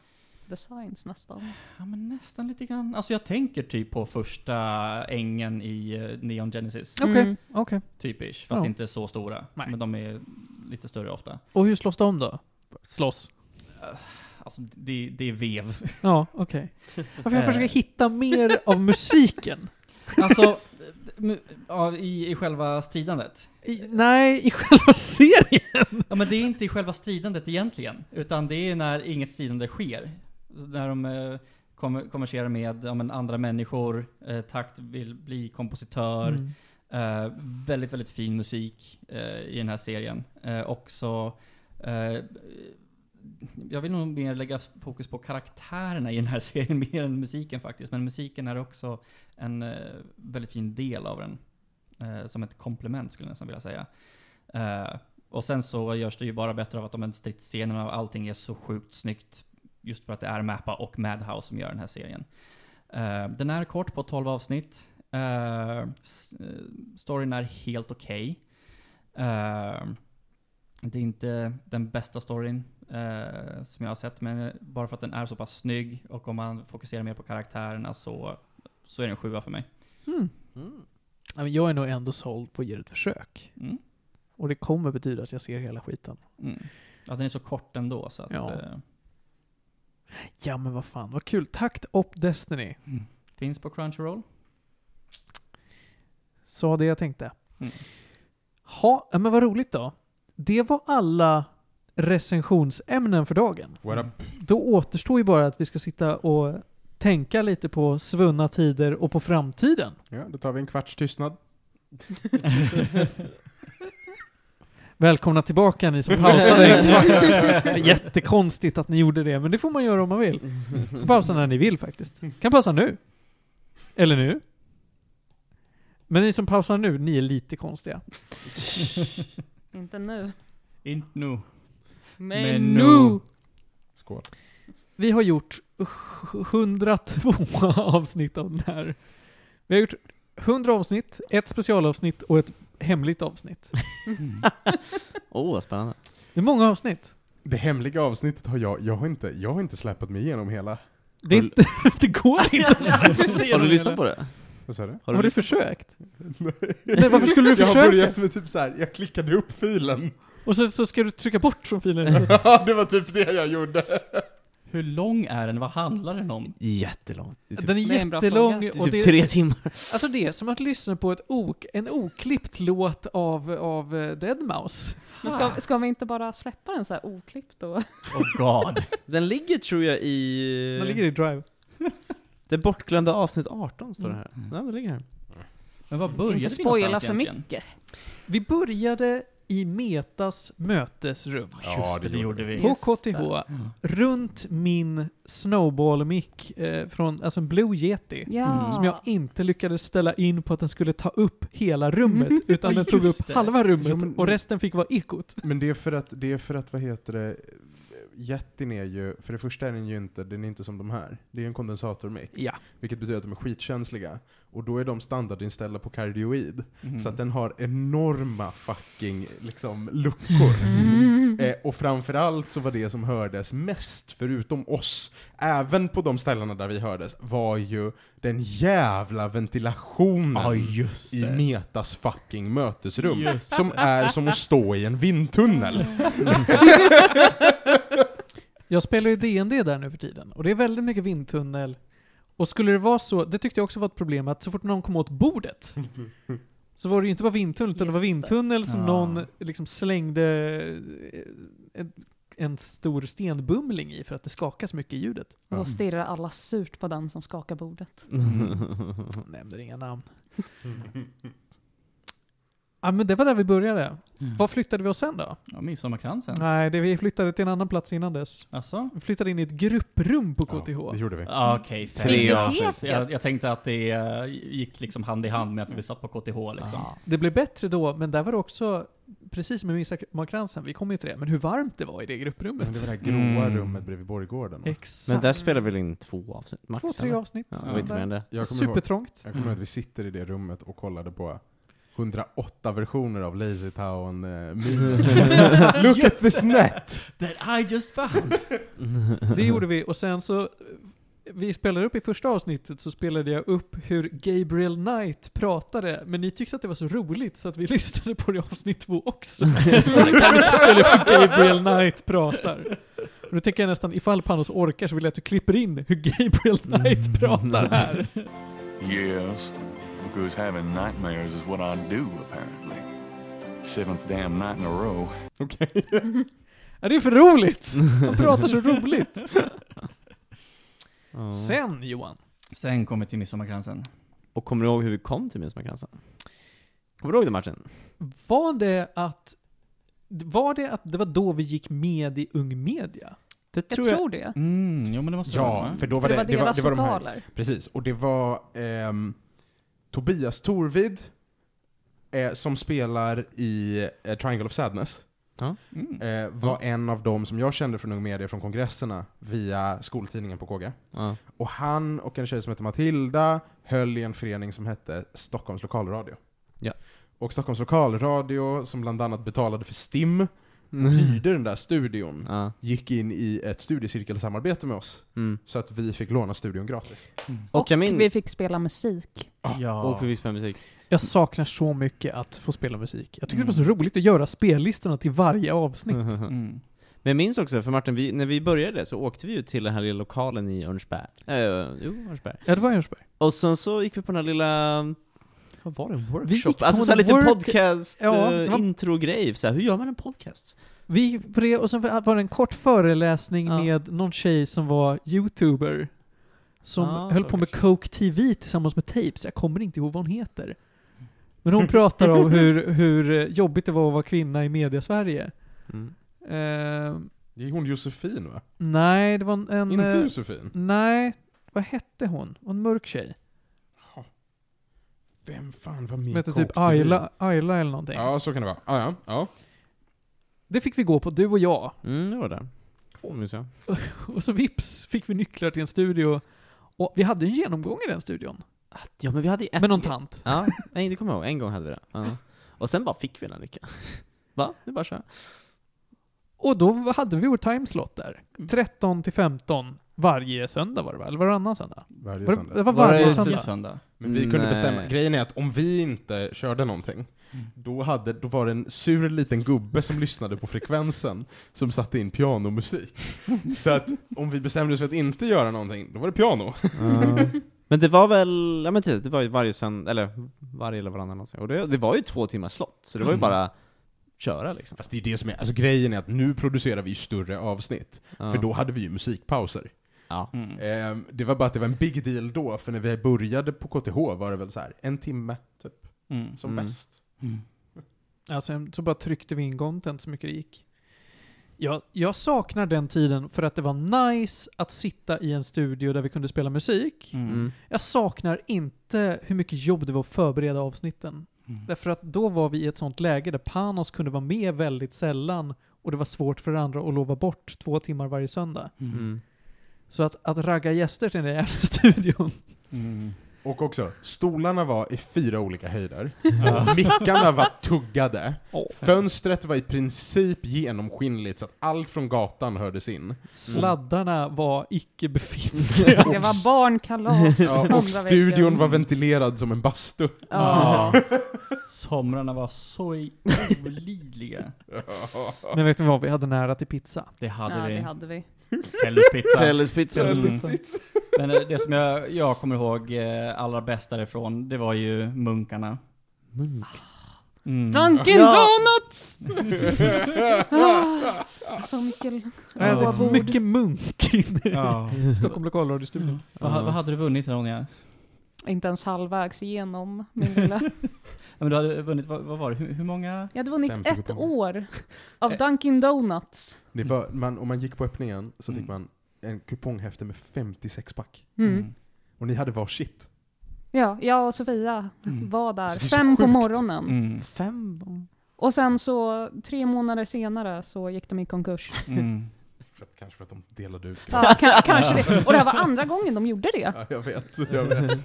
Speaker 4: designs nästan.
Speaker 2: Ja men nästan lite grann. Alltså jag tänker typ på första ängen i eh, Neon Genesis.
Speaker 1: Okej,
Speaker 4: Mm.
Speaker 1: okej.
Speaker 2: Typisch, fast
Speaker 1: Ja.
Speaker 2: inte så stora.
Speaker 1: Nej.
Speaker 2: Men de är lite större ofta.
Speaker 1: Och hur slåss de då? Slåss?
Speaker 2: Alltså det, det är vev.
Speaker 1: Ja, okej. Varför jag
Speaker 2: Eh.
Speaker 1: försöker hitta mer av musiken?
Speaker 2: Alltså, m- ja, i, i själva stridandet.
Speaker 1: I, nej, i själva serien!
Speaker 2: Ja men det är inte i själva stridandet egentligen. Utan det är när inget stridande sker. När de eh, kommer- konverserar med ja, men andra människor, eh, Takt vill bli kompositör.
Speaker 1: Mm.
Speaker 2: Eh, väldigt, väldigt fin musik eh, i den här serien. Eh, också, eh, jag vill nog mer lägga fokus på karaktärerna i den här serien mer än musiken faktiskt. Men musiken är också en eh, väldigt fin del av den. Eh, som ett komplement skulle jag nästan vilja säga. Eh, och sen så görs det ju bara bättre av att de här stridsscenerna och allting är så sjukt snyggt. Just för att det är Mappa och Madhouse som gör den här serien. Eh, den är kort på 12 avsnitt. Eh, s- eh, storyn är helt okej. Eh, det är inte den bästa storyn eh, som jag har sett, men bara för att den är så pass snygg och om man fokuserar mer på karaktärerna så, så är den en sjua för mig.
Speaker 1: Mm. Ja, men Jag är nog ändå såld på att ge det ett försök.
Speaker 2: Mm.
Speaker 1: Och det kommer betyda att jag ser hela skiten.
Speaker 2: Mm. Ja, den är så kort ändå så att...
Speaker 1: Ja.
Speaker 2: eh,
Speaker 1: Ja men vad fan, vad kul. Takt upp Destiny.
Speaker 2: finns på Crunchyroll.
Speaker 1: Sa det jag tänkte.
Speaker 2: Mm.
Speaker 1: Ha, ja, men vad roligt då. Det var alla recensionsämnen för dagen.
Speaker 3: What up?
Speaker 2: Mm.
Speaker 1: Då återstår ju bara att vi ska sitta och tänka lite på svunna tider och på framtiden.
Speaker 3: Mm. Ja, då tar vi en kvarts tystnad.
Speaker 1: Välkomna tillbaka ni som pausade en kvart. Jättekonstigt att ni gjorde det, men det får man göra om man vill. Kan pausa när ni vill faktiskt. Kan pausa nu. Eller nu. Men ni som pausar nu, ni är lite konstiga.
Speaker 4: Inte nu.
Speaker 2: Inte nu.
Speaker 4: Men,
Speaker 2: Men
Speaker 4: nu!
Speaker 2: nu.
Speaker 3: Skål.
Speaker 1: Vi har gjort 102 avsnitt av den här. Vi har gjort 100 avsnitt, ett specialavsnitt och ett hemligt avsnitt.
Speaker 5: Åh, vad spännande.
Speaker 1: Det är många avsnitt.
Speaker 3: Det hemliga avsnittet har jag, jag har inte, jag har inte släpat mig igenom hela.
Speaker 1: Det, är
Speaker 5: Har
Speaker 1: inte, det går inte att
Speaker 5: Har du lyssnat på det?
Speaker 3: Vad sa du?
Speaker 1: Har du
Speaker 5: lyssnat?
Speaker 1: försökt? Nej, varför skulle du
Speaker 3: Jag har
Speaker 1: försöka?
Speaker 3: börjat med typ så här. jag klickade upp filen.
Speaker 1: Och så, så ska du trycka bort från filen.
Speaker 3: Ja, det var typ det jag gjorde.
Speaker 2: Hur lång är den? Vad handlar den om?
Speaker 5: Jättelångt. Det är typ,
Speaker 1: Den är
Speaker 4: Det är en bra
Speaker 1: jättelång.
Speaker 4: fråga.
Speaker 5: det är
Speaker 1: och
Speaker 5: typ
Speaker 1: det,
Speaker 5: tre timmar.
Speaker 1: alltså det är som att lyssna på ett ok, en oklippt låt av, av eh, Deadmau5.
Speaker 4: Men ska, ska vi inte bara släppa den så här oklippt då?
Speaker 2: Oh god.
Speaker 5: Den ligger tror jag i...
Speaker 1: Den ligger i Drive.
Speaker 5: Det bortglömda avsnitt 18 står det här.
Speaker 2: Mm.
Speaker 5: Ja, den ligger här.
Speaker 2: Men vad började
Speaker 4: inte
Speaker 2: vi
Speaker 4: spoila
Speaker 2: någonstans
Speaker 4: för
Speaker 2: egentligen?
Speaker 4: mycket.
Speaker 1: Vi började i Metas mötesrum.
Speaker 2: Just det, det gjorde vi.
Speaker 1: På
Speaker 4: Just
Speaker 1: KTH.
Speaker 2: Ja.
Speaker 1: Runt min snowball-mick eh, från, alltså en Blue Yeti.
Speaker 4: Ja.
Speaker 2: Mm.
Speaker 1: Som jag inte lyckades ställa in på att den skulle ta upp hela rummet, utan
Speaker 2: Ja,
Speaker 1: den tog
Speaker 2: just
Speaker 1: upp
Speaker 2: det.
Speaker 1: halva rummet
Speaker 3: Jo, men-
Speaker 1: och resten fick vara ekot.
Speaker 3: Men det är för att, det är för att, vad heter det, jätten är ju, för det första är den ju inte, den är inte som de här. Det är ju en kondensatormick,
Speaker 1: Ja.
Speaker 3: vilket betyder att de är skitkänsliga. Och då är de standardinställda på kardioid.
Speaker 2: Mhm.
Speaker 3: Så att den har enorma fucking liksom, luckor.
Speaker 4: Mm.
Speaker 3: Eh, och framförallt så var det som hördes mest, förutom oss, även på de ställena där vi hördes, var ju den jävla ventilationen
Speaker 2: Ja, just
Speaker 3: i
Speaker 2: det.
Speaker 3: Metas fucking mötesrum.
Speaker 2: Just
Speaker 3: Som är som att stå i en vindtunnel.
Speaker 4: Mm.
Speaker 1: Jag spelar ju D&D där nu för tiden och det är väldigt mycket vindtunnel. Och skulle det vara så, det tyckte jag också var ett problem, att så fort någon kom åt bordet så var det ju inte bara vindtunnel, utan det var
Speaker 4: Just det.
Speaker 1: vindtunnel som
Speaker 2: Ja.
Speaker 1: någon liksom slängde eh, en, en stor stenbumling i för att det skakas mycket i ljudet.
Speaker 4: Och då stirrar alla surt på den som skakar bordet.
Speaker 1: Nämner inga namn. Ja men det var där vi började. Var flyttade vi oss sen då?
Speaker 2: Mm. Ja, Midsommarkransen.
Speaker 1: Nej, det, vi flyttade till en annan plats innan dess.
Speaker 2: Alltså?
Speaker 1: Vi flyttade in i ett grupprum på KTH.
Speaker 3: Ja, det gjorde vi.
Speaker 2: Ja, Okej, fair.
Speaker 5: Tre
Speaker 2: Ja.
Speaker 4: avsnitt.
Speaker 2: Mm. Jag, jag tänkte att det eh, gick liksom hand i hand med att vi satt på KTH liksom.
Speaker 1: Det blev bättre då, men där var det också, precis som i Midsommarkransen, vi kom ju till det, men hur varmt det var i det
Speaker 3: Men det
Speaker 1: grupprummet.
Speaker 3: var det här gråa
Speaker 2: Mm.
Speaker 3: rummet bredvid Borggården. va?
Speaker 1: Exakt.
Speaker 5: Men där spelar vi väl in två avsnitt max?
Speaker 1: Två, tre
Speaker 5: eller?
Speaker 1: avsnitt.
Speaker 5: Ja, det var inte mer än det.
Speaker 3: Jag kommer ihåg,
Speaker 4: Mm.
Speaker 1: Supertrångt.
Speaker 3: jag kommer ihåg att vi sitter i det rummet och kollade på 108 versioner av Lazy Town eh, meme. Look at this net!
Speaker 2: That I just found!
Speaker 1: Det gjorde vi och sen så, eh, vi spelade upp i första avsnittet så spelade jag upp hur Gabriel Knight pratade, men ni tyckte att det var så roligt så att vi lyssnade på det i avsnitt två också. kan vi spela upp hur Gabriel Knight pratar? Och då tänker jag nästan, ifall Panos orkar så vill jag att du klipper in hur Gabriel Knight pratar här.
Speaker 7: Yes, because having nightmares is what I do, apparently. Seventh damn night in a row.
Speaker 3: Okej.
Speaker 1: Ja, det är för roligt! Han pratar så roligt.
Speaker 5: Ja.
Speaker 1: Sen Johan,
Speaker 2: Sen kommer till midsommarkransen.
Speaker 5: Och kommer du ihåg hur vi kom till Midsommarkransen? Kommer du ihåg den matchen?
Speaker 1: var det att var det att det var då vi gick med i Ung Media?
Speaker 5: Det
Speaker 4: Jag tror, det.
Speaker 2: Mm, jo men det måste
Speaker 3: Ja, för då var
Speaker 4: För det
Speaker 3: det,
Speaker 4: var
Speaker 3: det, var,
Speaker 4: deras
Speaker 3: det var de här.
Speaker 4: lokaler.
Speaker 3: Precis, och det var ehm, Tobias Torvid eh, som spelar i eh, Triangle of Sadness.
Speaker 2: Mm.
Speaker 3: Eh, var en av dem som jag kände från Ung Media från kongresserna via skoltidningen på KG.
Speaker 5: Ja.
Speaker 3: Och han och en tjej som hette Matilda höll i en förening som hette Stockholms lokalradio.
Speaker 5: Ja.
Speaker 3: Och Stockholms lokalradio, som bland annat betalade för STIM,
Speaker 1: Mm.
Speaker 3: hyrde den där studion,
Speaker 5: Ja.
Speaker 3: gick in i ett studiecirkelsamarbete med oss.
Speaker 5: Mm.
Speaker 3: Så att vi fick låna studion gratis.
Speaker 5: Och,
Speaker 4: Och
Speaker 5: jag minns...
Speaker 4: vi fick spela musik.
Speaker 2: Mm. Ja.
Speaker 5: Och vi fick spela musik.
Speaker 1: Jag saknar så mycket att få spela musik. Jag tycker det
Speaker 5: Mm.
Speaker 1: var så roligt att göra spellistorna till varje avsnitt.
Speaker 5: Mm-hmm.
Speaker 2: Mm.
Speaker 5: Men jag minns också, för Martin, vi, när vi började så åkte vi ju till den här lilla lokalen i Örnsberg. Äh, jo, Örnsberg.
Speaker 1: Ja, det var Örnsberg.
Speaker 5: Och sen så gick vi på den här lilla... Vad var det? En
Speaker 1: Vi gick
Speaker 5: workshop?
Speaker 1: på
Speaker 5: Alltså
Speaker 1: en
Speaker 5: såhär liten
Speaker 1: work-
Speaker 5: podcast,
Speaker 1: Ja,
Speaker 5: eh,
Speaker 1: det var-
Speaker 5: intro-grej. Så här, hur gör man en podcast?
Speaker 1: Vi gick på det och sen var det en kort föreläsning
Speaker 5: Ja.
Speaker 1: med någon tjej som var youtuber. Som
Speaker 5: Ah,
Speaker 1: höll
Speaker 5: så
Speaker 1: på med
Speaker 5: kanske.
Speaker 1: Coke TV tillsammans med tapes. Jag kommer inte ihåg vad hon heter.
Speaker 5: Mm.
Speaker 1: Men hon pratar om hur, hur jobbigt det var att vara kvinna i media-Sverige. Eh,
Speaker 3: Det är hon Josefin va?
Speaker 1: nej, det var en... en
Speaker 3: Inte
Speaker 1: eh,
Speaker 3: Josefin?
Speaker 1: nej, vad hette hon? Hon var en mörk tjej.
Speaker 3: Vem fan var
Speaker 1: Hon
Speaker 3: med i
Speaker 1: hette typ
Speaker 3: Coke TV?
Speaker 1: Ayla, Ayla eller någonting.
Speaker 3: Ja, så kan det vara. Ah, ja, ja.
Speaker 1: Det fick vi gå på, du och jag.
Speaker 5: Mm, det var det. Oh, minns jag.
Speaker 1: Och så vips fick vi nycklar till en studio. Och vi hade en genomgång i den studion.
Speaker 5: Ja, men vi hade ju ett...
Speaker 1: Med någon tant.
Speaker 5: Ja, nej, det kommer jag ihåg. En gång hade vi det. Ja. Och sen bara fick vi den här lyckan. Va? Det är bara så här.
Speaker 1: Och då hade vi vår timeslot där.
Speaker 5: Mm.
Speaker 1: 13 till 15 varje söndag var det va? Eller varannan söndag?
Speaker 3: Varje
Speaker 1: Var, det
Speaker 3: söndag.
Speaker 1: var
Speaker 5: Var
Speaker 1: varje
Speaker 5: det inte-
Speaker 1: söndag.
Speaker 2: söndag.
Speaker 3: Men vi kunde
Speaker 5: Nej.
Speaker 3: bestämma. Grejen är att om vi inte körde någonting, då, hade, då var det en sur liten gubbe som lyssnade på frekvensen, som satte in pianomusik. Så att om vi bestämde oss för att inte göra någonting, då var det piano.
Speaker 5: Men det var väl, ja men precis, det var ju varje söndag, eller varje eller varannan någonsin. Och det, det var ju två timmars slott, så det var ju
Speaker 2: Mm.
Speaker 5: bara köra liksom.
Speaker 3: Fast det är ju det som är, alltså grejen är att nu producerar vi ju större avsnitt,
Speaker 5: Ja.
Speaker 3: för då hade vi ju musikpauser.
Speaker 5: Ja.
Speaker 2: Mm.
Speaker 3: Ehm, det var bara att det var en big deal då, för när vi började på KTH var det väl så här en timme, typ,
Speaker 2: Mm.
Speaker 3: som
Speaker 5: Mm.
Speaker 3: bäst.
Speaker 2: Mm.
Speaker 1: Ja, sen så bara tryckte vi in content så mycket det gick. Jag, jag saknar den tiden för att det var nice att sitta i en studio där vi kunde spela musik.
Speaker 5: Mm.
Speaker 1: Jag saknar inte hur mycket jobb det var att förbereda avsnitten.
Speaker 2: Mm.
Speaker 1: Därför att då var vi i ett sånt läge där Panos kunde vara med väldigt sällan och det var svårt för andra att lova bort två timmar varje söndag.
Speaker 5: Mm.
Speaker 1: Så att, att ragga gäster till den där jävla studion.
Speaker 2: Mm.
Speaker 3: Och också, stolarna var i fyra olika höjder, mickarna var tuggade, fönstret var i princip genomskinligt så att allt från gatan hördes in.
Speaker 1: Sladdarna var icke befintliga.
Speaker 4: Det var barnkalas. andra
Speaker 3: Ja, och studion
Speaker 4: veckan.
Speaker 3: var ventilerad som en bastu.
Speaker 4: Ja.
Speaker 2: Somrarna var så i- olidliga.
Speaker 5: Mm.
Speaker 1: Men vet ni vad? Vi hade nära till pizza.
Speaker 2: Det hade
Speaker 4: ja,
Speaker 2: vi.
Speaker 4: det hade vi.
Speaker 2: Tellus pizza.
Speaker 5: Pizza.
Speaker 2: Mm. Men eh, det som jag, jag kommer ihåg eh, allra bäst därifrån, det var ju munkarna. Mm.
Speaker 4: Dunkin'
Speaker 5: Ja.
Speaker 4: Donuts! ah, så mycket...
Speaker 1: Jag hade
Speaker 2: Ja.
Speaker 1: så mycket munk inne
Speaker 2: Ja.
Speaker 1: i Stockholm lokalradiostudion.
Speaker 2: Vad, ha- vad hade du vunnit Ronja?
Speaker 4: Inte ens halvvägs igenom min lilla...
Speaker 2: Ja, men du hade vunnit, vad, vad var det? Hur, hur många?
Speaker 4: Jag hade vunnit
Speaker 3: 50
Speaker 4: ett
Speaker 3: kuponger.
Speaker 4: år av
Speaker 2: Eh.
Speaker 4: Dunkin' Donuts.
Speaker 3: Det var, man, om man gick på öppningen så fick
Speaker 2: Mm.
Speaker 3: man en kuponghäfte med 56 pack.
Speaker 4: Mm.
Speaker 3: Och ni hade varsitt.
Speaker 4: Ja, jag och Sofia
Speaker 2: Mm.
Speaker 4: var där
Speaker 3: Så det är så
Speaker 4: fem på
Speaker 3: sjukt.
Speaker 4: morgonen.
Speaker 2: Mm.
Speaker 5: Fem?
Speaker 4: Och sen så, tre månader senare så gick de i konkurs.
Speaker 2: Mm.
Speaker 3: För att, kanske för att de delade ut
Speaker 2: Mm.
Speaker 4: Ja, kanske, kanske det. Och det här var andra gången de gjorde det.
Speaker 3: Ja, jag vet. Jag vet.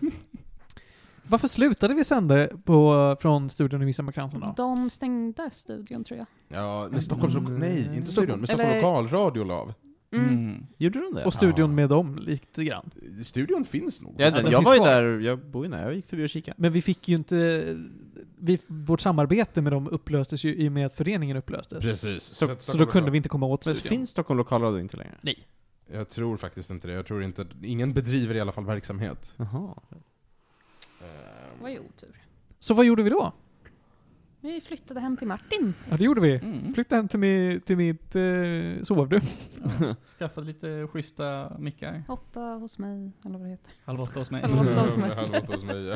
Speaker 1: Varför slutade vi sända på, från studion i Midsommarkransen då?
Speaker 4: De stängde studion tror jag.
Speaker 3: Ja, nej, Stockholms...
Speaker 1: Mm.
Speaker 3: Nej, inte studion, men Stockholm
Speaker 4: Eller-
Speaker 3: Lokalradio la av.
Speaker 4: Mm.
Speaker 5: Gjorde de det?
Speaker 1: Och studion med dem lite grann.
Speaker 3: Studion finns nog.
Speaker 5: ja,
Speaker 1: den
Speaker 5: den,
Speaker 1: finns
Speaker 5: jag var ju
Speaker 1: kvar.
Speaker 5: där, jag bor ju nära, jag gick förbi och kikade.
Speaker 1: Men vi fick ju inte... Vi, vårt samarbete med dem upplöstes ju i och med att föreningen upplöstes.
Speaker 3: Precis.
Speaker 1: Så, så, då kunde vi inte komma åt
Speaker 5: Men
Speaker 1: studion.
Speaker 5: finns Stockholm lokalradio inte längre? Nej.
Speaker 3: Jag tror faktiskt inte det. Jag tror inte... Ingen bedriver i alla fall verksamhet.
Speaker 5: Jaha.
Speaker 4: Det var ju otur.
Speaker 1: Så vad gjorde vi då?
Speaker 4: Vi flyttade hem till Martin.
Speaker 1: Ja, det gjorde vi.
Speaker 2: Mm.
Speaker 1: Flyttade hem till, mi, till mitt eh, sovrum.
Speaker 2: Skaffade lite schyssta mickar.
Speaker 4: Åtta hos mig, eller vad det heter.
Speaker 2: Halv åtta hos mig.
Speaker 4: Halv åtta hos mig.
Speaker 3: Halv åtta hos mig, ja.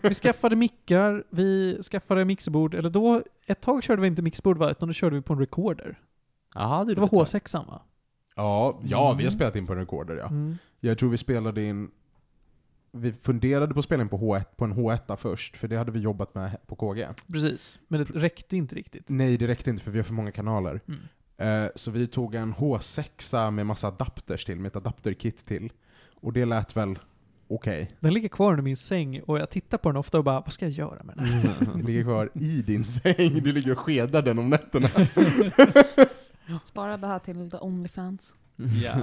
Speaker 1: Vi skaffade mickar, vi skaffade mixerbord, eller då, ett tag körde vi inte mixbord va, utan då körde vi på en recorder.
Speaker 5: Jaha, det,
Speaker 1: Det var H6 va?
Speaker 3: Ja, ja, vi har spelat in på en recorder ja.
Speaker 1: Mm.
Speaker 3: Jag tror vi spelade in... Vi funderade på att spela in på, H1, på en H1 först, för det hade vi jobbat med på KG.
Speaker 1: Precis. Men det räckte inte riktigt.
Speaker 3: Nej, det räckte inte för vi har för många kanaler.
Speaker 1: Mm.
Speaker 3: Eh, Så vi tog en H6 med massa adapters till, med ett adapterkit till. Och det lät väl okej.
Speaker 1: Den ligger kvar under min säng och jag tittar på den ofta och bara, vad ska jag göra med den här?
Speaker 3: Det ligger kvar i din säng, Mm. du ligger och skedar den om nätterna.
Speaker 4: Spara det här till The Onlyfans.
Speaker 2: Ja.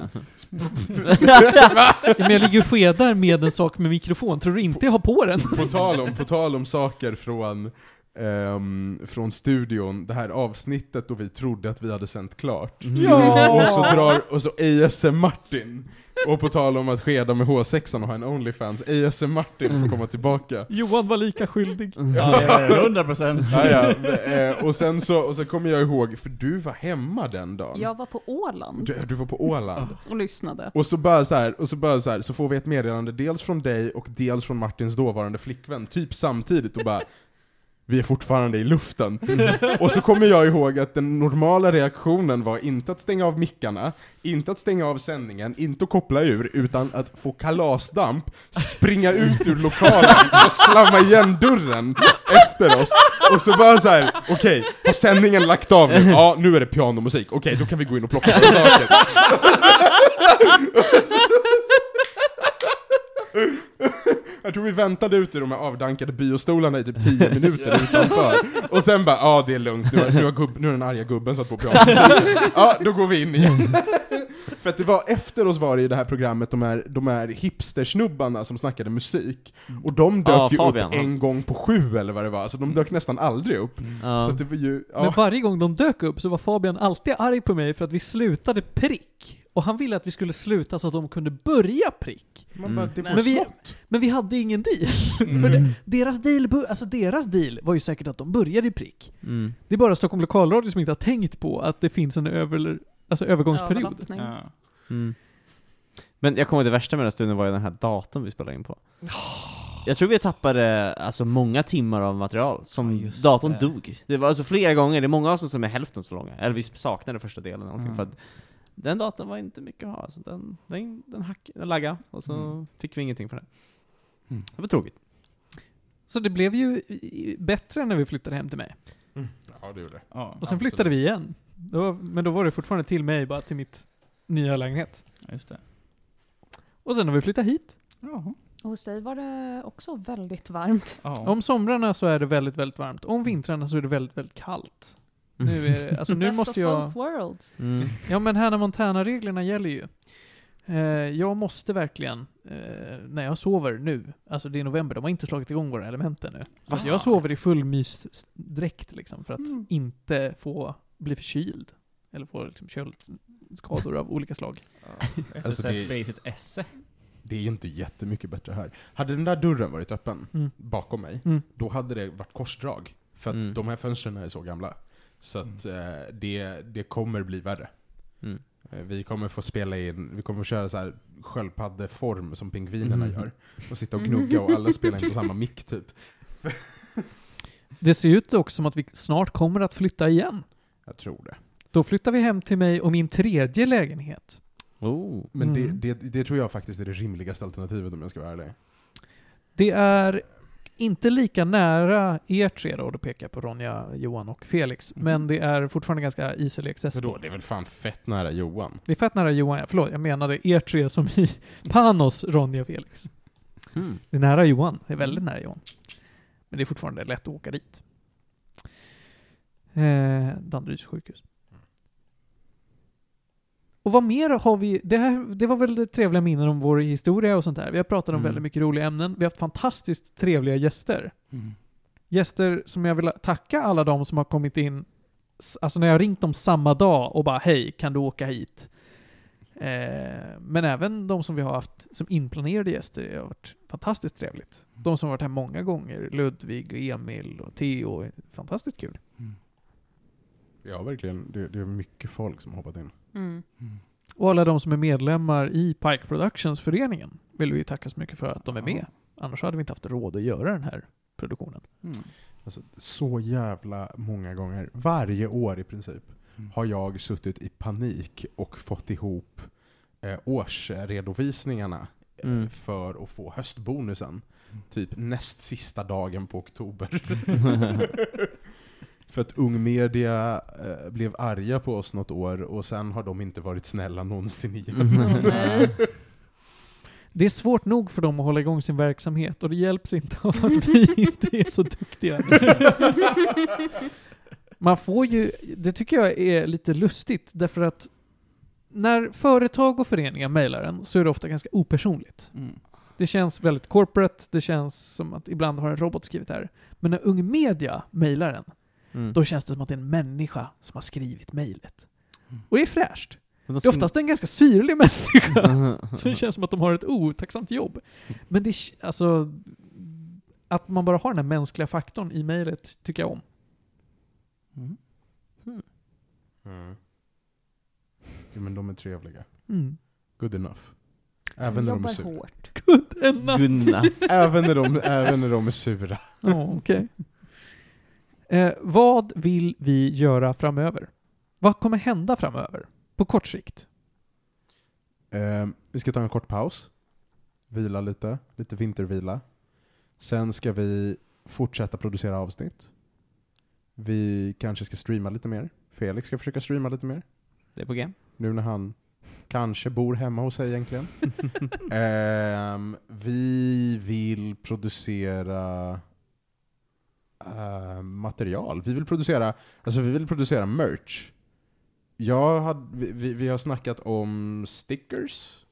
Speaker 1: ja, men jag ligger och skedar med en sak med mikrofon, tror du inte jag har på den?
Speaker 3: På tal om, på tal om saker från, ehm, från studion, det här avsnittet då vi trodde att vi hade sänt klart.
Speaker 1: Ja!
Speaker 3: Och så drar, och så ASM Martin. Och på tal om att skeda med H6 och ha en Onlyfans, ASM Martin får komma tillbaka.
Speaker 1: Johan var lika skyldig.
Speaker 2: Mm. Ja, hundra procent.
Speaker 3: Ja, ja. eh, Och, sen så, och så kommer jag ihåg, för du var hemma den dagen.
Speaker 4: Jag var på Åland
Speaker 3: Du, du var på Åland.
Speaker 4: och lyssnade.
Speaker 3: Och så bara så här, och så bara så här, så får vi ett meddelande dels från dig och dels från Martins dåvarande flickvän, typ samtidigt och bara Vi är fortfarande i luften. Och så kommer jag ihåg att den normala reaktionen var inte att stänga av mickarna, inte att stänga av sändningen, inte att koppla ur, utan att få kalasdamp, springa ut ur lokalen och slamma igen dörren efter oss. Och så bara så här, okej, har sändningen lagt av nu? Ja, nu är det pianomusik. Okej, då kan vi gå in och plocka våra saker. Jag tror vi väntade ute i de här avdankade biostolarna i typ 10 minuter utanför. Och sen bara, ja det är lugnt, nu har, nu har, gubb, nu har den arga gubben satt på pianomusik. Ja, då går vi in igen. För att det var efter oss var det i det här programmet de här, de här hipstersnubbarna som snackade musik. Och de dök
Speaker 5: Ja,
Speaker 3: ju
Speaker 5: Fabian,
Speaker 3: upp en gång på sju eller vad det var, så de dök nästan aldrig upp.
Speaker 5: Ja.
Speaker 3: Så att det var ju,
Speaker 1: Men
Speaker 3: ja.
Speaker 1: varje gång de dök upp så var Fabian alltid arg på mig för att vi slutade prick. Och han ville att vi skulle sluta så att de kunde börja prick.
Speaker 3: Man bara,
Speaker 5: Mm.
Speaker 3: det var
Speaker 1: Men vi-
Speaker 3: slott.
Speaker 1: Men vi hade ingen deal.
Speaker 2: Mm.
Speaker 1: för det, deras, deal bu- alltså deras deal var ju säkert att de började i prick.
Speaker 5: Mm.
Speaker 1: Det är bara Stockholm Lokalradio som inte har tänkt på att det finns en över, alltså övergångsperiod.
Speaker 4: Överlappning.
Speaker 2: Ja.
Speaker 5: Mm. Men jag kommer ihåg det värsta med den här stunden var ju den här datorn vi spelade in på. Jag tror vi tappade alltså många timmar av material som
Speaker 2: Ja, just
Speaker 5: datorn
Speaker 2: det.
Speaker 5: dog. Det var alltså flera gånger, det är många avsnitt som är hälften så långa. Eller vi saknade första delen eller någonting
Speaker 2: Mm.
Speaker 5: för att den datorn var inte mycket att ha. Alltså den, den, den, hack, den laggade och så
Speaker 2: Mm.
Speaker 5: fick vi ingenting för den.
Speaker 2: Mm.
Speaker 5: Det var tråkigt.
Speaker 1: Så det blev ju i- i- bättre när vi flyttade hem till mig.
Speaker 3: Ja, det gjorde det.
Speaker 2: Ja,
Speaker 1: Och sen
Speaker 3: Absolut.
Speaker 1: flyttade vi igen. Då, men då var det fortfarande till mig, bara till mitt nya lägenhet.
Speaker 2: just det.
Speaker 1: Och sen har vi flyttat hit.
Speaker 2: Jaha.
Speaker 4: Och hos dig var det också väldigt varmt.
Speaker 2: Ja.
Speaker 1: Om somrarna så är det väldigt, väldigt varmt. Om vintrarna så är det väldigt, väldigt kallt. Nu är det, alltså nu
Speaker 4: Best of
Speaker 1: måste jag...
Speaker 4: both worlds.
Speaker 5: Mm.
Speaker 1: Ja men här när Montana-reglerna gäller ju. Eh, jag måste verkligen, eh, när jag sover nu, alltså det är november, de har inte slagit igång våra element ännu. Så att
Speaker 5: Va?
Speaker 1: jag sover i full mysdräkt liksom för att
Speaker 4: Mm.
Speaker 1: inte få bli förkyld. Eller få liksom, köldskador av olika slag.
Speaker 2: SSS
Speaker 3: det-
Speaker 2: Basic esse.
Speaker 3: Det är ju inte jättemycket bättre här. Hade den där dörren varit öppen
Speaker 1: Mm.
Speaker 3: bakom mig,
Speaker 1: Mm.
Speaker 3: då hade det varit korsdrag. För att
Speaker 5: Mm.
Speaker 3: de här fönstren är så gamla. Så att eh, det, det kommer bli värre.
Speaker 5: Mm.
Speaker 3: Eh, Vi kommer få spela in, vi kommer få köra så här sköldpaddeform som pingvinerna
Speaker 5: Mm.
Speaker 3: gör. Och sitta och gnugga och alla spelar in på samma mick typ.
Speaker 1: Det ser ut också som att vi snart kommer att flytta igen.
Speaker 3: Jag tror det.
Speaker 1: Då flyttar vi hem till mig och min tredje lägenhet.
Speaker 5: Oh.
Speaker 3: Men
Speaker 1: Mm.
Speaker 3: det, det, det tror jag faktiskt är det rimligaste alternativet om jag ska vara ärlig.
Speaker 1: Det är inte lika nära er tre då, och då pekar jag på Ronja, Johan och Felix. Men det är fortfarande ganska easily accessible.
Speaker 3: Vadå, det är väl fan fett nära Johan?
Speaker 1: Det är fett nära Johan, ja. förlåt, jag menade er tre som i Panos, Ronja och Felix.
Speaker 5: Mm.
Speaker 1: Det är nära Johan. Det är väldigt nära Johan. Men det är fortfarande lätt att åka dit. Eh, Danderyds sjukhus. Och vad mer har vi? Det, här, det var väl det trevliga minnen om vår historia och sånt där. Vi har pratat om
Speaker 5: Mm.
Speaker 1: väldigt mycket roliga ämnen. Vi har haft fantastiskt trevliga gäster.
Speaker 2: Mm.
Speaker 1: Gäster som jag vill tacka alla de som har kommit in. S- Alltså när jag har ringt dem samma dag och bara hej, kan du åka hit? Eh, men även de som vi har haft som inplanerade gäster. Det har varit fantastiskt trevligt. De som har varit här många gånger. Ludvig, och Emil och Theo. Fantastiskt kul.
Speaker 3: Ja, verkligen. Det, det är mycket folk som har hoppat in.
Speaker 4: Mm.
Speaker 1: Och alla de som är medlemmar i Pike Productions-föreningen vill vi ju tacka så mycket för att de är med. Annars hade vi inte haft råd att göra den här produktionen.
Speaker 2: Mm.
Speaker 3: Alltså, så jävla många gånger, varje år i princip,
Speaker 2: Mm.
Speaker 3: har jag suttit i panik och fått ihop eh, årsredovisningarna eh,
Speaker 5: Mm.
Speaker 3: för att få höstbonusen. Typ näst sista dagen på oktober. för att Ung Media eh, blev arga på oss något år och sen har de inte varit snälla någonsin igen.
Speaker 4: nej.
Speaker 1: Det är svårt nog för dem att hålla igång sin verksamhet och det hjälps inte av att vi inte är så duktiga. Man får ju, det tycker jag är lite lustigt därför att när företag och föreningar mejlar en så är det ofta ganska opersonligt.
Speaker 2: Mm.
Speaker 1: Det känns väldigt corporate, det känns som att ibland har en robot skrivit det här. Men när Ung Media mejlar en,
Speaker 5: Mm.
Speaker 1: då känns det som att det är en människa som har skrivit mejlet.
Speaker 2: Mm.
Speaker 1: Och det är fräscht.
Speaker 5: Men då
Speaker 1: Det är
Speaker 5: sn-
Speaker 1: oftast en ganska syrlig människa som känns som att de har ett otacksamt jobb. Men det, k- alltså, att man bara har den här mänskliga faktorn i mejlet tycker jag om.
Speaker 2: Mm.
Speaker 3: Mm. Jo, men de är trevliga.
Speaker 1: Mm.
Speaker 3: Good enough. Även när de är
Speaker 4: Jobbar
Speaker 3: sura.
Speaker 4: hårt.
Speaker 1: Good enough.
Speaker 5: Gunnar.
Speaker 3: även, när de, även när de är sura.
Speaker 1: Ja, okej. Eh, vad vill vi göra framöver? Vad kommer hända framöver? På kort sikt?
Speaker 3: Eh, vi ska ta en kort paus. Vila lite. Lite vintervila. Sen ska vi fortsätta producera avsnitt. Vi kanske ska streama lite mer. Felix ska försöka streama lite mer.
Speaker 5: Det är på G.
Speaker 3: Nu när han kanske bor hemma hos sig egentligen. Ehm, vi vill producera eh, material. Vi vill producera, alltså vi vill producera merch. Jag hade, vi, vi, vi har snackat om stickers.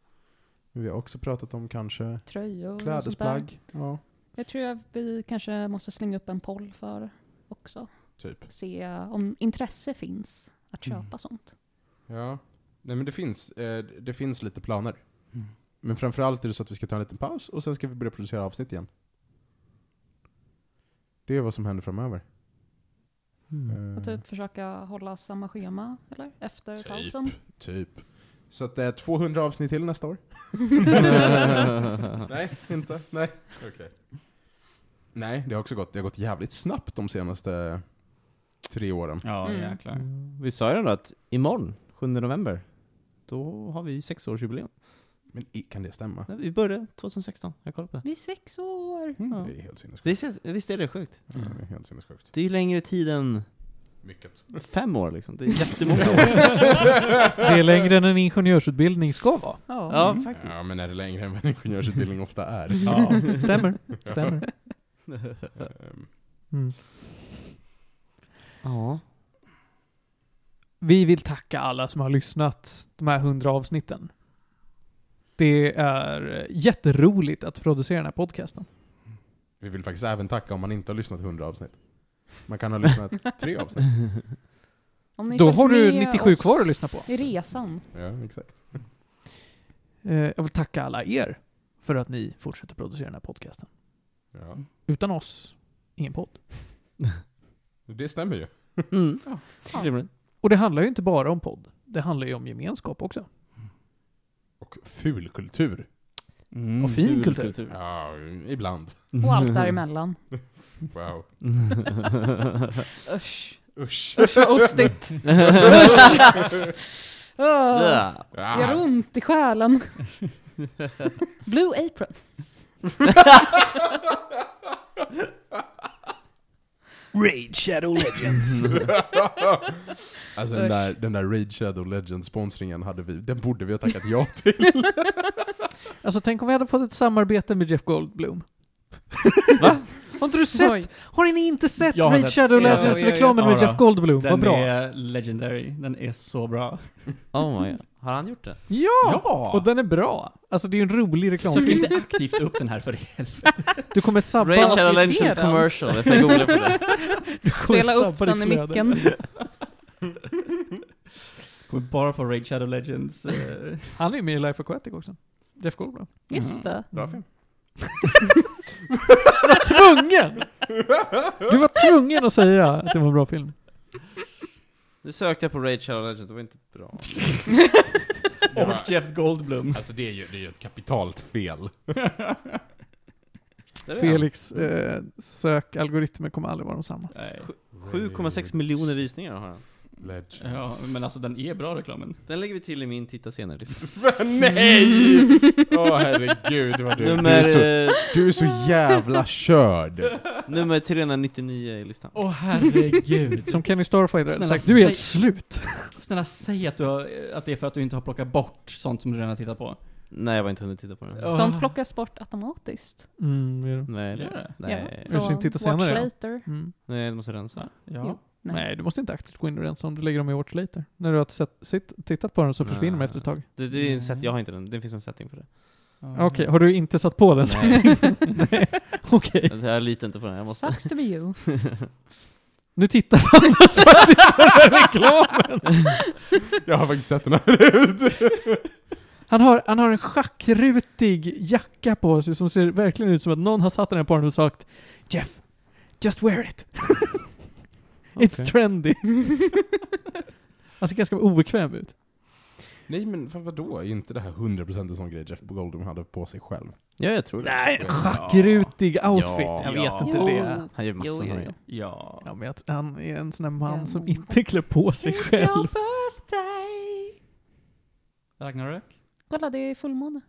Speaker 3: Vi har också pratat om kanske
Speaker 4: Tröjor och Mm, sånt där.
Speaker 3: klädesplagg. Ja,
Speaker 4: Jag tror att vi kanske måste slänga upp en poll för också.
Speaker 3: typ.
Speaker 4: Se om intresse finns att köpa
Speaker 2: Mm.
Speaker 4: sånt.
Speaker 3: Ja. Nej men det finns, eh, det finns lite planer.
Speaker 2: Mm.
Speaker 3: Men framförallt är det så att vi ska ta en liten paus och sen ska vi börja producera avsnitt igen. Det är vad som händer framöver. Eh,
Speaker 4: Och typ försöka hålla samma schema, eller? Efter
Speaker 3: Typ.
Speaker 4: pausen.
Speaker 3: typ. Så att det är 200 avsnitt till nästa år? Nej, inte. Nej. Okay. Nej, det har också gått, det har gått jävligt snabbt de senaste tre åren.
Speaker 2: Ja,
Speaker 4: Mm.
Speaker 2: jäklar.
Speaker 5: Vi sa ju ändå att imorgon, 7 november, då har vi ju sexårsjubileum.
Speaker 3: Men i- kan det stämma?
Speaker 5: Nej, Vi började 2016, jag kollade på det.
Speaker 4: Vi är sex år!
Speaker 5: Ja.
Speaker 3: Det är helt sinnessjukt.
Speaker 5: Det känns, visst är det sjukt?
Speaker 3: Det är helt sinnessjukt.
Speaker 5: Det är ju längre tid än
Speaker 3: Mycket.
Speaker 5: fem år liksom. Det är jättemånga år.
Speaker 1: Det är längre än en ingenjörsutbildning ska vara.
Speaker 4: Ja.
Speaker 5: Ja, faktiskt.
Speaker 3: Ja, men är det längre än vad en ingenjörsutbildning ofta är?
Speaker 2: Ja.
Speaker 1: Stämmer. Stämmer.
Speaker 3: Ehm,
Speaker 1: Mm.
Speaker 5: Ja.
Speaker 1: Vi vill tacka alla som har lyssnat de här hundra avsnitten. Det är jätteroligt att producera den här podcasten.
Speaker 3: Vi vill faktiskt även tacka om man inte har lyssnat 100 avsnitt. Man kan ha lyssnat tre avsnitt.
Speaker 4: Om ni
Speaker 1: Då
Speaker 4: följt
Speaker 1: har du
Speaker 4: med
Speaker 1: 97
Speaker 4: oss
Speaker 1: kvar att lyssna på.
Speaker 4: I resan.
Speaker 3: Ja, exakt.
Speaker 1: Eh, Jag vill tacka alla er för att ni fortsätter producera den här podcasten.
Speaker 3: Ja.
Speaker 1: Utan oss, ingen podd.
Speaker 3: Det stämmer ju.
Speaker 5: Mm. Rimligt.
Speaker 1: Och det handlar ju inte bara om podd. Det handlar ju om gemenskap också.
Speaker 3: Och ful kultur.
Speaker 5: Mm.
Speaker 1: Och fin kultur.
Speaker 3: Ja, ibland.
Speaker 4: Och allt däremellan.
Speaker 3: Wow.
Speaker 4: Usch.
Speaker 3: Usch.
Speaker 4: Usch oh. vad ostigt. Usch. Åh,
Speaker 5: Ja.
Speaker 3: Ah,
Speaker 4: det gör ont i själen. Blue apron.
Speaker 8: Raid Shadow Legends.
Speaker 3: Mm. Alltså den där, den där Raid Shadow Legends-sponsringen hade vi, den borde vi ha tackat ja till.
Speaker 1: Alltså tänk om vi hade fått ett samarbete med Jeff Goldblum.
Speaker 5: Va?
Speaker 1: Har inte du sett?
Speaker 4: Oj.
Speaker 1: Har ni inte sett
Speaker 2: Jag har
Speaker 1: Raid
Speaker 2: sett-
Speaker 1: Shadow
Speaker 2: jag har
Speaker 4: sett-
Speaker 1: Legends-reklamen
Speaker 2: ja,
Speaker 1: med
Speaker 2: ja.
Speaker 1: Jeff Goldblum? Vad
Speaker 2: Den
Speaker 1: bra.
Speaker 2: är legendary, den är så bra.
Speaker 5: Oh my god. Har han gjort det?
Speaker 1: Ja! Och den är bra. Alltså det är ju en rolig
Speaker 2: Sök
Speaker 1: reklamfilm.
Speaker 2: inte aktivt upp den här för helvete.
Speaker 1: Du kommer sabba...
Speaker 5: Raid
Speaker 4: Bara
Speaker 5: Shadow
Speaker 4: så vi ser
Speaker 5: Legends
Speaker 4: den.
Speaker 5: commercial, jag ska googla på det.
Speaker 1: Du kommer
Speaker 4: Spela upp
Speaker 1: sabba
Speaker 4: den i
Speaker 1: ditt flöde.
Speaker 4: micken. Mm.
Speaker 2: Kommer bara få Raid Shadow Legends. eh,
Speaker 1: Han är ju med i Life Aquatic också. Jeff Goldblum. Mm.
Speaker 4: Just det.
Speaker 3: Bra film.
Speaker 1: Du var tvungen! Du var tvungen att säga att det var en bra film.
Speaker 5: Nu sökte jag på Raid Shadow Legends, det var inte bra.
Speaker 2: Och Jeff Goldblum.
Speaker 3: Alltså det är ju, det är ju ett kapitalt fel.
Speaker 5: Där är han.
Speaker 1: Felix eh, sökalgoritmer kommer aldrig vara de samma.
Speaker 2: Nej.
Speaker 5: 7,6 miljoner visningar har han.
Speaker 3: Legends.
Speaker 2: Ja, men alltså den är bra reklamen.
Speaker 5: Den lägger vi till i min titta senare-lista.
Speaker 3: Nej! Åh herregud vad du, du,
Speaker 5: Nummer,
Speaker 3: är så,
Speaker 5: eh,
Speaker 3: du är så jävla körd.
Speaker 5: nummer 399 i listan.
Speaker 2: Åh herregud.
Speaker 1: Som Kenny Starfighter hade
Speaker 2: Snälla,
Speaker 1: sagt, du är helt
Speaker 2: säg-
Speaker 1: slut.
Speaker 2: Snälla säg att, du har, att det är för att du inte har plockat bort sånt som du redan har tittat på.
Speaker 5: Nej, jag har inte hunnit titta på den.
Speaker 2: Ja.
Speaker 4: Sånt plockas bort automatiskt.
Speaker 1: Mm, det är det.
Speaker 5: Nej,
Speaker 2: Gör det?
Speaker 5: det. Nej.
Speaker 1: Ja.
Speaker 4: Från
Speaker 1: titta
Speaker 4: Watch
Speaker 1: senare, ja.
Speaker 4: Later.
Speaker 1: Mm.
Speaker 5: Nej, du måste rensa.
Speaker 2: Ja.
Speaker 1: Nej.
Speaker 4: Nej.
Speaker 1: du måste inte aktivt gå in och rensa om du lägger dem i Watch Later. När du har sett, sitt, tittat på den så
Speaker 5: Nej.
Speaker 1: försvinner de efter ett tag.
Speaker 5: Det, det är en set, jag har inte den. Det finns en setting för det.
Speaker 1: Okej, har du inte satt på den sen? Nej. Okej.
Speaker 5: Jag litar inte på den, jag måste.
Speaker 4: Sucks to be you.
Speaker 1: Nu tittar han faktiskt på den här reklamen!
Speaker 3: Jag har faktiskt sett den här ut.
Speaker 1: Han har, han har en schackrutig jacka på sig som ser verkligen ut som att någon har satt den här på honom och sagt Jeff, just wear it. It's trendy. han ser ganska obekväm ut.
Speaker 3: Nej men vad- vadå, är inte det här 100% en sån grej Jeff Goldblum hade på sig själv?
Speaker 5: Ja, jag tror det.
Speaker 1: Nej, en schackrutig outfit.
Speaker 3: Ja,
Speaker 1: jag vet
Speaker 2: ja.
Speaker 1: inte det.
Speaker 5: Han gör massa
Speaker 4: Jo, jo,
Speaker 5: såna
Speaker 4: jo.
Speaker 5: grejer.
Speaker 2: Ja.
Speaker 1: Ja, men att han är en sån där man
Speaker 4: Ja.
Speaker 1: som inte klär på sig själv.
Speaker 2: Ragnarök?
Speaker 4: Kolla, det är fullmåne.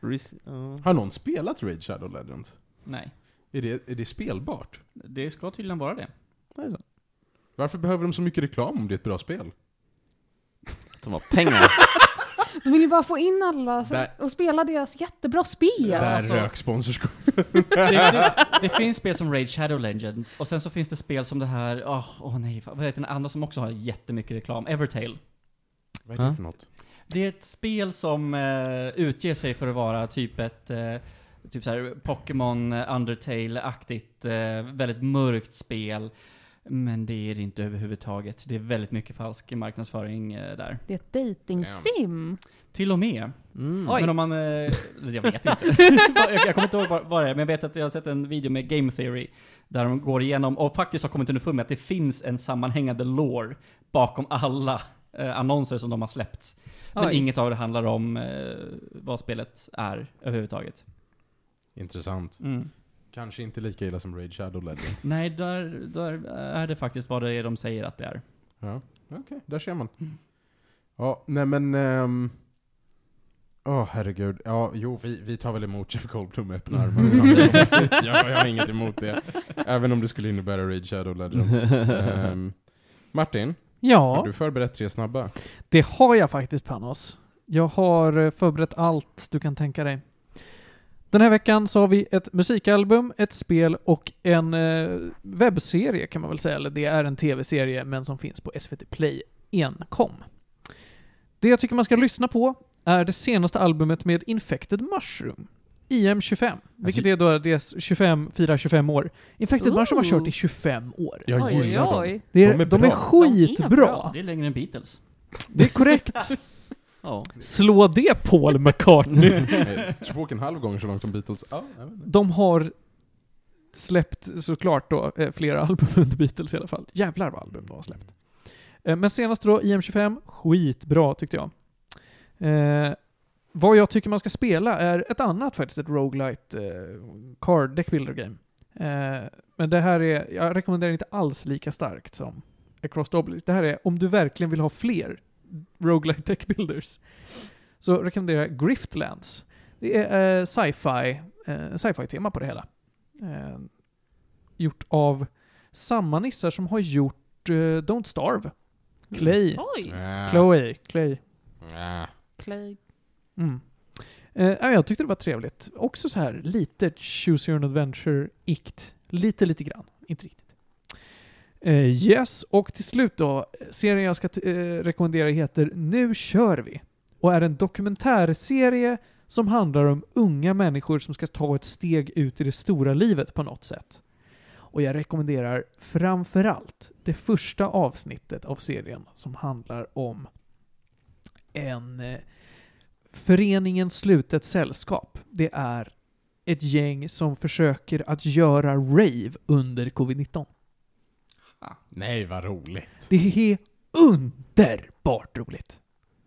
Speaker 5: Res- ja.
Speaker 3: Har någon spelat Raid Shadow Legends?
Speaker 2: Nej.
Speaker 3: Är det, är det spelbart?
Speaker 2: Det ska tydligen vara det.
Speaker 3: Varför behöver de så mycket reklam om det är ett bra spel?
Speaker 5: De har pengar.
Speaker 4: De vill ju bara få in alla så,
Speaker 3: Där-
Speaker 4: och spela deras jättebra spel.
Speaker 3: Där
Speaker 2: alltså.
Speaker 3: rök sponsorskap.
Speaker 2: Det, det, det finns spel som Raid Shadow Legends, och sen så finns det spel som det här, åh åh nej, fan, vad heter den andra som också har jättemycket reklam? Evertale.
Speaker 3: Vad är det för något?
Speaker 2: Det är ett spel som eh, utger sig för att vara typ ett eh, typ så här Pokémon eh, Undertale-aktigt, eh, väldigt mörkt spel. Men det är det inte överhuvudtaget. Det är väldigt mycket falsk marknadsföring eh, där.
Speaker 4: Det är ett dating-sim.
Speaker 2: Till och med.
Speaker 5: Mm.
Speaker 4: Oj.
Speaker 2: Men om man... Eh, jag vet inte. jag, jag kommer inte ihåg vad vad det är, men jag vet att jag har sett en video med Game Theory. Där de går igenom, och faktiskt har kommit underfund med att det finns en sammanhängande lore bakom alla eh, annonser som de har släppt. Men
Speaker 4: Oj.
Speaker 2: inget av det handlar om eh, vad spelet är överhuvudtaget.
Speaker 3: Intressant.
Speaker 2: Mm.
Speaker 3: Kanske inte lika illa som Raid Shadow Legends.
Speaker 2: Nej, där, där är det faktiskt vad det är de säger att det är.
Speaker 3: Ja, okej. Där ser man.
Speaker 4: Mm.
Speaker 3: Ja, nej men... ehm, Åh herregud. Ja, jo vi, vi tar väl emot Jeff Goldblum med öppna armar. om han kommer hit. jag, jag har inget emot det. Även om det skulle innebära Raid Shadow Legends. Ehm, Martin, har
Speaker 1: Ja,
Speaker 3: du förberett tre snabba?
Speaker 1: det har jag faktiskt Panos. Jag har eh, förberett allt du kan tänka dig. Den här veckan så har vi ett musikalbum, ett spel och en eh, webbserie kan man väl säga. Eller det är en tv-serie men som finns på SVT Play enkom. Det jag tycker man ska lyssna på är det senaste albumet med Infected Mushroom. IM25,
Speaker 3: Alltså,
Speaker 1: vilket är då deras 25, firar 25 år. Infected
Speaker 4: Ooh.
Speaker 1: Mushroom har kört i 25 år.
Speaker 3: Jag
Speaker 4: oj,
Speaker 3: gillar
Speaker 4: oj,
Speaker 3: dem.
Speaker 4: oj.
Speaker 1: Det är,
Speaker 3: De
Speaker 1: de
Speaker 3: är
Speaker 1: är,
Speaker 3: bra.
Speaker 1: skitbra.
Speaker 4: De är bra.
Speaker 2: Det är längre än Beatles.
Speaker 1: Det är korrekt.
Speaker 5: Ja.
Speaker 1: Slå det Paul McCartney.
Speaker 3: Eh, Två och en halv gånger så långt som Beatles. Ja, nej, men-
Speaker 1: De har släppt såklart då eh, flera album under Beatles i alla fall. Jävlar vad album de har släppt. Eh, Men senast då, IM25, skitbra tyckte jag. Eh, vad jag tycker man ska spela är ett annat faktiskt, ett roguelite eh, card deck builder game. Eh, men det här är, jag rekommenderar inte alls lika starkt som Across the Obelisk. Det här är, om du verkligen vill ha fler roguelite deck builders, så rekommenderar jag Griftlands. Det är eh, sci-fi eh, sci-fi-tema på det hela. Eh, gjort av samma nissar som har gjort eh, Don't Starve. Clay.
Speaker 4: Oj!
Speaker 3: Ah,
Speaker 1: Chloe. Clay.
Speaker 3: ah.
Speaker 4: Clay.
Speaker 1: Mm. Eh, ja, jag tyckte det var trevligt. Också så här lite Choose Your Own Adventure-ikt. Lite, lite grann. Inte riktigt. Eh, yes, och till slut då. Serien jag ska t- eh, rekommendera heter Nu kör vi. Och är en dokumentärserie som handlar om unga människor som ska ta ett steg ut i det stora livet på något sätt. Och jag rekommenderar framförallt det första avsnittet av serien som handlar om en eh, Föreningen Slutet Sällskap, det är ett gäng som försöker att göra rave under covid-19.
Speaker 3: Nej, vad roligt.
Speaker 1: Det är underbart roligt.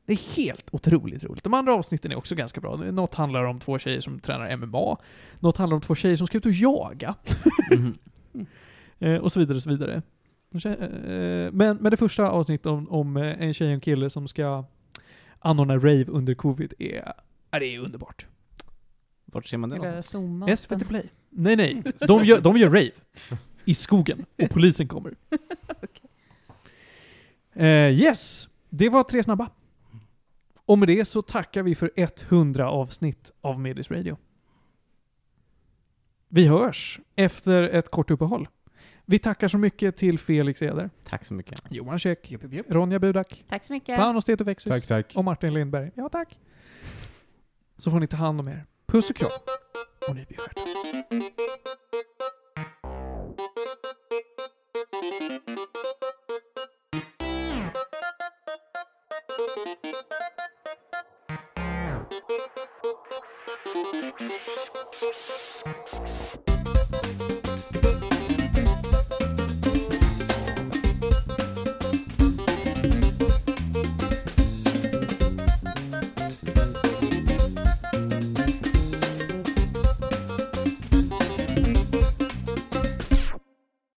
Speaker 1: Det är helt otroligt roligt. De andra avsnitten är också ganska bra. Något handlar om två tjejer som tränar MMA. Något handlar om två tjejer som ska ut och jaga. Eh, och så vidare och så vidare. Och så, eh, Men, men det första avsnittet om, om eh, en tjej och en kille som ska anordna rave under covid är, är det är underbart.
Speaker 5: Vart ser man det
Speaker 4: Eller
Speaker 5: någonstans?
Speaker 4: zooma.
Speaker 1: SVT Play. Nej, nej. De gör, de gör rave. I skogen. Och polisen kommer. Eh, yes. Det var tre snabba. Och med det så tackar vi för 100 avsnitt av Medis Radio. Vi hörs efter ett kort uppehåll. Vi tackar så mycket till Felix Eder,
Speaker 5: Tack så mycket.
Speaker 1: Johan Käck, Ronja Budak,
Speaker 4: Tack så mycket.
Speaker 1: Panos Tetovexis
Speaker 3: Tack, tack.
Speaker 1: och Martin Lindberg. Ja, tack. Så får ni ta hand om er. Puss och kram. Och ni blir stjärnor.